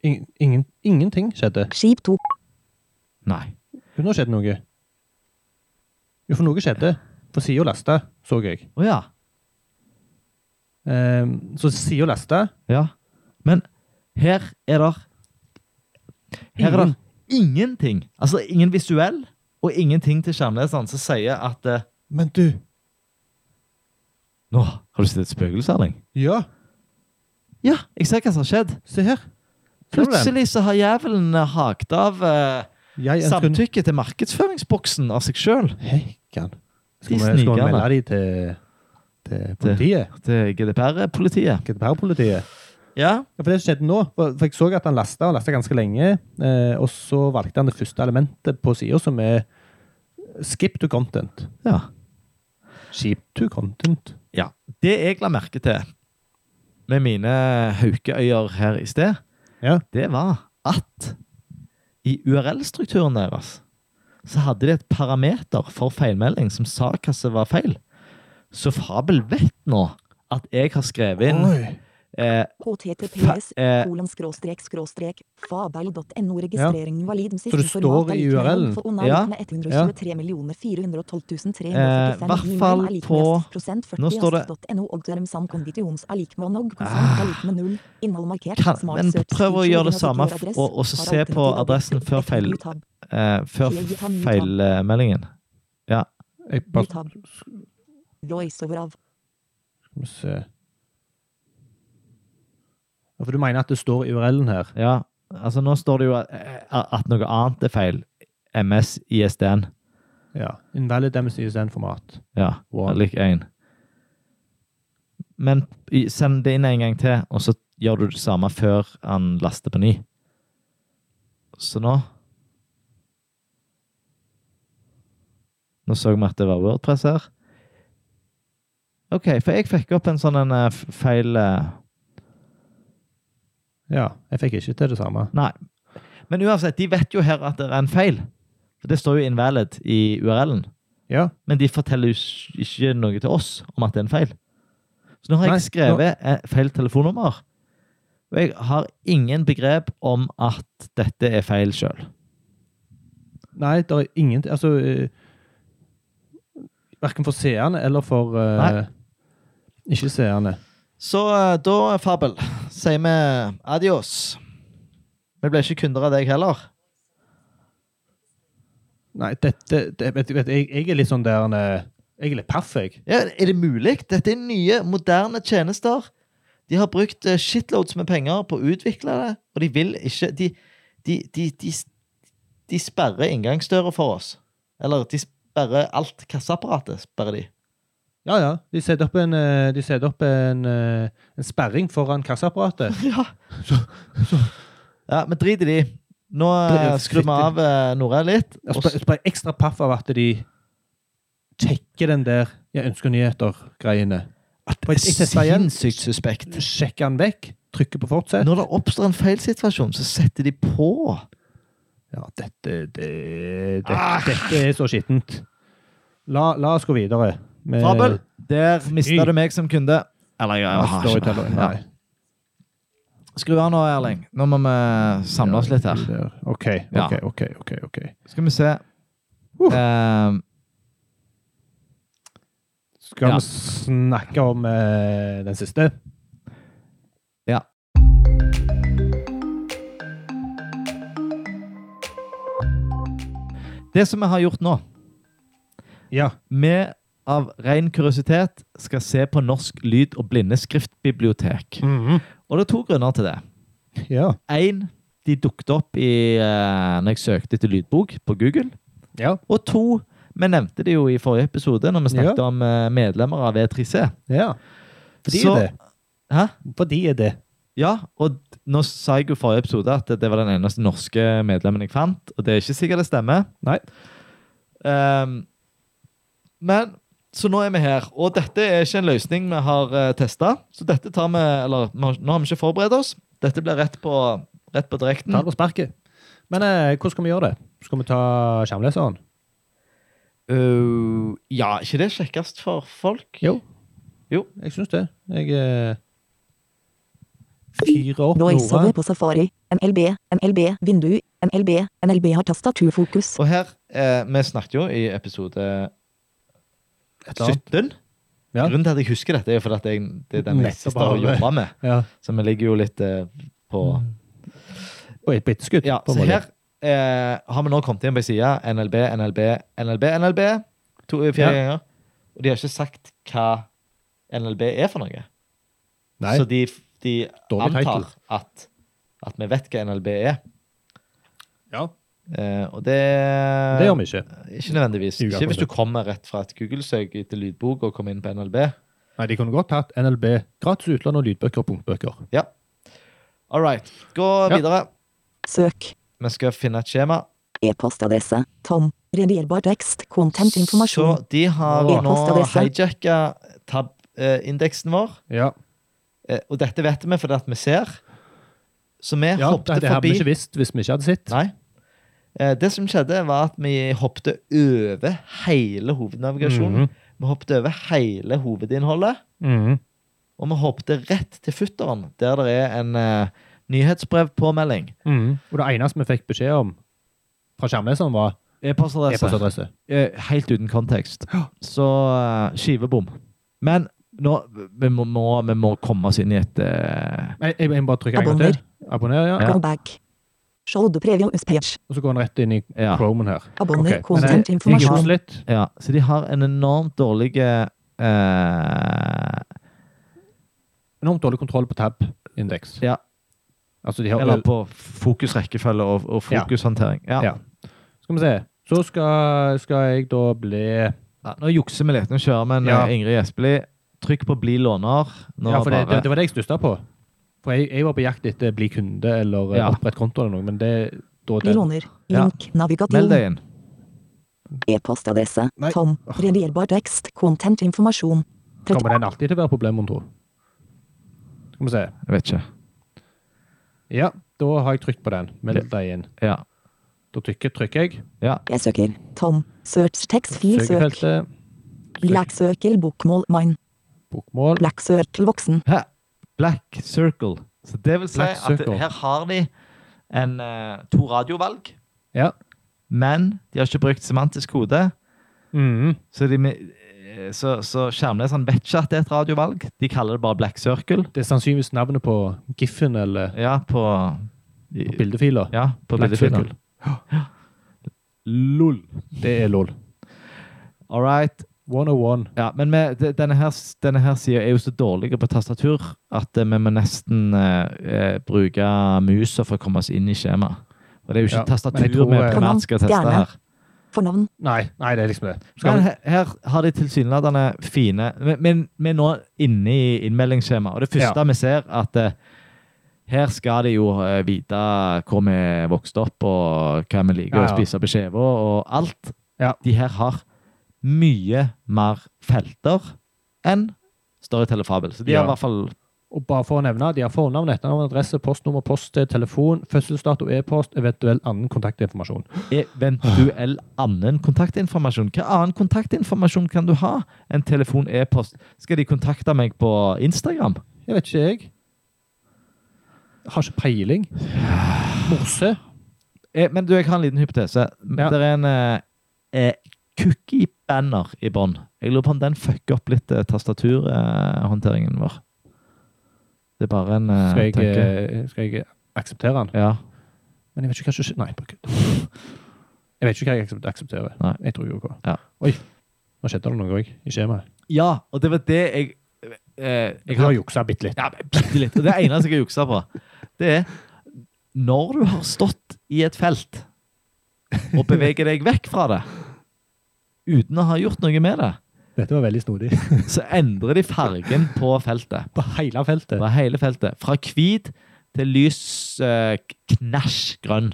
[SPEAKER 2] Ingen, ingen, ingenting skjedde.
[SPEAKER 3] Skip tok
[SPEAKER 1] Nei.
[SPEAKER 2] Jo, nå skjedde noe. Jo, for noe skjedde. På sida lasta, så jeg.
[SPEAKER 1] Å ja.
[SPEAKER 2] Ehm, så sida lasta
[SPEAKER 1] Ja. Men her er der Her er der
[SPEAKER 2] Ingen.
[SPEAKER 1] ingenting. Altså ingen visuell, og ingenting til skjermleseren som sier at eh,
[SPEAKER 2] Men du
[SPEAKER 1] Nå, har du sett et spøkelse, Erling?
[SPEAKER 2] Ja,
[SPEAKER 1] Ja, jeg ser hva som har skjedd.
[SPEAKER 2] se her. Ser du den?
[SPEAKER 1] Plutselig så har jævelen eh, hakt av eh,
[SPEAKER 2] Jeg ønsker
[SPEAKER 1] samtykke til markedsføringsboksen av seg sjøl.
[SPEAKER 2] Hekkan. Skal vi
[SPEAKER 1] De
[SPEAKER 2] skal vi
[SPEAKER 1] snikerne.
[SPEAKER 2] melde de til, til politiet?
[SPEAKER 1] Til GDPR-politiet.
[SPEAKER 2] GDPR-politiet?
[SPEAKER 1] Ja.
[SPEAKER 2] Ja, for det som skjedde nå, for for jeg så at han lasta og lasta ganske lenge, eh, og så valgte han det første elementet på sida, som er skip to content.
[SPEAKER 1] ja.
[SPEAKER 2] Skip to content.
[SPEAKER 1] Ja. Det jeg la merke til med mine haukeøyer her i sted,
[SPEAKER 2] Ja.
[SPEAKER 1] det var at i URL-strukturen deres så hadde de et parameter for feilmelding som sa hva som var feil. Så Fabel vet nå at jeg har skrevet inn Eh,
[SPEAKER 3] HTTPS
[SPEAKER 1] fa- eh,
[SPEAKER 3] kolon skråstrek skråstrek fabel.no registrering valid med
[SPEAKER 2] Så det
[SPEAKER 3] siste
[SPEAKER 2] står
[SPEAKER 3] format er
[SPEAKER 2] i
[SPEAKER 3] lik mellom
[SPEAKER 2] URL?
[SPEAKER 3] for unna
[SPEAKER 1] Ja,
[SPEAKER 3] lik med 123 412
[SPEAKER 1] Eh, hvertfall på- Nå står det-
[SPEAKER 3] .no og derm sam konditions er lik med nog
[SPEAKER 1] Ah.
[SPEAKER 3] konstant er lik med null innhold markert
[SPEAKER 1] Kan-
[SPEAKER 3] smart
[SPEAKER 1] men
[SPEAKER 3] search
[SPEAKER 1] prøv å
[SPEAKER 3] feature,
[SPEAKER 1] gjøre det
[SPEAKER 3] identitet,
[SPEAKER 1] samme f-
[SPEAKER 3] adress,
[SPEAKER 1] og- og så
[SPEAKER 3] har
[SPEAKER 1] se på
[SPEAKER 3] alternativ
[SPEAKER 1] adressen før
[SPEAKER 3] adress,
[SPEAKER 1] feil-
[SPEAKER 3] ny tab,
[SPEAKER 1] eh, før feilmeldingen.
[SPEAKER 2] Jeg
[SPEAKER 3] ny
[SPEAKER 2] bare
[SPEAKER 3] tab, voiceover av
[SPEAKER 2] Skal vi se ja, For du mener at det står i URL-en her?
[SPEAKER 1] Ja, altså nå står det jo at, at noe annet er feil. MS, ISDN.
[SPEAKER 2] Ja. Invalid MSISN-format.
[SPEAKER 1] Ja,
[SPEAKER 2] Wow.
[SPEAKER 1] lik 1. Men i- send det inn en gang til, og så gjør du det samme før han laster på ny. Så nå Nå så vi at det var Wordpress her. OK, for jeg fikk opp en sånn en eh, f- feil eh,
[SPEAKER 2] Ja. Jeg fikk ikke til det samme.
[SPEAKER 1] Nei. Men uansett, de vet jo her at det er en feil. For det står jo invalid i URL-en.
[SPEAKER 2] Ja.
[SPEAKER 1] Men de forteller jo s- ikke noe til oss om at det er en feil. Så nå har
[SPEAKER 2] Nei,
[SPEAKER 1] jeg skrevet eh, feil telefonnummer. Og jeg har ingen begrep om at dette er feil sjøl.
[SPEAKER 2] Nei, det er ingenting Altså uh, Verken for seerne eller for eh, Ikke seerne.
[SPEAKER 1] Så eh, da, Fabel, sier vi adios. Vi ble ikke kunder av deg heller.
[SPEAKER 2] Nei, dette det, vet, vet, jeg, jeg er litt sånn der eh, Jeg er litt paff, jeg.
[SPEAKER 1] Ja, er det mulig? Dette er nye, moderne tjenester. De har brukt eh, shitloads med penger på å utvikle det, og de vil ikke De, de, de, de, de sperrer inngangsdøra for oss. Eller de sperrer alt kasseapparatet. sperrer de.
[SPEAKER 2] Ja, ja. De setter opp en, eh, de setter opp en, eh, en sperring foran kasseapparatet.
[SPEAKER 1] Ja, men drit i de. Nå eh, skrur vi av eh, Norad litt.
[SPEAKER 2] Jeg
[SPEAKER 1] og
[SPEAKER 2] er bare ekstra paff av at de sjekker den der jeg ønsker nyheter-greiene.
[SPEAKER 1] At
[SPEAKER 2] det er sinnssykt
[SPEAKER 1] suspekt.
[SPEAKER 2] Sjekker den vekk, trykker på fortsett.
[SPEAKER 1] Når det oppstår en feilsituasjon, så setter de på.
[SPEAKER 2] Ja, dette det, det,
[SPEAKER 1] Ah.
[SPEAKER 2] Dette er så skittent. La, la oss gå videre. med-
[SPEAKER 1] Fabel, Eh, der mista
[SPEAKER 2] Fy.
[SPEAKER 1] du meg som kunde. Eller, jeg
[SPEAKER 2] med
[SPEAKER 1] har ikke
[SPEAKER 2] Storyteller.
[SPEAKER 1] Ja.
[SPEAKER 2] Nei.
[SPEAKER 1] Skru av nå, Erling. Nå må vi samle oss litt her.
[SPEAKER 2] Der. OK,
[SPEAKER 1] Ja.
[SPEAKER 2] OK, OK. ok, ok.
[SPEAKER 1] Skal vi se.
[SPEAKER 2] Uh.
[SPEAKER 1] Ehm,
[SPEAKER 2] Skal
[SPEAKER 1] Ja.
[SPEAKER 2] vi snakke om eh, den siste?
[SPEAKER 1] ja. Det som vi har gjort nå
[SPEAKER 2] Ja.
[SPEAKER 1] Vi av ren kuriositet skal se på Norsk lyd- og blindeskriftbibliotek. Og det er to grunner til det.
[SPEAKER 2] Ja.
[SPEAKER 1] Én, de dukket opp i, eh, når jeg søkte etter lydbok på Google.
[SPEAKER 2] Ja.
[SPEAKER 1] Og to, vi nevnte det jo i forrige episode når vi snakket om eh, medlemmer av E3C.
[SPEAKER 2] ja. Fordi
[SPEAKER 1] Så-
[SPEAKER 2] er det.
[SPEAKER 1] Hæ?
[SPEAKER 2] Fordi er det.
[SPEAKER 1] Ja, og d- nå sa jeg jo i forrige episode at det var den eneste norske medlemmen jeg fant, og det er ikke sikkert det stemmer.
[SPEAKER 2] Nei.
[SPEAKER 1] Ehm, men så nå er vi her, og dette er ikke en løsning vi har uh, testa. Så dette tar vi Eller vi har- nå har vi ikke forberedt oss. Dette blir rett på, rett på direkten.
[SPEAKER 2] Ta det på sparket. Men eh, hvordan skal vi gjøre det? Skal vi ta skjermleseren?
[SPEAKER 1] Øh, ja, ikke det kjekkest for folk?
[SPEAKER 2] Jo.
[SPEAKER 1] Jo.
[SPEAKER 2] Jeg syns det. Jeg eh, fyrer opp
[SPEAKER 3] voiceover
[SPEAKER 2] Nora.
[SPEAKER 3] på safari MLB MLB vindu MLB MLB har tastaturfokus
[SPEAKER 1] Og her eh, Vi snakket jo i episode
[SPEAKER 2] Et eller annet.
[SPEAKER 1] 17.
[SPEAKER 2] Ja.
[SPEAKER 1] Grunnen til at jeg husker dette, er jo fordi at jeg, det er den jeg
[SPEAKER 2] Nettopp
[SPEAKER 1] siste har
[SPEAKER 2] har- Mm.
[SPEAKER 1] jobba med.
[SPEAKER 2] Ja.
[SPEAKER 1] Så vi ligger jo litt eh, på
[SPEAKER 2] Og et bitte skudd.
[SPEAKER 1] Ja,
[SPEAKER 2] på en
[SPEAKER 1] så
[SPEAKER 2] måte.
[SPEAKER 1] her eh, har vi nå kommet inn på ei side. NLB, NLB, NLB, NLB. To, eh, fire
[SPEAKER 2] Ja.
[SPEAKER 1] ganger. Og de har ikke sagt hva NLB er for noe.
[SPEAKER 2] Nei.
[SPEAKER 1] Så de, de
[SPEAKER 2] Dårlig
[SPEAKER 1] antar
[SPEAKER 2] title.
[SPEAKER 1] at, at vi vet hva NLB er.
[SPEAKER 2] Ja.
[SPEAKER 1] Eh, og det
[SPEAKER 2] Det gjør vi ikke.
[SPEAKER 1] Ikke nødvendigvis.
[SPEAKER 2] I
[SPEAKER 1] Ikke hvis du kommer rett fra et Google-søk etter lydbok og kommer inn på NLB.
[SPEAKER 2] Nei, De kunne godt hatt NLB gratis utland og lydbøker og punktbøker.
[SPEAKER 1] Ja. All right. Gå
[SPEAKER 2] Ja.
[SPEAKER 1] videre.
[SPEAKER 3] søk
[SPEAKER 1] Vi skal finne et skjema.
[SPEAKER 3] e-postadresse tom redigierbar tekst content informasjon
[SPEAKER 1] Så de har
[SPEAKER 2] Åh.
[SPEAKER 1] nå
[SPEAKER 3] E-postadresse.
[SPEAKER 1] hijacka tab-indeksen vår.
[SPEAKER 2] Ja,
[SPEAKER 1] Eh, og dette vet vi fordi at vi ser. Så vi
[SPEAKER 2] ja
[SPEAKER 1] hoppet
[SPEAKER 2] Det, det hadde
[SPEAKER 1] forbi
[SPEAKER 2] vi ikke visst hvis vi ikke hadde sett.
[SPEAKER 1] Nei. Eh, det som skjedde, var at vi hoppet over hele hovednavigasjonen.
[SPEAKER 2] Mhm.
[SPEAKER 1] Vi hoppet over hele hovedinnholdet.
[SPEAKER 2] Mhm.
[SPEAKER 1] Og vi hoppet rett til futteren, der det er en eh, nyhetsbrevpåmelding.
[SPEAKER 2] Og det eneste vi fikk beskjed om fra skjermleseren, var
[SPEAKER 1] E-postadresse.
[SPEAKER 2] e-postadresse.
[SPEAKER 1] Eh, Helt uten kontekst. Så eh, skivebom. Men nå, vi må, må, vi må komme oss inn i et eh,
[SPEAKER 2] Jeg, jeg, jeg må bare trykke en gang til. Abonner, ja.
[SPEAKER 3] Go back. Show the previous page.
[SPEAKER 2] Og så går den rett inn i
[SPEAKER 1] Ja.
[SPEAKER 2] Chromen her.
[SPEAKER 3] Abonner,
[SPEAKER 2] Ok, men
[SPEAKER 3] content,
[SPEAKER 2] jeg- jeg jukser
[SPEAKER 3] informasjon.
[SPEAKER 2] litt.
[SPEAKER 1] Ja, så de har en enormt dårlig eh,
[SPEAKER 2] Enormt dårlig kontroll på tab-indeks.
[SPEAKER 1] Ja.
[SPEAKER 2] Altså, de har
[SPEAKER 1] Eller på fokusrekkefølge og, og
[SPEAKER 2] Ja.
[SPEAKER 1] fokushåndtering. Ja.
[SPEAKER 2] Ja. Skal vi se. Så skal, skal jeg da bli
[SPEAKER 1] Ja, nå jukser vi litt. Nå kjører vi en
[SPEAKER 2] Ja.
[SPEAKER 1] eh, Ingrid Espelid. Trykk på 'bli låner'. Nå
[SPEAKER 2] Ja, for det,
[SPEAKER 1] bare,
[SPEAKER 2] det, det var det jeg stussa på. For jeg, jeg var på jakt etter bli kunde eller eh,
[SPEAKER 1] Ja.
[SPEAKER 2] opprett konto eller noe, men det da
[SPEAKER 3] Vi
[SPEAKER 2] den,
[SPEAKER 3] låner.
[SPEAKER 1] Ja.
[SPEAKER 3] Link,
[SPEAKER 1] Meld
[SPEAKER 3] navigativ,
[SPEAKER 1] deg inn.
[SPEAKER 3] e-postadresse,
[SPEAKER 2] Nei.
[SPEAKER 3] tom, redierbar tekst, content, informasjon.
[SPEAKER 2] kommer den alltid til å være problem, mon tro. Skal vi se.
[SPEAKER 1] Jeg vet ikke.
[SPEAKER 2] Ja, da har jeg trykt på den. Meld deg inn.
[SPEAKER 1] Ja.
[SPEAKER 2] Da trykker, trykker jeg.
[SPEAKER 1] ja.
[SPEAKER 3] Jeg søker, tom, search text, fil, søk,
[SPEAKER 2] Søkefeltet.
[SPEAKER 3] black circle, bokmål, mine,
[SPEAKER 2] Bokmål.
[SPEAKER 3] black circle, voksen,
[SPEAKER 1] Hæ? Black Circle. Så det vil si
[SPEAKER 2] Black
[SPEAKER 1] at
[SPEAKER 2] Circle.
[SPEAKER 1] her har de en, eh, to radiovalg,
[SPEAKER 2] Ja.
[SPEAKER 1] men de har ikke brukt semantisk kode.
[SPEAKER 2] Mhm.
[SPEAKER 1] Så, de, med- eh, så, så skjermleseren vet ikke at det er et radiovalg. De kaller det bare Black Circle.
[SPEAKER 2] Det er sannsynligvis navnet på Giffen eller
[SPEAKER 1] Ja, på,
[SPEAKER 2] på bildefiler.
[SPEAKER 1] Ja, på
[SPEAKER 2] Black
[SPEAKER 1] bildefilen.
[SPEAKER 2] Circle.
[SPEAKER 1] Lol.
[SPEAKER 2] Det er lol.
[SPEAKER 1] All right.
[SPEAKER 2] 101.
[SPEAKER 1] Ja, men med, de- denne her, denne her sida er jo så dårlig på tastatur at eh, vi må nesten eh, eh, bruke musa for å komme oss inn i skjemaet. Og det er jo ikke
[SPEAKER 2] Ja, men jeg
[SPEAKER 1] tastatur
[SPEAKER 2] tror,
[SPEAKER 1] vi
[SPEAKER 2] eh,
[SPEAKER 1] primært skal teste
[SPEAKER 3] Gjerne.
[SPEAKER 1] her.
[SPEAKER 3] fornavn,
[SPEAKER 2] Nei, nei, det er liksom det. Skal
[SPEAKER 1] Men
[SPEAKER 2] vi?
[SPEAKER 1] her, her har de tilsynelatende fine men- Men vi er nå inne i innmeldingsskjemaet, og det første
[SPEAKER 2] Ja.
[SPEAKER 1] vi ser, at eh, her skal de jo eh, vite hvor vi vokste opp, og hva vi liker
[SPEAKER 2] Ja,
[SPEAKER 1] å
[SPEAKER 2] ja.
[SPEAKER 1] spise på skiva, og alt.
[SPEAKER 2] Ja.
[SPEAKER 1] De her har mye mer felter enn Story Telefabel. Så de har
[SPEAKER 2] Ja.
[SPEAKER 1] i hvert fall
[SPEAKER 2] Og bare for å nevne, de har fornavn, etternavn, adresse, postnummer, poststed, telefon, fødselsdato, e-post, eventuell annen kontaktinformasjon.
[SPEAKER 1] eventuell annen kontaktinformasjon. Hva annen kontaktinformasjon kan du ha enn telefon, e-post? Skal de kontakte meg på Instagram?
[SPEAKER 2] Jeg vet ikke, jeg. Har ikke peiling. Morse.
[SPEAKER 1] Eh, Men du, jeg har en liten hypotese.
[SPEAKER 2] Ja.
[SPEAKER 1] Det er en eh, eh, cookie-banner i bånn. Jeg lurer på om den fucker opp litt eh, tastaturhåndteringen eh, vår. Det er bare en eh,
[SPEAKER 2] Skal jeg,
[SPEAKER 1] tanke.
[SPEAKER 2] eh, skal jeg akseptere den?
[SPEAKER 1] Ja.
[SPEAKER 2] Men jeg vet ikke hva som skjer Nei, bare kutt. Jeg vet ikke hva jeg aksep- aksepterer.
[SPEAKER 1] Nei.
[SPEAKER 2] Jeg tror OK.
[SPEAKER 1] Ja.
[SPEAKER 2] Oi, nå skjedde det noe òg i skjemaet.
[SPEAKER 1] ja, og det var det jeg eh,
[SPEAKER 2] Jeg
[SPEAKER 1] Jeg
[SPEAKER 2] har
[SPEAKER 1] har
[SPEAKER 2] juksa bitte litt.
[SPEAKER 1] ja, men bitte litt. Og det eneste jeg har juksa på, det er når du har stått i et felt og beveger deg vekk fra det uten å ha gjort noe med det,
[SPEAKER 2] Dette var veldig snodig.
[SPEAKER 1] så endrer de fargen på feltet.
[SPEAKER 2] På hele feltet.
[SPEAKER 1] Over hele feltet. Fra hvit til lys eh, knæsj grønn.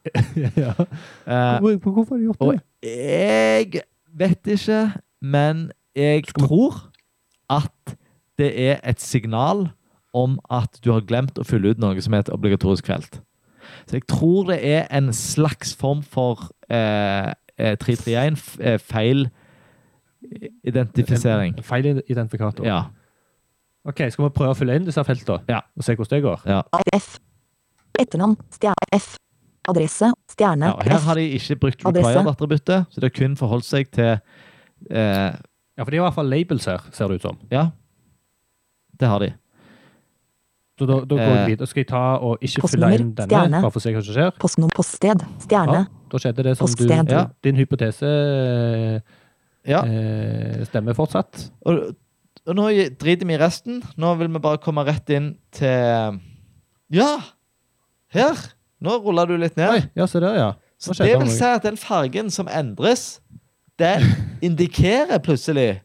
[SPEAKER 2] ja.
[SPEAKER 1] Eh,
[SPEAKER 2] Hvor- Hvorfor har de gjort
[SPEAKER 1] og
[SPEAKER 2] det?
[SPEAKER 1] jeg vet ikke, men jeg
[SPEAKER 2] Skal vi-
[SPEAKER 1] tror at det er et signal om at du har glemt å fylle ut noe som er et obligatorisk felt. Så jeg tror det er en slags form for eh, eh, 331 f- eh, feil eh, identifisering.
[SPEAKER 2] En Feil identifikator.
[SPEAKER 1] Ja.
[SPEAKER 2] Ok, Skal vi prøve å fylle inn disse feltene
[SPEAKER 1] Ja.
[SPEAKER 2] og se hvordan det går?
[SPEAKER 1] ja.
[SPEAKER 3] F, etternavn, stjerne, F, adresse, stjerne,
[SPEAKER 1] Ja, og her
[SPEAKER 3] F,
[SPEAKER 1] har de ikke brukt
[SPEAKER 3] Adresse.
[SPEAKER 1] required-attributtet, så det har kun forholdt seg til eh,
[SPEAKER 2] Ja, for det er i hvert fall labels her, ser det ut som.
[SPEAKER 1] Ja, det har de.
[SPEAKER 2] Så da, da går
[SPEAKER 1] Eh.
[SPEAKER 2] jeg videre. Skal jeg ta og ikke fylle
[SPEAKER 3] Postnummer,
[SPEAKER 2] inn denne,
[SPEAKER 3] stjerne.
[SPEAKER 2] bare for å se hva som skjer?
[SPEAKER 3] postnummer, poststed,
[SPEAKER 2] Ja,
[SPEAKER 3] stjerne,
[SPEAKER 2] da skjedde det som du
[SPEAKER 3] Poststed.
[SPEAKER 2] ja. Din hypotese eh,
[SPEAKER 1] Ja,
[SPEAKER 2] eh, stemmer fortsatt.
[SPEAKER 1] og, og nå driter vi i resten. Nå vil vi bare komme rett inn til Ja! Her! Nå ruller du litt
[SPEAKER 2] Oi,
[SPEAKER 1] ned.
[SPEAKER 2] ja, se der, ja.
[SPEAKER 1] Så
[SPEAKER 2] Nå skjedde
[SPEAKER 1] det vil
[SPEAKER 2] noe.
[SPEAKER 1] si at den fargen som endres, den indikerer plutselig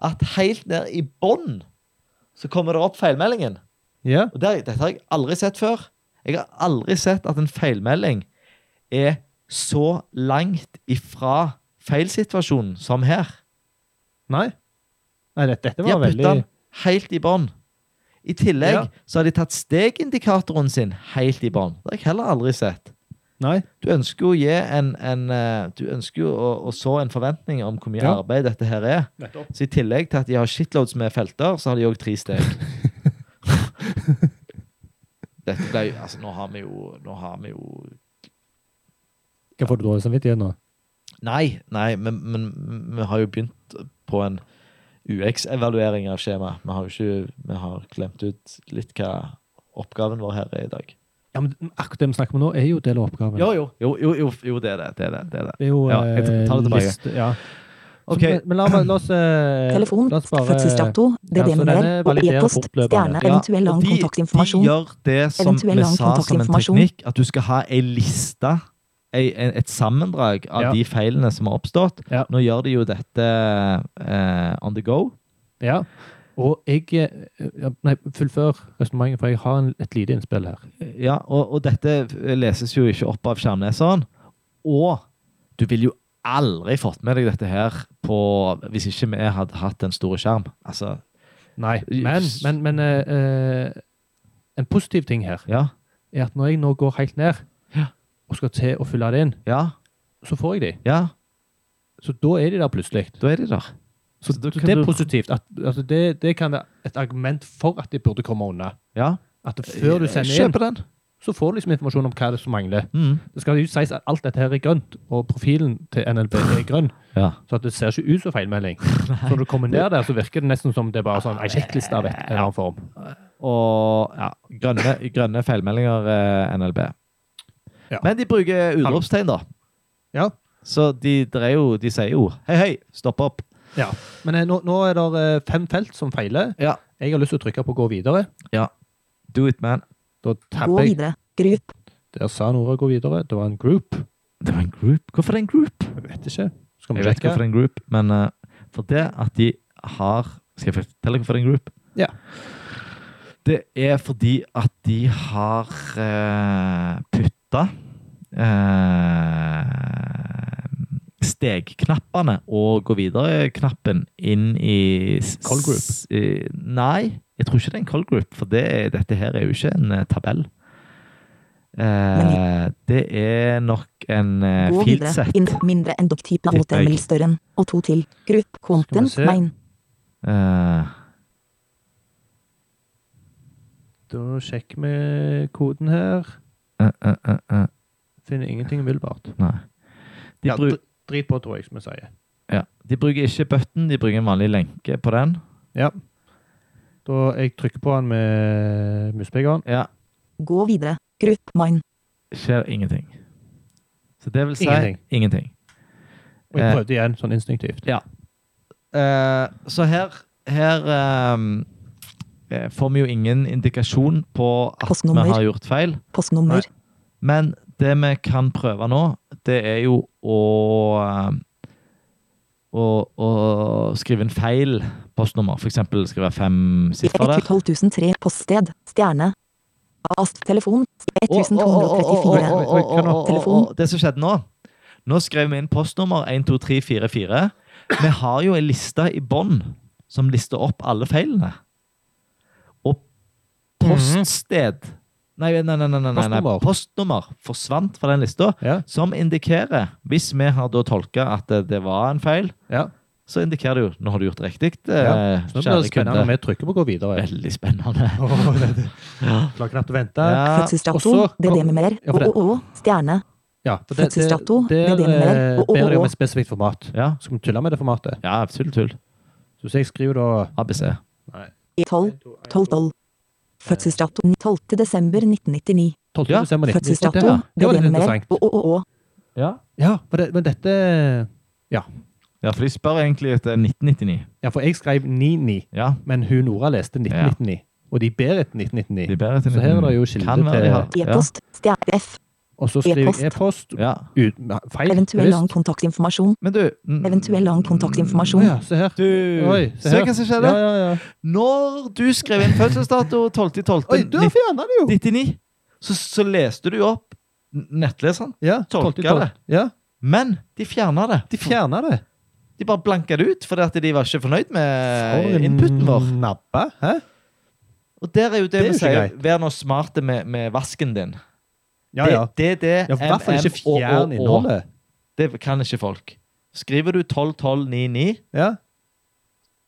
[SPEAKER 1] at helt ned i bånn så kommer det opp feilmeldingen.
[SPEAKER 2] Ja,
[SPEAKER 1] Og der, Dette har jeg aldri sett før. Jeg har aldri sett at en feilmelding er så langt ifra feilsituasjonen som her.
[SPEAKER 2] nei. Nei, dette,
[SPEAKER 1] De
[SPEAKER 2] dette var
[SPEAKER 1] har putta
[SPEAKER 2] veldig
[SPEAKER 1] den helt i bånn. I tillegg
[SPEAKER 2] Ja.
[SPEAKER 1] så har de tatt stegindikatoren sin helt i bånn. Det har jeg heller aldri sett.
[SPEAKER 5] Nei?
[SPEAKER 1] Du ønsker jo å gi en, en eh, Du ønsker jo å, å så en forventning om hvor mye
[SPEAKER 5] Ja.
[SPEAKER 1] arbeid dette her er.
[SPEAKER 5] Nettopp.
[SPEAKER 1] Så i tillegg til at de har shitloads med felter, så har de òg tre steg. Dette ble jo Altså, nå har vi jo Nå har vi jo
[SPEAKER 2] Hva får du dårlig samvittighet nå?
[SPEAKER 1] Nei, nei, men, men vi har jo begynt på en UX-evaluering av skjemaet. Vi har jo ikke Vi har glemt ut litt hva oppgaven vår her er i dag.
[SPEAKER 2] Ja, men Akkurat det vi snakker om nå, er jo del av oppgaven.
[SPEAKER 1] Jo, jo. Jo, jo, jo, jo det er det. det, er det, det, er det.
[SPEAKER 2] Det er jo
[SPEAKER 1] Ja, jeg
[SPEAKER 2] eh,
[SPEAKER 1] tar det tilbake.
[SPEAKER 2] list- ja.
[SPEAKER 1] Ok.
[SPEAKER 2] Så, Men, men la, meg- la oss eh,
[SPEAKER 3] Telefon,
[SPEAKER 2] la oss bare-
[SPEAKER 3] fødselsdato,
[SPEAKER 2] ja, så
[SPEAKER 3] DD-nummer
[SPEAKER 2] denne
[SPEAKER 3] og
[SPEAKER 2] validerer
[SPEAKER 3] e-post,
[SPEAKER 2] fortløpende.
[SPEAKER 3] stjerne,
[SPEAKER 1] Ja,
[SPEAKER 3] eventuell lang
[SPEAKER 1] og de-
[SPEAKER 3] kontaktinformasjon.
[SPEAKER 1] De gjør det som
[SPEAKER 3] Eventuell
[SPEAKER 1] vi
[SPEAKER 3] lang
[SPEAKER 1] sa som en
[SPEAKER 3] kontaktinformasjon.
[SPEAKER 1] teknikk, at du skal ha ei liste, ei, en- et sammendrag av
[SPEAKER 2] Ja.
[SPEAKER 1] de feilene som har oppstått.
[SPEAKER 2] Ja.
[SPEAKER 1] Nå gjør de jo dette eh, on the go.
[SPEAKER 2] Ja. Og jeg eh, ja, Nei, fullfør resonnementet, for jeg har en, et lite innspill her.
[SPEAKER 1] Ja, og, og dette leses jo ikke opp av skjermleseren. Og du ville jo aldri fått med deg dette her på, hvis ikke vi hadde hatt en stor skjerm. Altså,
[SPEAKER 2] Nei, men, men, men eh, eh, En positiv ting her
[SPEAKER 1] ja.
[SPEAKER 2] er at når jeg nå går helt ned
[SPEAKER 1] Ja.
[SPEAKER 2] og skal til å fylle det inn,
[SPEAKER 1] Ja,
[SPEAKER 2] så får jeg de.
[SPEAKER 1] ja,
[SPEAKER 2] Så da er de der plutselig.
[SPEAKER 1] da er de der.
[SPEAKER 2] Så,
[SPEAKER 1] Så da
[SPEAKER 2] så
[SPEAKER 1] kan
[SPEAKER 2] det er
[SPEAKER 1] du-
[SPEAKER 2] positivt. At, altså det, det kan være et argument for at de burde komme unna.
[SPEAKER 1] Ja.
[SPEAKER 2] At før du sender inn,
[SPEAKER 1] Kjøper den.
[SPEAKER 2] så får du liksom informasjon om hva det er som mangler.
[SPEAKER 1] Mm.
[SPEAKER 2] Det skal jo sies at alt dette her er grønt, og profilen til NLB er grønn.
[SPEAKER 1] Ja.
[SPEAKER 2] Så at det ser ikke ut som feilmelding. Så når du kommer ned der, så virker det nesten som det er bare sånn en sjekkliste av et eller annen form.
[SPEAKER 1] Og ja, grønne, grønne feilmeldinger, eh, NLB.
[SPEAKER 2] Ja.
[SPEAKER 1] Men de bruker utropstegn, da.
[SPEAKER 2] Ja.
[SPEAKER 1] Så de, der er jo, de sier jo hei, hei, stopp opp.
[SPEAKER 2] ja. Men eh, nå, nå er det eh, fem felt som feiler.
[SPEAKER 1] Ja.
[SPEAKER 2] Jeg har lyst til å trykke på gå videre.
[SPEAKER 1] Do it, man.
[SPEAKER 2] Da
[SPEAKER 3] Gå
[SPEAKER 2] tabber jeg.
[SPEAKER 3] videre. Grupp.
[SPEAKER 2] Der sa Nora gå videre. Det var en group.
[SPEAKER 1] Det var en group. Hvorfor er det en group?
[SPEAKER 2] Jeg vet ikke.
[SPEAKER 1] Jeg
[SPEAKER 2] Skal vi
[SPEAKER 1] vet ikke
[SPEAKER 2] sjekke?
[SPEAKER 1] hvorfor det er en group, men eh, for det at de har Skal jeg fortelle hvorfor det er en group?
[SPEAKER 2] Ja.
[SPEAKER 1] Det er fordi at de har uh, putta eh, stegknappene og gå videre-knappen inn i s-
[SPEAKER 2] Call group.
[SPEAKER 1] s- i- nei, jeg tror ikke det er en call group, for det, er- dette her er jo ikke en eh, tabell. Eh, det er nok en eh,
[SPEAKER 3] Gå
[SPEAKER 1] field
[SPEAKER 3] videre.
[SPEAKER 1] set.
[SPEAKER 3] Inn mindre enn dokktype
[SPEAKER 1] Tipper jeg.
[SPEAKER 3] HTML større enn og to til. Grupp. Content.
[SPEAKER 2] se.
[SPEAKER 3] Main.
[SPEAKER 1] Eh,
[SPEAKER 2] Da sjekker vi koden her.
[SPEAKER 1] eh, eh, eh, eh,
[SPEAKER 2] Finner ingenting umiddelbart.
[SPEAKER 1] Nei. De,
[SPEAKER 2] Ja,
[SPEAKER 1] bru
[SPEAKER 2] dr- drit på, tror jeg, som jeg sier.
[SPEAKER 1] ja. de bruker ikke button, de bruker en vanlig lenke på den.
[SPEAKER 2] Ja. Da jeg trykker på den med muspegeren.
[SPEAKER 1] Ja,
[SPEAKER 3] Gå videre. Grupp. Main.
[SPEAKER 1] skjer ingenting. Så det vil si
[SPEAKER 2] Ingenting.
[SPEAKER 1] ingenting.
[SPEAKER 2] Og jeg
[SPEAKER 1] Eh.
[SPEAKER 2] prøvde igjen, sånn instinktivt.
[SPEAKER 1] Eh, så her, her ehm, eh, får vi jo ingen indikasjon på at
[SPEAKER 3] Postnummer.
[SPEAKER 1] vi har gjort feil.
[SPEAKER 3] Postnummer.
[SPEAKER 1] Men det vi kan prøve nå, det er jo å ehm, å, å skrive en feil postnummer. For eksempel skal det være fem siffer der.
[SPEAKER 3] 12003. Poststed. Stjerne. Ast. Telefon.
[SPEAKER 1] Å, å,
[SPEAKER 3] 1234.
[SPEAKER 1] å, å, å, å, å,
[SPEAKER 3] Telefon.
[SPEAKER 1] Det som skjedde nå Nå skrev vi inn postnummer 12344. Vi har jo ei liste i bånn som lister opp alle feilene. Og poststed Nei, nei, nei. nei, nei, nei, nei.
[SPEAKER 2] Postnummer.
[SPEAKER 1] Postnummer forsvant fra den lista,
[SPEAKER 2] Ja.
[SPEAKER 1] som indikerer, hvis vi har da tolka at det, det var en feil,
[SPEAKER 2] Ja.
[SPEAKER 1] så indikerer det jo nå har du gjort det riktig,
[SPEAKER 2] Ja.
[SPEAKER 1] eh,
[SPEAKER 2] Så nå blir
[SPEAKER 1] kjære
[SPEAKER 2] det spennende
[SPEAKER 1] kunde.
[SPEAKER 2] når vi trykker på å gå videre.
[SPEAKER 1] Veldig spennende.
[SPEAKER 2] Åh, det- det- Klarer knapt å vente. Ja,
[SPEAKER 1] Ja,
[SPEAKER 2] og
[SPEAKER 3] Fødselsdato.
[SPEAKER 2] så-
[SPEAKER 3] DD-nummer.
[SPEAKER 2] Ja, for det-
[SPEAKER 3] Å, stjerne.
[SPEAKER 2] for det- det- Der
[SPEAKER 3] Fødselsdato, det deler vi med.
[SPEAKER 2] eh,
[SPEAKER 3] Og- og-
[SPEAKER 2] ber de om
[SPEAKER 3] og-
[SPEAKER 2] et spesifikt format.
[SPEAKER 1] ja,
[SPEAKER 2] Skal vi tulle med det formatet?
[SPEAKER 1] ja tull, tull.
[SPEAKER 2] Så hvis jeg skriver da
[SPEAKER 1] ABC.
[SPEAKER 2] Nei.
[SPEAKER 3] 12. 12. 12. Fødselsdato 12. desember 1999.
[SPEAKER 2] 12.
[SPEAKER 1] Ja,
[SPEAKER 2] desember 19.
[SPEAKER 3] Fødselsdato.
[SPEAKER 2] Ja, Det var litt
[SPEAKER 3] DD-nummer.
[SPEAKER 2] interessant.
[SPEAKER 3] Å, å, å, å.
[SPEAKER 1] Ja.
[SPEAKER 2] Ja, for det, men dette
[SPEAKER 1] Ja, for de spør egentlig etter 1999.
[SPEAKER 2] Ja, for jeg skrev 99,
[SPEAKER 1] Ja,
[SPEAKER 2] men hun Nora leste 1999. Og de ber etter 1999.
[SPEAKER 1] de ber etter
[SPEAKER 2] Så her er det jo kilde
[SPEAKER 1] Kan være
[SPEAKER 2] til-
[SPEAKER 1] de har-
[SPEAKER 3] E-post. Stjerne. F.
[SPEAKER 2] Og så skriver jeg e-post.
[SPEAKER 1] Ja. ja.
[SPEAKER 2] ut- Feil.
[SPEAKER 3] Eventuell
[SPEAKER 2] bevisst.
[SPEAKER 3] annen kontaktinformasjon.
[SPEAKER 1] Men du mm,
[SPEAKER 3] Eventuell annen
[SPEAKER 2] Å
[SPEAKER 3] kontaktinformasjon.
[SPEAKER 2] ja, se her.
[SPEAKER 1] Du,
[SPEAKER 2] Oi,
[SPEAKER 1] se,
[SPEAKER 2] se her.
[SPEAKER 1] hva som skjedde.
[SPEAKER 2] Ja, ja, ja.
[SPEAKER 1] Når du skrev inn fødselsdato 12.12.99,
[SPEAKER 2] Oi, du har fjerna det jo!
[SPEAKER 1] 99, så, så leste du jo opp n- nettleseren,
[SPEAKER 2] Ja,
[SPEAKER 1] Tolker
[SPEAKER 2] 12.
[SPEAKER 1] det.
[SPEAKER 2] Ja,
[SPEAKER 1] men de fjerna det.
[SPEAKER 2] de fjerna det.
[SPEAKER 1] De bare blanka det ut fordi at de var ikke fornøyd med
[SPEAKER 2] For en
[SPEAKER 1] Eh, inputen vår.
[SPEAKER 2] Nabbe. Hæ?
[SPEAKER 1] Og der er jo det,
[SPEAKER 2] Det er
[SPEAKER 1] vi
[SPEAKER 2] jo ikke
[SPEAKER 1] sier, vær nå smarte med, med vasken din.
[SPEAKER 6] Ja, ja.
[SPEAKER 1] Det, det, det,
[SPEAKER 6] ja I hvert fall ikke fjern innholdet.
[SPEAKER 1] Det kan ikke folk. Skriver du 121299,
[SPEAKER 6] Ja.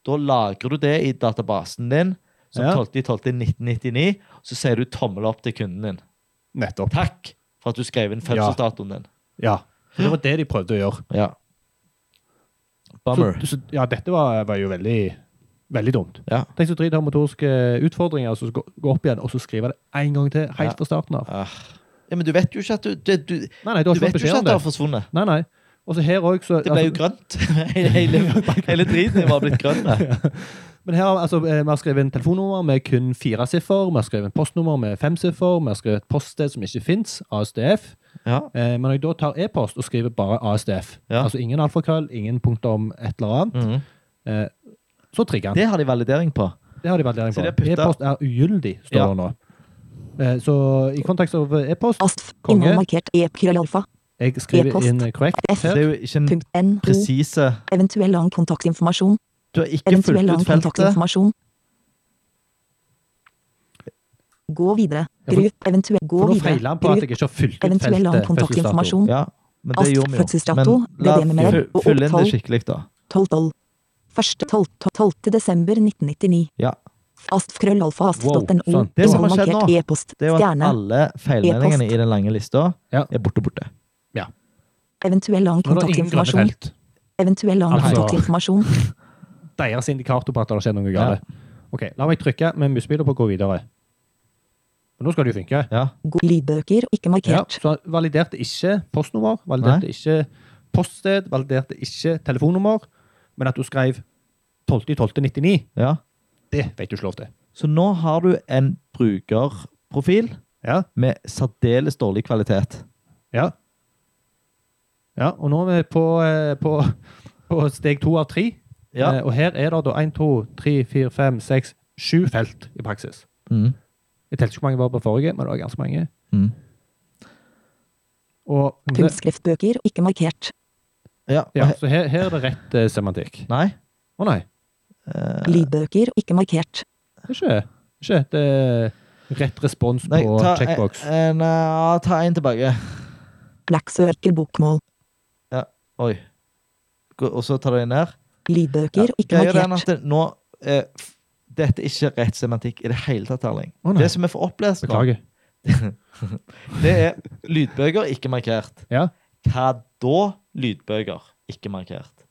[SPEAKER 1] da lagrer du det i databasen din som
[SPEAKER 6] Ja.
[SPEAKER 1] 12.12.1999, så sier du tommel opp til kunden din.
[SPEAKER 6] Nettopp.
[SPEAKER 1] Takk for at du skrev inn fødselsdatoen din.
[SPEAKER 6] Ja. For det var det de prøvde å gjøre.
[SPEAKER 1] Ja. Bummer.
[SPEAKER 6] Så, så, ja, dette var, var jo veldig, veldig dumt.
[SPEAKER 1] Ja.
[SPEAKER 2] Tenk så drit å ha motoriske eh, utfordringer, og så gå gå opp igjen og så skrive det én gang til
[SPEAKER 1] Ja.
[SPEAKER 2] helt fra starten av.
[SPEAKER 1] Ah. ja, men du vet jo ikke at du, det, du, du
[SPEAKER 2] Nei, nei, du har ikke
[SPEAKER 1] vet jo ikke
[SPEAKER 2] fått beskjed
[SPEAKER 1] at
[SPEAKER 2] om
[SPEAKER 1] det
[SPEAKER 2] det.
[SPEAKER 1] har forsvunnet.
[SPEAKER 2] Nei, nei. Og så her også, så-
[SPEAKER 1] Det ble jo
[SPEAKER 2] altså,
[SPEAKER 1] grønt. hele, hele driten var blitt grønn. da.
[SPEAKER 2] Men her, har- altså, eh, vi har skrevet en telefonnummer med kun fire siffer, vi har skrevet en postnummer med fem siffer, vi har skrevet et poststed som ikke fins, ASDF.
[SPEAKER 1] Ja.
[SPEAKER 2] Eh, men når jeg da tar e-post og skriver bare ASDF,
[SPEAKER 1] Ja.
[SPEAKER 2] altså ingen alfakrøll, ingen punkter om et eller annet,
[SPEAKER 1] Mhm.
[SPEAKER 2] eh, så trigger han. Det,
[SPEAKER 1] Det har de validering på.
[SPEAKER 2] har de validering
[SPEAKER 1] Så de har
[SPEAKER 2] på.
[SPEAKER 1] puttet-
[SPEAKER 2] E-post er ugyldig, står
[SPEAKER 1] Ja.
[SPEAKER 2] det nå. Eh, så i kontakt av eh, e-post
[SPEAKER 3] Astf.
[SPEAKER 2] Konge.
[SPEAKER 3] Innhold markert e, e-krøllalfa.
[SPEAKER 2] Jeg skriver
[SPEAKER 3] Altså, E-post.
[SPEAKER 2] inn correct
[SPEAKER 3] F.
[SPEAKER 1] Det
[SPEAKER 2] her.
[SPEAKER 1] er jo ikke en
[SPEAKER 3] Punkt NO.
[SPEAKER 1] presise
[SPEAKER 3] Eventuell annen kontaktinformasjon.
[SPEAKER 1] Du har ikke
[SPEAKER 3] Eventuell
[SPEAKER 1] fulgt
[SPEAKER 3] annen
[SPEAKER 1] ut feltet.
[SPEAKER 3] kontaktinformasjon. Gå videre.
[SPEAKER 2] Ja, for-
[SPEAKER 3] Gruv. Eventuell. Gå
[SPEAKER 2] For nå
[SPEAKER 3] videre.
[SPEAKER 2] feiler han på at
[SPEAKER 3] Gruv.
[SPEAKER 2] jeg ikke har fylt ut
[SPEAKER 3] Eventuell annen
[SPEAKER 2] feltet. fødselsdato.
[SPEAKER 3] kontaktinformasjon.
[SPEAKER 1] Ja, men det gjorde
[SPEAKER 3] Ast
[SPEAKER 1] vi jo.
[SPEAKER 3] Mm. fødselsdato,
[SPEAKER 1] Men la
[SPEAKER 3] BDM med
[SPEAKER 1] fy-
[SPEAKER 3] og
[SPEAKER 1] fyll inn det
[SPEAKER 3] opptall.
[SPEAKER 1] skikkelig, da.
[SPEAKER 3] 12.12. 1.12. 12. desember 1999.
[SPEAKER 1] Ja.
[SPEAKER 3] Astfkrøllalfa.no.
[SPEAKER 2] Wow, sånn. sant.
[SPEAKER 1] Det som har skjedd
[SPEAKER 3] markert
[SPEAKER 1] nå,
[SPEAKER 3] e-post.
[SPEAKER 1] Det er jo at
[SPEAKER 3] Stjerne.
[SPEAKER 1] alle feilmeldingene
[SPEAKER 3] E-post.
[SPEAKER 1] i den lange lista
[SPEAKER 2] Ja.
[SPEAKER 1] er borte borte.
[SPEAKER 3] Eventuell annen
[SPEAKER 2] Nå er det ingen grønne
[SPEAKER 3] kontaktinformasjon.
[SPEAKER 2] felt.
[SPEAKER 3] Eventuell annen
[SPEAKER 2] Altså-
[SPEAKER 3] kontaktinformasjon.
[SPEAKER 2] Deres indikator på at det har skjedd noe galt. Ok, la meg trykke med musebiler på å gå videre. Og nå skal det jo funke.
[SPEAKER 1] Ja.
[SPEAKER 3] Gå- Lydbøker ikke
[SPEAKER 2] Ja,
[SPEAKER 3] markert.
[SPEAKER 2] så han validerte ikke postnummer, validerte ikke poststed, validerte ikke telefonnummer, men at du skrev 12.12.99,
[SPEAKER 1] Ja.
[SPEAKER 2] det vet du ikke lov til.
[SPEAKER 1] Så nå har du en brukerprofil
[SPEAKER 2] Ja,
[SPEAKER 1] med særdeles dårlig kvalitet.
[SPEAKER 2] ja. Ja, og nå er vi på, eh, på, på steg to av tre,
[SPEAKER 1] Ja.
[SPEAKER 2] Eh, og her er det da 1, 2, 3, 4, 5, 6, 7 felt i praksis.
[SPEAKER 1] Mm.
[SPEAKER 2] Jeg telte ikke hvor mange var på forrige, men det var ganske mange.
[SPEAKER 1] Mm.
[SPEAKER 2] Og,
[SPEAKER 3] Punktskriftbøker ikke markert.
[SPEAKER 1] Ja. og
[SPEAKER 2] ja,
[SPEAKER 1] he-
[SPEAKER 2] så her, her er det rett eh, semantikk. Å
[SPEAKER 1] Nei.
[SPEAKER 2] nei,
[SPEAKER 3] Lydbøker ikke markert.
[SPEAKER 2] det er ikke, ikke et eh, rett respons på
[SPEAKER 1] Nei ta,
[SPEAKER 2] checkbox.
[SPEAKER 1] en, en, ja, ta en tilbake.
[SPEAKER 3] Black Circle bokmål.
[SPEAKER 1] Oi. Gå- Og så tar du den ned. Ja,
[SPEAKER 3] Lydbøker ikke
[SPEAKER 1] greia er den at
[SPEAKER 3] markert.
[SPEAKER 1] det, nå, eh, f- dette er ikke rett semantikk i det hele tatt, Erling.
[SPEAKER 2] Å, nei.
[SPEAKER 1] det som vi får opplest nå,
[SPEAKER 2] Beklager.
[SPEAKER 1] det er lydbøker ikke markert.
[SPEAKER 2] Ja.
[SPEAKER 1] Hva da lydbøker ikke markert?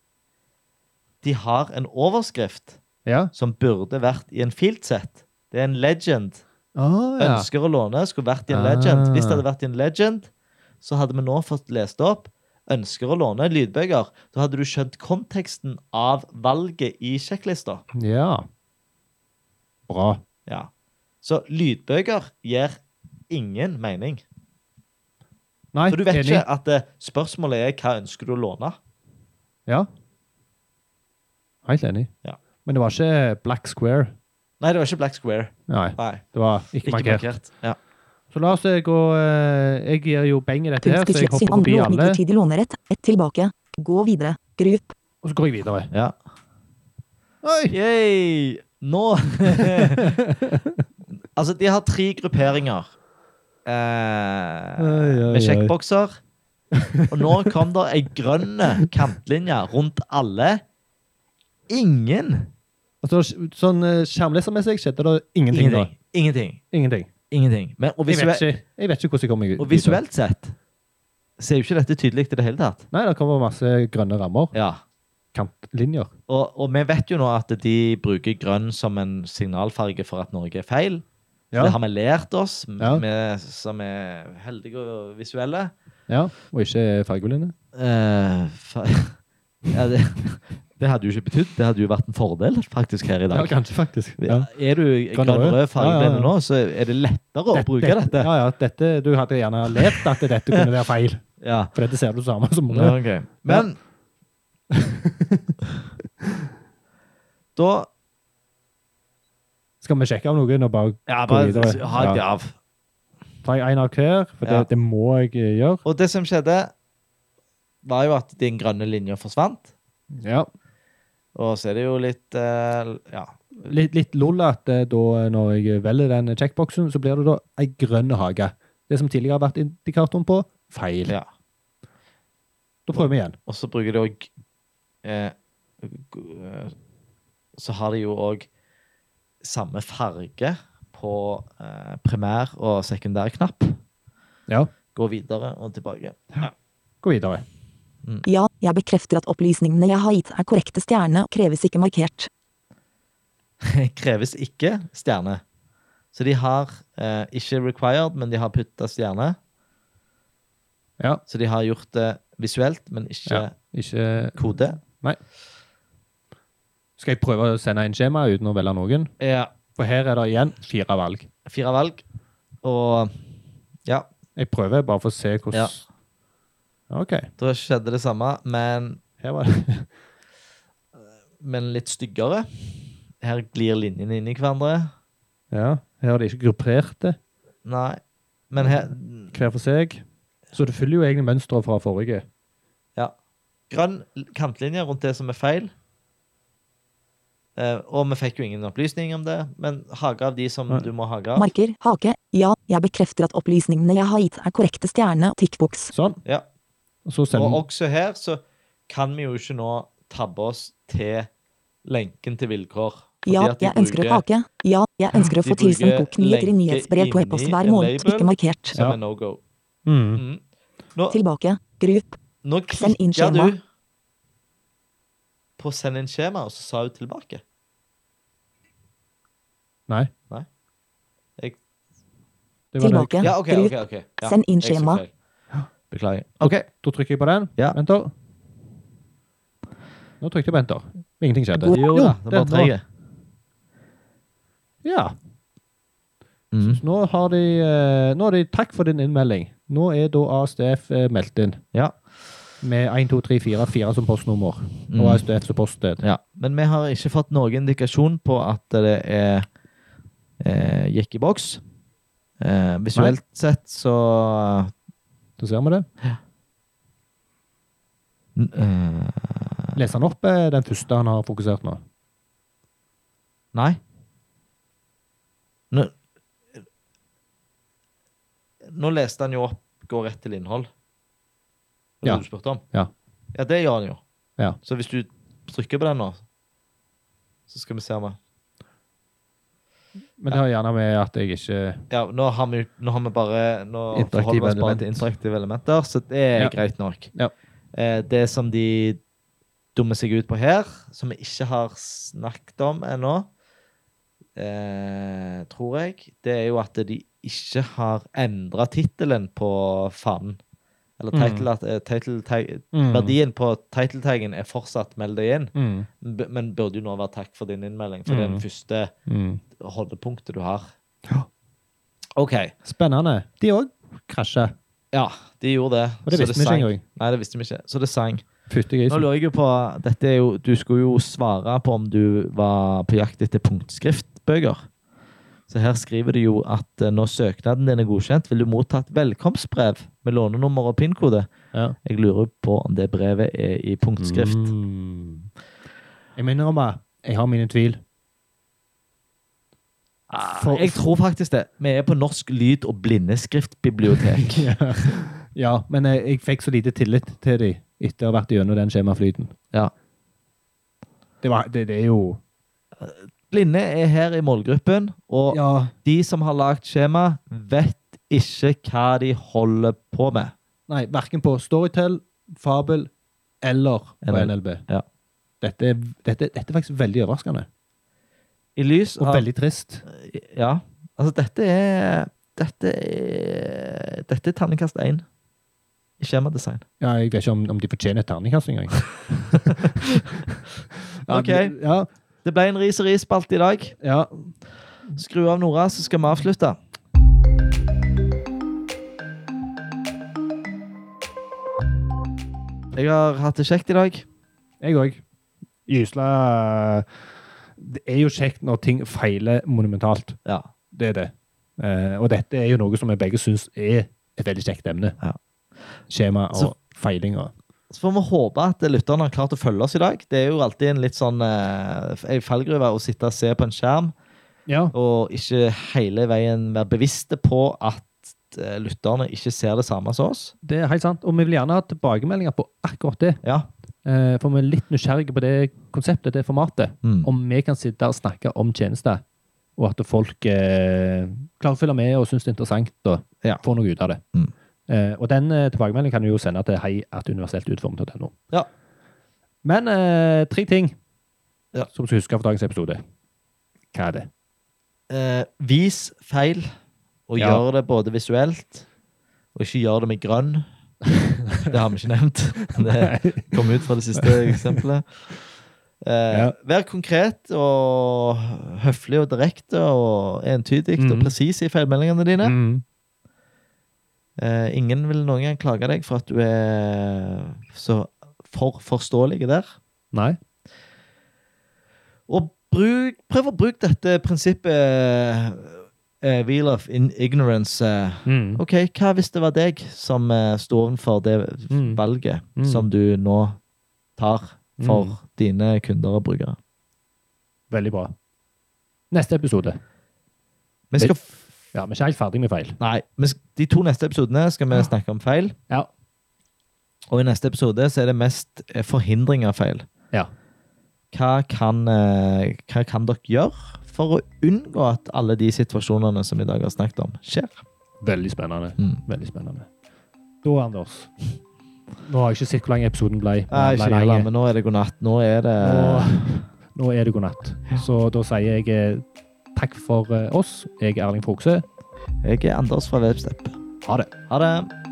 [SPEAKER 1] De har en overskrift
[SPEAKER 2] Ja.
[SPEAKER 1] som burde vært i en fieldset. Det er en legend.
[SPEAKER 2] Ah, ja.
[SPEAKER 1] Ønsker å låne skulle vært i en
[SPEAKER 2] Ah.
[SPEAKER 1] legend. Hvis det hadde vært i en legend, så hadde vi nå fått lest opp ønsker å låne lydbøker. Da hadde du skjønt konteksten av valget i sjekklista.
[SPEAKER 2] ja. Bra.
[SPEAKER 1] Ja. Så lydbøker gir ingen mening.
[SPEAKER 2] Nei,
[SPEAKER 1] For du vet
[SPEAKER 2] enig.
[SPEAKER 1] ikke at eh, spørsmålet er hva ønsker du å låne?
[SPEAKER 2] Ja. Helt enig.
[SPEAKER 1] Ja.
[SPEAKER 2] Men det var ikke black square.
[SPEAKER 1] Nei, det var ikke Black Square.
[SPEAKER 2] Nei,
[SPEAKER 1] Nei,
[SPEAKER 2] det var ikke,
[SPEAKER 1] ikke
[SPEAKER 2] markert.
[SPEAKER 1] markert. Ja.
[SPEAKER 2] Så la oss eh, gå eh, Jeg gir jo beng i dette her, så jeg
[SPEAKER 3] Punktskrift sin
[SPEAKER 2] hopper forbi
[SPEAKER 3] andre ord
[SPEAKER 2] alle.
[SPEAKER 3] midlertidig lånerett. Ett tilbake. Gå videre. Grup.
[SPEAKER 2] Og så går jeg videre.
[SPEAKER 1] ja.
[SPEAKER 2] Oi!
[SPEAKER 1] Yay! Nå Altså, de har tre grupperinger eh,
[SPEAKER 2] Oi, oi,
[SPEAKER 1] med
[SPEAKER 2] oi.
[SPEAKER 1] sjekkbokser. Og nå kom det ei grønn kantlinje rundt alle. Ingen!
[SPEAKER 2] Altså, sånn eh, skjermlesermessig skjedde det ingenting. da.
[SPEAKER 1] Ingenting. Ingenting.
[SPEAKER 2] Ingenting.
[SPEAKER 1] Ingenting. Men, og,
[SPEAKER 2] Jeg vet,
[SPEAKER 1] visue-
[SPEAKER 2] ikke, jeg vet ikke hvordan jeg kommer meg ut.
[SPEAKER 1] og visuelt sett så er jo ikke dette tydelig i det hele tatt.
[SPEAKER 2] Nei, det kommer masse grønne rammer.
[SPEAKER 1] Ja.
[SPEAKER 2] Kantlinjer.
[SPEAKER 1] Og, og vi vet jo nå at de bruker grønn som en signalfarge for at Norge er feil. Så
[SPEAKER 2] Ja.
[SPEAKER 1] Det har vi lært oss, m-
[SPEAKER 2] Ja.
[SPEAKER 1] vi som er heldige og visuelle.
[SPEAKER 2] ja. Og ikke fargeblinde.
[SPEAKER 1] Eh, fa- ja, det, det hadde jo ikke betydd. Det hadde jo vært en fordel faktisk her i
[SPEAKER 2] Ja,
[SPEAKER 1] dag.
[SPEAKER 2] kanskje, faktisk. Ja.
[SPEAKER 1] Er du grønn og rød
[SPEAKER 2] Ja, ja,
[SPEAKER 1] fargeblind
[SPEAKER 2] ja.
[SPEAKER 1] nå, så er det lettere å bruke dette.
[SPEAKER 2] Ja, ja, dette, du hadde gjerne levd at dette kunne være feil,
[SPEAKER 1] Ja.
[SPEAKER 2] for dette ser du samme som
[SPEAKER 1] Ja,
[SPEAKER 2] rød.
[SPEAKER 1] ok. Men Da
[SPEAKER 2] Skal vi sjekke av noen og bare
[SPEAKER 1] ja,
[SPEAKER 2] gå
[SPEAKER 1] bare
[SPEAKER 2] videre?
[SPEAKER 1] ha et
[SPEAKER 2] Ja.
[SPEAKER 1] av.
[SPEAKER 2] Tar jeg en av hver, for
[SPEAKER 1] Ja.
[SPEAKER 2] det, det må jeg eh, gjøre.
[SPEAKER 1] Og det som skjedde, var jo at den grønne linja forsvant.
[SPEAKER 2] Ja.
[SPEAKER 1] Og så er det jo litt eh, Ja.
[SPEAKER 2] eh, Litt, litt lol at eh, da, når jeg velger den checkboxen, så blir det da ei grønn hage. det som tidligere har vært indikatoren på feil.
[SPEAKER 1] Ja.
[SPEAKER 2] Da prøver vi igjen.
[SPEAKER 1] Og så bruker de òg eh, g- eh, Så har de jo òg samme farge på eh, primær- og sekundærknapp.
[SPEAKER 2] Ja.
[SPEAKER 1] Gå videre og tilbake.
[SPEAKER 2] Gå videre.
[SPEAKER 3] Ja, jeg bekrefter at opplysningene jeg har gitt er korrekte stjerne og kreves ikke markert.
[SPEAKER 1] Kreves ikke stjerne. Så de har eh, ikke required, men de har putta stjerne.
[SPEAKER 2] Ja.
[SPEAKER 1] Så de har gjort det visuelt, men ikke
[SPEAKER 2] Ja. Ikke
[SPEAKER 1] kode.
[SPEAKER 2] Skal jeg prøve å sende inn skjema uten å velge noen?
[SPEAKER 1] Ja.
[SPEAKER 2] For her er det igjen fire valg.
[SPEAKER 1] Fire valg. Og ja,
[SPEAKER 2] Jeg prøver bare for å se hvordan
[SPEAKER 1] Ja.
[SPEAKER 2] OK.
[SPEAKER 1] da skjedde det samme, men
[SPEAKER 2] Her var det
[SPEAKER 1] men litt styggere. Her glir linjene inn i hverandre.
[SPEAKER 2] Ja. Her er det ikke grupperte
[SPEAKER 1] Nei. Men her
[SPEAKER 2] hver for seg. Så det følger jo egentlig mønsteret fra forrige.
[SPEAKER 1] Ja. Grønn kantlinje rundt det som er feil. Eh, og vi fikk jo ingen opplysning om det, men hage av de som
[SPEAKER 2] Nei.
[SPEAKER 1] du må hage av.
[SPEAKER 3] Marker, hake, ja, jeg bekrefter at opplysningene jeg har gitt er korrekte stjerne og tikkboks.
[SPEAKER 2] Sånn.
[SPEAKER 1] Ja.
[SPEAKER 2] Og så
[SPEAKER 1] Og
[SPEAKER 2] sender
[SPEAKER 1] også her så kan vi jo ikke nå tabbe oss til lenken til vilkår. fordi
[SPEAKER 3] Ja,
[SPEAKER 1] at de
[SPEAKER 3] jeg ønsker å
[SPEAKER 1] bruker
[SPEAKER 3] hake. Ja, jeg ønsker å
[SPEAKER 1] De
[SPEAKER 3] få tilsendt
[SPEAKER 1] bruker
[SPEAKER 3] boknyheter i
[SPEAKER 1] lenke
[SPEAKER 3] nyhetsbrev på
[SPEAKER 1] inni
[SPEAKER 3] e-post hver
[SPEAKER 1] en
[SPEAKER 3] måned,
[SPEAKER 1] label.
[SPEAKER 3] ikke markert.
[SPEAKER 1] Som
[SPEAKER 2] Ja.
[SPEAKER 1] er no-go.
[SPEAKER 2] mm.
[SPEAKER 1] Mm. Nå,
[SPEAKER 3] Tilbake, grup,
[SPEAKER 1] nå
[SPEAKER 3] send inn
[SPEAKER 1] klikka
[SPEAKER 3] skjema.
[SPEAKER 1] du på 'send inn skjema', og så sa hun tilbake.
[SPEAKER 2] Nei.
[SPEAKER 1] Nei. Jeg-
[SPEAKER 2] Det var nok.
[SPEAKER 3] tilbake,
[SPEAKER 1] Ja, OK. ok,
[SPEAKER 3] grup,
[SPEAKER 1] ok. Ja,
[SPEAKER 3] Send inn
[SPEAKER 1] jeg så
[SPEAKER 3] skjema.
[SPEAKER 1] feil. Beklager.
[SPEAKER 2] OK, da trykker jeg på den.
[SPEAKER 1] Ja.
[SPEAKER 2] Vent, da. Nå trykte jeg på enter. Ingenting skjedde.
[SPEAKER 1] Jo da, det var
[SPEAKER 2] den var-
[SPEAKER 1] treget.
[SPEAKER 2] Ja.
[SPEAKER 1] Mm.
[SPEAKER 2] Så nå har de eh, Nå har de Takk for din innmelding. Nå er da ASDF eh, meldt inn.
[SPEAKER 1] Ja.
[SPEAKER 2] Med 1, 2, 3, 4, 4 som postnummer.
[SPEAKER 1] Mm.
[SPEAKER 2] Og ASDF som poststed.
[SPEAKER 1] ja. Men vi har ikke fått noen indikasjon på at det er eh, gikk i boks. Eh, visuelt sett så
[SPEAKER 2] Så ser vi det.
[SPEAKER 1] eh,
[SPEAKER 2] Les han opp eh, den første han har fokusert nå.
[SPEAKER 1] Nei. Nå, nå leste han jo opp 'gå rett til innhold'. Det var
[SPEAKER 2] Ja.
[SPEAKER 1] det du spurte om.
[SPEAKER 2] Ja.
[SPEAKER 1] ja, det gjør han jo.
[SPEAKER 2] Ja.
[SPEAKER 1] Så hvis du trykker på den nå, så skal vi se om han-
[SPEAKER 2] Men det har gjerne med at jeg ikke
[SPEAKER 1] Ja, nå har vi, nå har vi bare Nå
[SPEAKER 2] Interaktive
[SPEAKER 1] forholder vi oss bare
[SPEAKER 2] element.
[SPEAKER 1] til interaktive elementer, så det er
[SPEAKER 2] Ja.
[SPEAKER 1] greit nok.
[SPEAKER 2] Ja.
[SPEAKER 1] Eh, det som de dummer seg ut på her, som vi ikke har snakket om ennå, eh, tror jeg, det er jo at de ikke har endra tittelen på fanen. Eller
[SPEAKER 2] Mm.
[SPEAKER 1] title, at, eh, title, tag- verdien på title-taggen er fortsatt 'meld deg inn',
[SPEAKER 2] Mm.
[SPEAKER 1] b- men burde jo nå være 'takk for din innmelding', for det er
[SPEAKER 2] Mm.
[SPEAKER 1] den første
[SPEAKER 2] Mm.
[SPEAKER 1] holdepunktet du har.
[SPEAKER 2] Ja.
[SPEAKER 1] OK.
[SPEAKER 2] Spennende. De òg krasja.
[SPEAKER 1] Ja, de gjorde det.
[SPEAKER 2] Og det
[SPEAKER 1] Så
[SPEAKER 2] visste vi ikke
[SPEAKER 1] sang.
[SPEAKER 2] engang.
[SPEAKER 1] Nei, det visste vi ikke. Så det sang.
[SPEAKER 2] Fytti
[SPEAKER 1] Nå
[SPEAKER 2] grisen.
[SPEAKER 1] lurer jeg jo på dette er jo, Du skulle jo svare på om du var på jakt etter punktskriftbøker. Så her skriver de jo at eh, når søknaden din er godkjent, vil du motta et velkomstbrev med lånenummer og pin-kode.
[SPEAKER 2] Ja.
[SPEAKER 1] Jeg lurer på om det brevet er i punktskrift.
[SPEAKER 2] Mm. Jeg må innrømme, jeg har mine tvil.
[SPEAKER 1] Ah,
[SPEAKER 2] For-
[SPEAKER 1] jeg tror faktisk det. Vi er på Norsk lyd- og blindeskriftbibliotek.
[SPEAKER 2] ja. ja, men jeg, jeg fikk så lite tillit til de etter å ha vært gjennom den skjemaflyten.
[SPEAKER 1] Ja.
[SPEAKER 2] Det, var, det, det er jo
[SPEAKER 1] Blinde er her i målgruppen, og
[SPEAKER 2] Ja,
[SPEAKER 1] De som har lagd skjema, vet ikke hva de holder på med.
[SPEAKER 2] nei, verken på Storytel, Fabel eller på
[SPEAKER 1] NL.
[SPEAKER 2] NLB.
[SPEAKER 1] Ja.
[SPEAKER 2] Dette, er- dette, dette er faktisk veldig overraskende.
[SPEAKER 1] I lys
[SPEAKER 2] Og
[SPEAKER 1] av
[SPEAKER 2] veldig trist.
[SPEAKER 1] Ja. Altså, dette er Dette er Dette er terningkast én i skjemadesign.
[SPEAKER 2] Ja, jeg vet ikke om, om de fortjener et terningkast engang. ja,
[SPEAKER 1] Ok.
[SPEAKER 2] men- Ja,
[SPEAKER 1] Det ble en ris og ris-spalte i dag.
[SPEAKER 2] ja.
[SPEAKER 1] Skru av Nora, så skal vi avslutte. Jeg har hatt det kjekt i dag.
[SPEAKER 2] Jeg òg. Gysla Det er jo kjekt når ting feiler monumentalt.
[SPEAKER 1] Ja.
[SPEAKER 2] Det er det. Eh, og dette er jo noe som vi begge syns er et veldig kjekt emne.
[SPEAKER 1] Ja.
[SPEAKER 2] Skjema og
[SPEAKER 1] Så-
[SPEAKER 2] feilinger.
[SPEAKER 1] Så får vi håpe at lytterne har klart å følge oss i dag. Det er jo alltid en litt sånn eh, en fallgruve å sitte og se på en skjerm.
[SPEAKER 2] Ja.
[SPEAKER 1] og ikke hele veien være bevisste på at eh, lytterne ikke ser det samme som oss.
[SPEAKER 2] Det er helt sant. Og vi vil gjerne ha tilbakemeldinger på akkurat det.
[SPEAKER 1] Ja.
[SPEAKER 2] Eh, For vi er litt nysgjerrige på det konseptet, det formatet.
[SPEAKER 1] Mm.
[SPEAKER 2] Om vi kan sitte og snakke om tjenester, og at folk eh, klarer å følge med og syns det er interessant og
[SPEAKER 1] Ja.
[SPEAKER 2] får noe ut av det.
[SPEAKER 1] Mm.
[SPEAKER 2] Eh, og den eh, tilbakemeldingen kan du jo sende til heiatuniverseltutformet.no.
[SPEAKER 1] Ja.
[SPEAKER 2] Men eh, tre ting
[SPEAKER 1] Ja.
[SPEAKER 2] som du skal huske fra dagens episode. Hva er det?
[SPEAKER 1] Eh, vis feil, og
[SPEAKER 2] Ja.
[SPEAKER 1] gjør det både visuelt, og ikke gjør det med grønn. Det har vi ikke nevnt. men Det kom ut fra det siste eksempelet. Eh,
[SPEAKER 2] Ja.
[SPEAKER 1] Vær konkret og høflig og direkte og entydig og
[SPEAKER 2] Mhm.
[SPEAKER 1] presis i feilmeldingene dine.
[SPEAKER 2] Mm.
[SPEAKER 1] Eh, ingen vil noen gang klage deg for at du er så for forståelig der.
[SPEAKER 2] Nei?
[SPEAKER 1] Og bruk, prøv å bruke dette prinsippet eh, Wheel of in ignorance. Eh,
[SPEAKER 2] Mm.
[SPEAKER 1] Ok, hva hvis det var deg som eh, sto overfor det
[SPEAKER 2] Mm.
[SPEAKER 1] valget
[SPEAKER 2] Mm.
[SPEAKER 1] som du nå tar for
[SPEAKER 2] Mm.
[SPEAKER 1] dine kunder og brukere?
[SPEAKER 2] Veldig bra. Neste episode.
[SPEAKER 1] Vi skal, f-
[SPEAKER 2] Ja, vi er ikke helt ferdig med feil.
[SPEAKER 1] nei, vi sk- de to neste episodene skal vi
[SPEAKER 2] Ja.
[SPEAKER 1] snakke om feil.
[SPEAKER 2] Ja.
[SPEAKER 1] Og i neste episode så er det mest eh, forhindring av feil.
[SPEAKER 2] Ja.
[SPEAKER 1] Hva kan, eh, hva kan dere gjøre for å unngå at alle de situasjonene som vi i dag har snakket om, skjer?
[SPEAKER 2] Veldig spennende.
[SPEAKER 1] Mm.
[SPEAKER 2] Veldig spennende. Da, Anders Nå har jeg ikke sett hvor lang episoden ble. men
[SPEAKER 1] Nei,
[SPEAKER 2] den
[SPEAKER 1] ikke
[SPEAKER 2] ble
[SPEAKER 1] heller,
[SPEAKER 2] lang.
[SPEAKER 1] men nå er det god natt. Nå er det
[SPEAKER 2] Nå, nå er det god natt. Så da sier jeg eh, takk for eh, oss. Jeg er Erling Frokse.
[SPEAKER 1] Jeg er Anders fra Webstep.
[SPEAKER 2] Ha det.
[SPEAKER 1] Ha det.